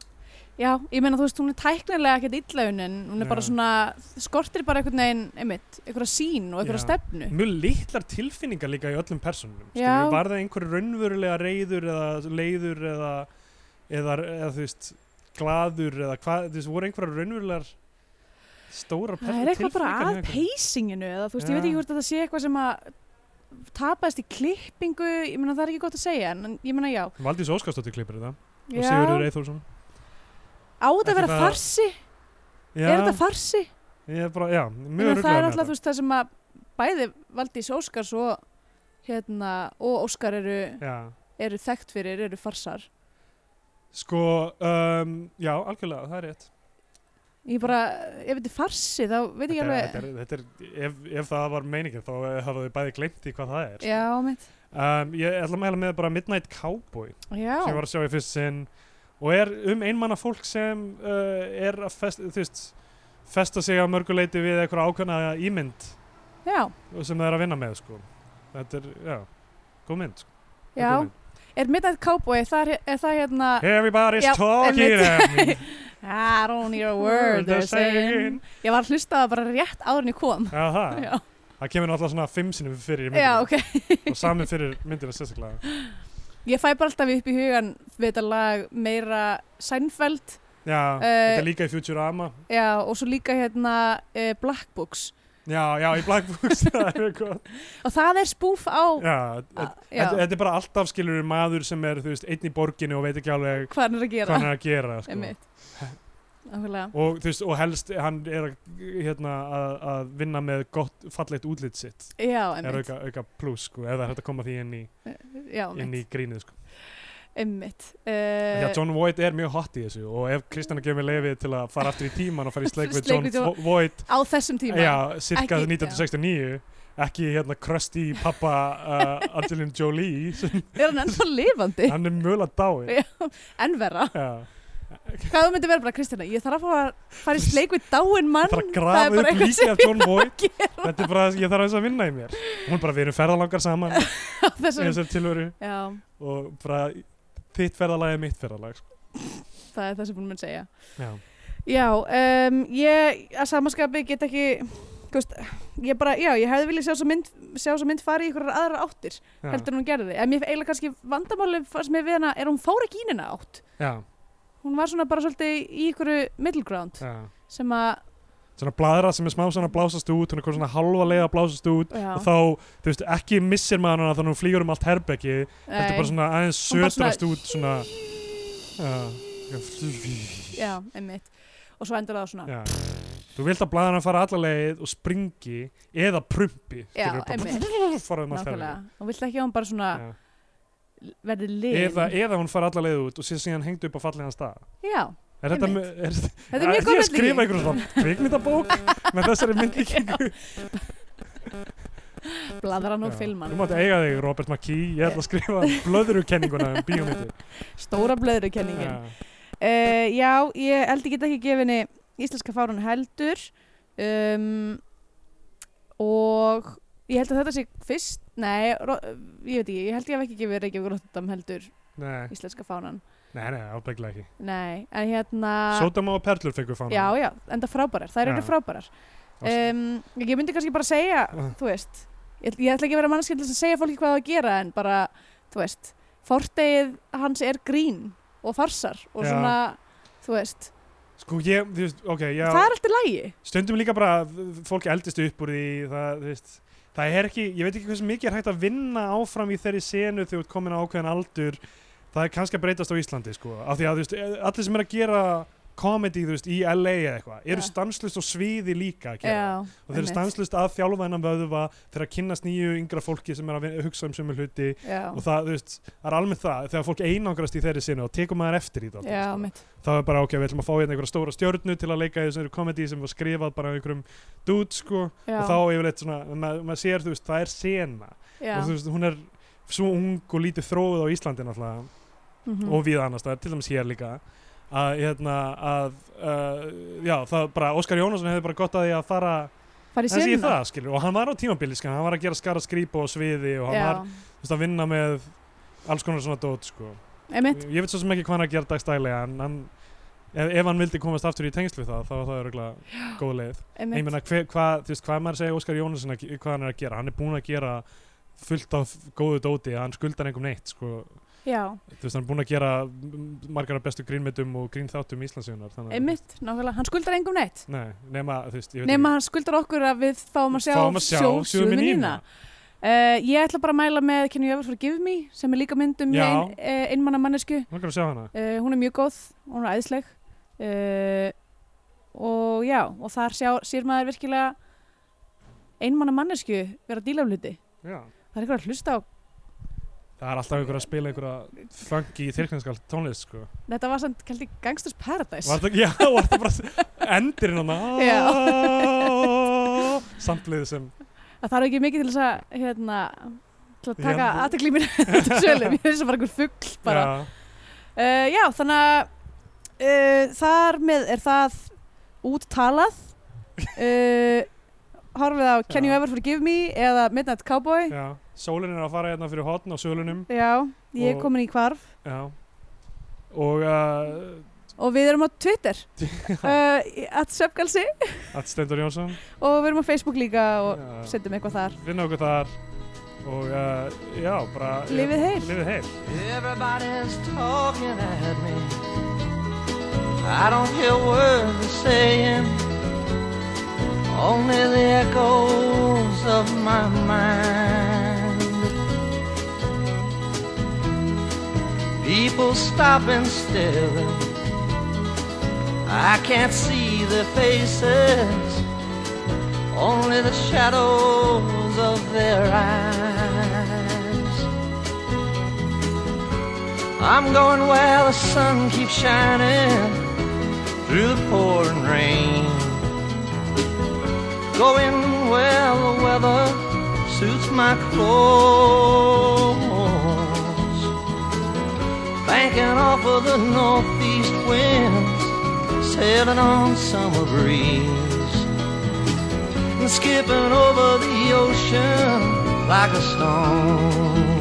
[SPEAKER 2] Já, ég meina þú veist, hún er tæknilega ekkert illa unin, hún er bara
[SPEAKER 3] Já.
[SPEAKER 2] svona, skortir bara einhvern veginn, einmitt, einhverja sín og einhverja
[SPEAKER 3] Já.
[SPEAKER 2] stefnu.
[SPEAKER 3] mjög litlar tilfinningar líka í öllum personum
[SPEAKER 2] Já.
[SPEAKER 3] var það einhver raunverulega reyður eða leiður eða, eða, eða þú veist gladur eða hvað, þú veist, voru einhverjar raunverulegar stórar
[SPEAKER 2] Það
[SPEAKER 3] persónulegar
[SPEAKER 2] er eitthvað bara
[SPEAKER 3] tilfinningar hjá
[SPEAKER 2] að
[SPEAKER 3] ykkur?
[SPEAKER 2] peysinginu eða þú veist, ég
[SPEAKER 3] Já.
[SPEAKER 2] veit ekki hvort þetta sé eitthvað sem að tapaðist í klippingu, ég meina það er ekki gott að segja, en en ég meina já.
[SPEAKER 3] Valdís Óskarsdóttir klippir þetta og Sigurður
[SPEAKER 2] já.
[SPEAKER 3] Eithórsson
[SPEAKER 2] Á þetta
[SPEAKER 3] Ekki
[SPEAKER 2] að vera
[SPEAKER 3] það-
[SPEAKER 2] farsi?
[SPEAKER 3] já,
[SPEAKER 2] Er þetta farsi?
[SPEAKER 3] ég er bara, já,
[SPEAKER 2] Ég
[SPEAKER 3] mjög
[SPEAKER 2] meina það er
[SPEAKER 3] ruglaður með
[SPEAKER 2] alltaf,
[SPEAKER 3] þetta
[SPEAKER 2] þú veist, það sem að bæði Valdís Óskars og, hérna, og Óskar eru,
[SPEAKER 3] já.
[SPEAKER 2] eru þekkt fyrir, eru farsar.
[SPEAKER 3] sko, um, já, algjörlega, það er rétt
[SPEAKER 2] Ég bara, ef þetta er farsi, þá veit ég
[SPEAKER 3] þetta
[SPEAKER 2] alveg...
[SPEAKER 3] er, þetta er, þetta er, ef, ef það var meiningin þá hafa þau bæði gleymt í hvað það er sko.
[SPEAKER 2] Já, mitt.
[SPEAKER 3] um, ég ætla að mæla með bara Midnight Cowboy
[SPEAKER 2] Já,
[SPEAKER 3] sem ég var að sjá í fyrst sinn og er um einmanna fólk sem uh, er að fest, þú veist, festa sig að mörguleiti við eitthvað ákveðna ímynd
[SPEAKER 2] já,
[SPEAKER 3] sem það er að vinna með sko. þetta er, já, góð mynd, sko. Það er
[SPEAKER 2] já.
[SPEAKER 3] góð mynd.
[SPEAKER 2] Er Midnight Cowboy, það er, er það hérna...
[SPEAKER 3] Everybody's
[SPEAKER 2] Já,
[SPEAKER 3] talking at me
[SPEAKER 2] I don't need a word they're saying. Ég var að hlusta það bara rétt áður en ég kom.
[SPEAKER 3] Aha,
[SPEAKER 2] Já,
[SPEAKER 3] það kemur náttúrulega svona fimm sinnum fyrir í myndina
[SPEAKER 2] já, ok.
[SPEAKER 3] og samin fyrir myndina sérstaklega
[SPEAKER 2] Ég fæ bara alltaf upp í hugan við þetta lag meira Seinfeld
[SPEAKER 3] Já,
[SPEAKER 2] Eh,
[SPEAKER 3] þetta er líka í Futurama
[SPEAKER 2] já, og svo líka hérna uh, Black Books.
[SPEAKER 3] Já, já, í Black Books það er gott
[SPEAKER 2] Og það er spoof á...
[SPEAKER 3] Já, þetta
[SPEAKER 2] Ah, Já,
[SPEAKER 3] þetta er bara alltaf skilur maður sem er, þú veist, einn í borginni og veit ekki alveg
[SPEAKER 2] hvað hann er að
[SPEAKER 3] hvað
[SPEAKER 2] gera.
[SPEAKER 3] hann er að gera sko.
[SPEAKER 2] Einmitt. Nákvæmlega.
[SPEAKER 3] og, þú veist, og helst hann er að, hérna, að, að vinna með gott fallegt útlit sitt
[SPEAKER 2] Já,
[SPEAKER 3] er
[SPEAKER 2] einmitt.
[SPEAKER 3] auka, auka plus sko, ef það er hægt að koma því inn í,
[SPEAKER 2] Já,
[SPEAKER 3] inn í
[SPEAKER 2] einmitt.
[SPEAKER 3] grínið sko.
[SPEAKER 2] Einmitt.
[SPEAKER 3] uh,
[SPEAKER 2] Uh,
[SPEAKER 3] því að John Voight er mjög hot í þessu og ef Kristjana gefur lefið til að fara aftur í tíman og fara í sleik við
[SPEAKER 2] Sleik
[SPEAKER 3] John
[SPEAKER 2] við John-
[SPEAKER 3] Vo- Voight
[SPEAKER 2] á þessum tíma.
[SPEAKER 3] já, cirka
[SPEAKER 2] Ekki-
[SPEAKER 3] 1969 ekki hérna krösti pappa uh, Angelina Jolie sem,
[SPEAKER 2] Er hann ennþá lifandi?
[SPEAKER 3] hann er mjögulega dáið
[SPEAKER 2] Já. Enn verra.
[SPEAKER 3] já
[SPEAKER 2] Hvað þú myndir vera bara, Kristjana, ég þarf að fara, fara í sleik við dáin mann
[SPEAKER 3] Það þarf að grafa upp líki af John
[SPEAKER 2] að
[SPEAKER 3] Voight
[SPEAKER 2] gera
[SPEAKER 3] Þetta er bara, ég þarf aðeins að vinna í mér Hún bara, við erum ferðalangar saman í
[SPEAKER 2] á þessum
[SPEAKER 3] þessari tilveru
[SPEAKER 2] Já,
[SPEAKER 3] og bara, þitt ferðalag er mitt ferðalag sko.
[SPEAKER 2] það er það sem hún mun segja
[SPEAKER 3] Já,
[SPEAKER 2] Já, um, ég að samaskapi get ekki þú veist, ég bara, já, ég hefði viljað sjá svo mynd, sjá svo mynd fara í ykkur aðra áttir
[SPEAKER 3] já,
[SPEAKER 2] heldur en hún gerði, en mér eiginlega kannski vandamáli sem er við hana, er að hún fór ekki í nina átt
[SPEAKER 3] já,
[SPEAKER 2] hún var svona bara svolítið í ykkur middle ground
[SPEAKER 3] já
[SPEAKER 2] sem að,
[SPEAKER 3] Svona bladra sem er smá svona að blásast út hún er komin svona halva leið að blásast út
[SPEAKER 2] já,
[SPEAKER 3] og þá, þú veist, ekki missir maður hana þannig að hún flýgur um allt herbeki heldur
[SPEAKER 2] eh,
[SPEAKER 3] bara svona aðeins
[SPEAKER 2] Hún bara svona-
[SPEAKER 3] sötrast út svona Já,
[SPEAKER 2] já, einmitt og svo endur það á svona
[SPEAKER 3] já Þú vilt að blaðan að fara alla leið og springi eða prumpi
[SPEAKER 2] Já,
[SPEAKER 3] skilurðu, bara-
[SPEAKER 2] einmitt.
[SPEAKER 3] fara um allt herbeki.
[SPEAKER 2] nákvæmlega, hún vill ekki að hún bara svona
[SPEAKER 3] Já.
[SPEAKER 2] verði lið
[SPEAKER 3] eða, e- eða hún fari alla leið út og sé síðan hengd upp á fallegan stað
[SPEAKER 2] já,
[SPEAKER 3] er þetta,
[SPEAKER 2] Einmitt.
[SPEAKER 3] með- er,
[SPEAKER 2] þetta er mjög góð
[SPEAKER 3] ég að skrifa einhverjum svona kvikmyndabók með þessari myndlíkingu
[SPEAKER 2] bladran og
[SPEAKER 3] Já.
[SPEAKER 2] filman
[SPEAKER 3] þú mátt eiga þig Robert McKee, ég ætla að skrifa blöðurukenninguna um bíómyndi
[SPEAKER 2] stóra blöðrukenningin
[SPEAKER 3] Já.
[SPEAKER 2] yeah. uh, já, ég held ég get ekki gefinni íslenska fárun heldur um, og ég held að þetta sé fyrst nei, ro, ég veit ekki, ég held ég hef ekki gefið Reykjavík Rotterdam heldur
[SPEAKER 3] nei,
[SPEAKER 2] íslenska fánan
[SPEAKER 3] nei, nei, ábygglega ekki
[SPEAKER 2] nei, en hérna
[SPEAKER 3] Sódama og Perlur fengur fána
[SPEAKER 2] já, já, enda frábærar, það eru
[SPEAKER 3] Já.
[SPEAKER 2] frábærar um, ég myndi kannski bara segja
[SPEAKER 3] Ah.
[SPEAKER 2] þú veist, ég, ég ætla ekki að vera mannskjöld að segja fólki hvað það að gera en bara, þú veist fordegið hans er grín og farsar og
[SPEAKER 3] Já.
[SPEAKER 2] svona, þú veist
[SPEAKER 3] sko ég, þú veist, ok, já
[SPEAKER 2] það er alltaf lægi
[SPEAKER 3] stundum líka bara, fólk eldist upp úr því það, þú veist það er ekki, ég veit ekki hversu mikið er hægt að vinna áfram í þeirri senu þegar þú ert komin á ákveðin aldur það er kannski að breytast á Íslandi sko, af því að þú veist, allir sem er að gera komedi, þú veist, í LA eða eitthvað eru
[SPEAKER 2] Já.
[SPEAKER 3] stanslust og sviði líka að gera
[SPEAKER 2] já,
[SPEAKER 3] og þeir eru
[SPEAKER 2] einmitt.
[SPEAKER 3] stanslust að þjálfa hennan vöðva þeir að kynnast nýju yngra fólki sem er að vin- hugsa um sömu hluti
[SPEAKER 2] já,
[SPEAKER 3] og það, þú veist, það er almennt það þegar fólk einangrast í þeirri sinu og tekur maður eftir í það sko.
[SPEAKER 2] já, mitt
[SPEAKER 3] þá er bara ok, við ætlum að fá hérna einhverja stóra stjörnu til að leika í þessari komedi sem var skrifað bara af einhverjum dút sko
[SPEAKER 2] já,
[SPEAKER 3] og þá yfirleitt svona, maður ma sér þú veist, það er sena
[SPEAKER 2] já,
[SPEAKER 3] og þú veist, hún er svo ung og lítið þróið á Íslandi náttúrulega
[SPEAKER 2] mhm.
[SPEAKER 3] og við annars, það er til dæmis hér líka að hérna að uh, já, það bara, Óskar Jónasson hefði bara gott að því að fara
[SPEAKER 2] farið
[SPEAKER 3] þessi í
[SPEAKER 2] síðan
[SPEAKER 3] það, skilur, og hann var á tímabili skilur, hann var að gera skara skrýpa og sviði og hann
[SPEAKER 2] já,
[SPEAKER 3] var, þú veist, að vinna með alls konar svona dót, sko
[SPEAKER 2] emitt,
[SPEAKER 3] ég veit svo sem ekki hvað hann er að gera dagstælega en hann ef, ef hann vildi komast aftur í tengslu það þá var það örgulega góð leið
[SPEAKER 2] einmitt.
[SPEAKER 3] ég meina hver, hvað, þú veist, hvað maður segja Óskar Jónasson að, ge- hvað hann er að gera, hann er búinn að gera fullt af góðu dóti hann skuldar engum neitt sko.
[SPEAKER 2] Já,
[SPEAKER 3] þú veist, hann er búinn að gera mm, margar af bestu grínmyndum og grínþáttum í Íslandsjónar
[SPEAKER 2] einmitt, nákvæmlega, hann skuldar engum neitt
[SPEAKER 3] Nei, nema, þú veist, ég veit
[SPEAKER 2] nema hann skuldar okkur að við fáum að sjá,
[SPEAKER 3] Fáum að sjá Sjóðu
[SPEAKER 2] Sjóðu
[SPEAKER 3] mín
[SPEAKER 2] mína. Uh, ég ætla bara að mæla með Can You Ever Forgive Me sem er líka mynd um
[SPEAKER 3] Já.
[SPEAKER 2] ein, uh, einmanna mannesku
[SPEAKER 3] ekki langar að sjá hana
[SPEAKER 2] uh, hún er mjög góð, hún er æðisleg uh, og já og þar sjá, sér maður virkilega einmanna mannesku vera að díla um hluti, það
[SPEAKER 3] Já.
[SPEAKER 2] er eitthvað að hlusta á
[SPEAKER 3] það er alltaf einhver að spila einhverja funky þyrknenskal tónlist sko.
[SPEAKER 2] þetta var samt kallt í Gangsters Paradise
[SPEAKER 3] var það, já, var það bara endurinn hann samtlið sem
[SPEAKER 2] að það er ekki mikið til þess að hérna, til að taka
[SPEAKER 3] Já.
[SPEAKER 2] aðtekli mér þetta sölum, ég er þess að bara einhver fugl bara.
[SPEAKER 3] já,
[SPEAKER 2] Já. Eh, já, þannig að uh, þar með er það úttalað uh, horfið á Can You
[SPEAKER 3] Já.
[SPEAKER 2] Ever Forgive Me eða Midnight Cowboy já,
[SPEAKER 3] já. sólinn er að fara hérna fyrir hotn á sölunum
[SPEAKER 2] ég
[SPEAKER 3] Og-
[SPEAKER 2] er komin í hvarf
[SPEAKER 3] já. og uh,
[SPEAKER 2] og við erum á Twitter uh, at Söpgalsi
[SPEAKER 3] að Stendur Jónsson
[SPEAKER 2] og við erum á Facebook líka og
[SPEAKER 3] Já.
[SPEAKER 2] setjum eitthvað þar
[SPEAKER 3] vinna okkur þar og uh, já, bara
[SPEAKER 2] Lifið heil.
[SPEAKER 3] lifið heil
[SPEAKER 4] Everybody's talking at me. I don't hear words they're saying, only the echoes of my mind. People stopping still. I can't see their faces, only the shadows of their eyes. I'm going where the sun keeps shining through the pouring rain. Going where the weather suits my clothes. Banking off of the northeast winds, sailing on summer breeze. And skipping over the ocean like a stone.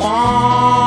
[SPEAKER 4] One.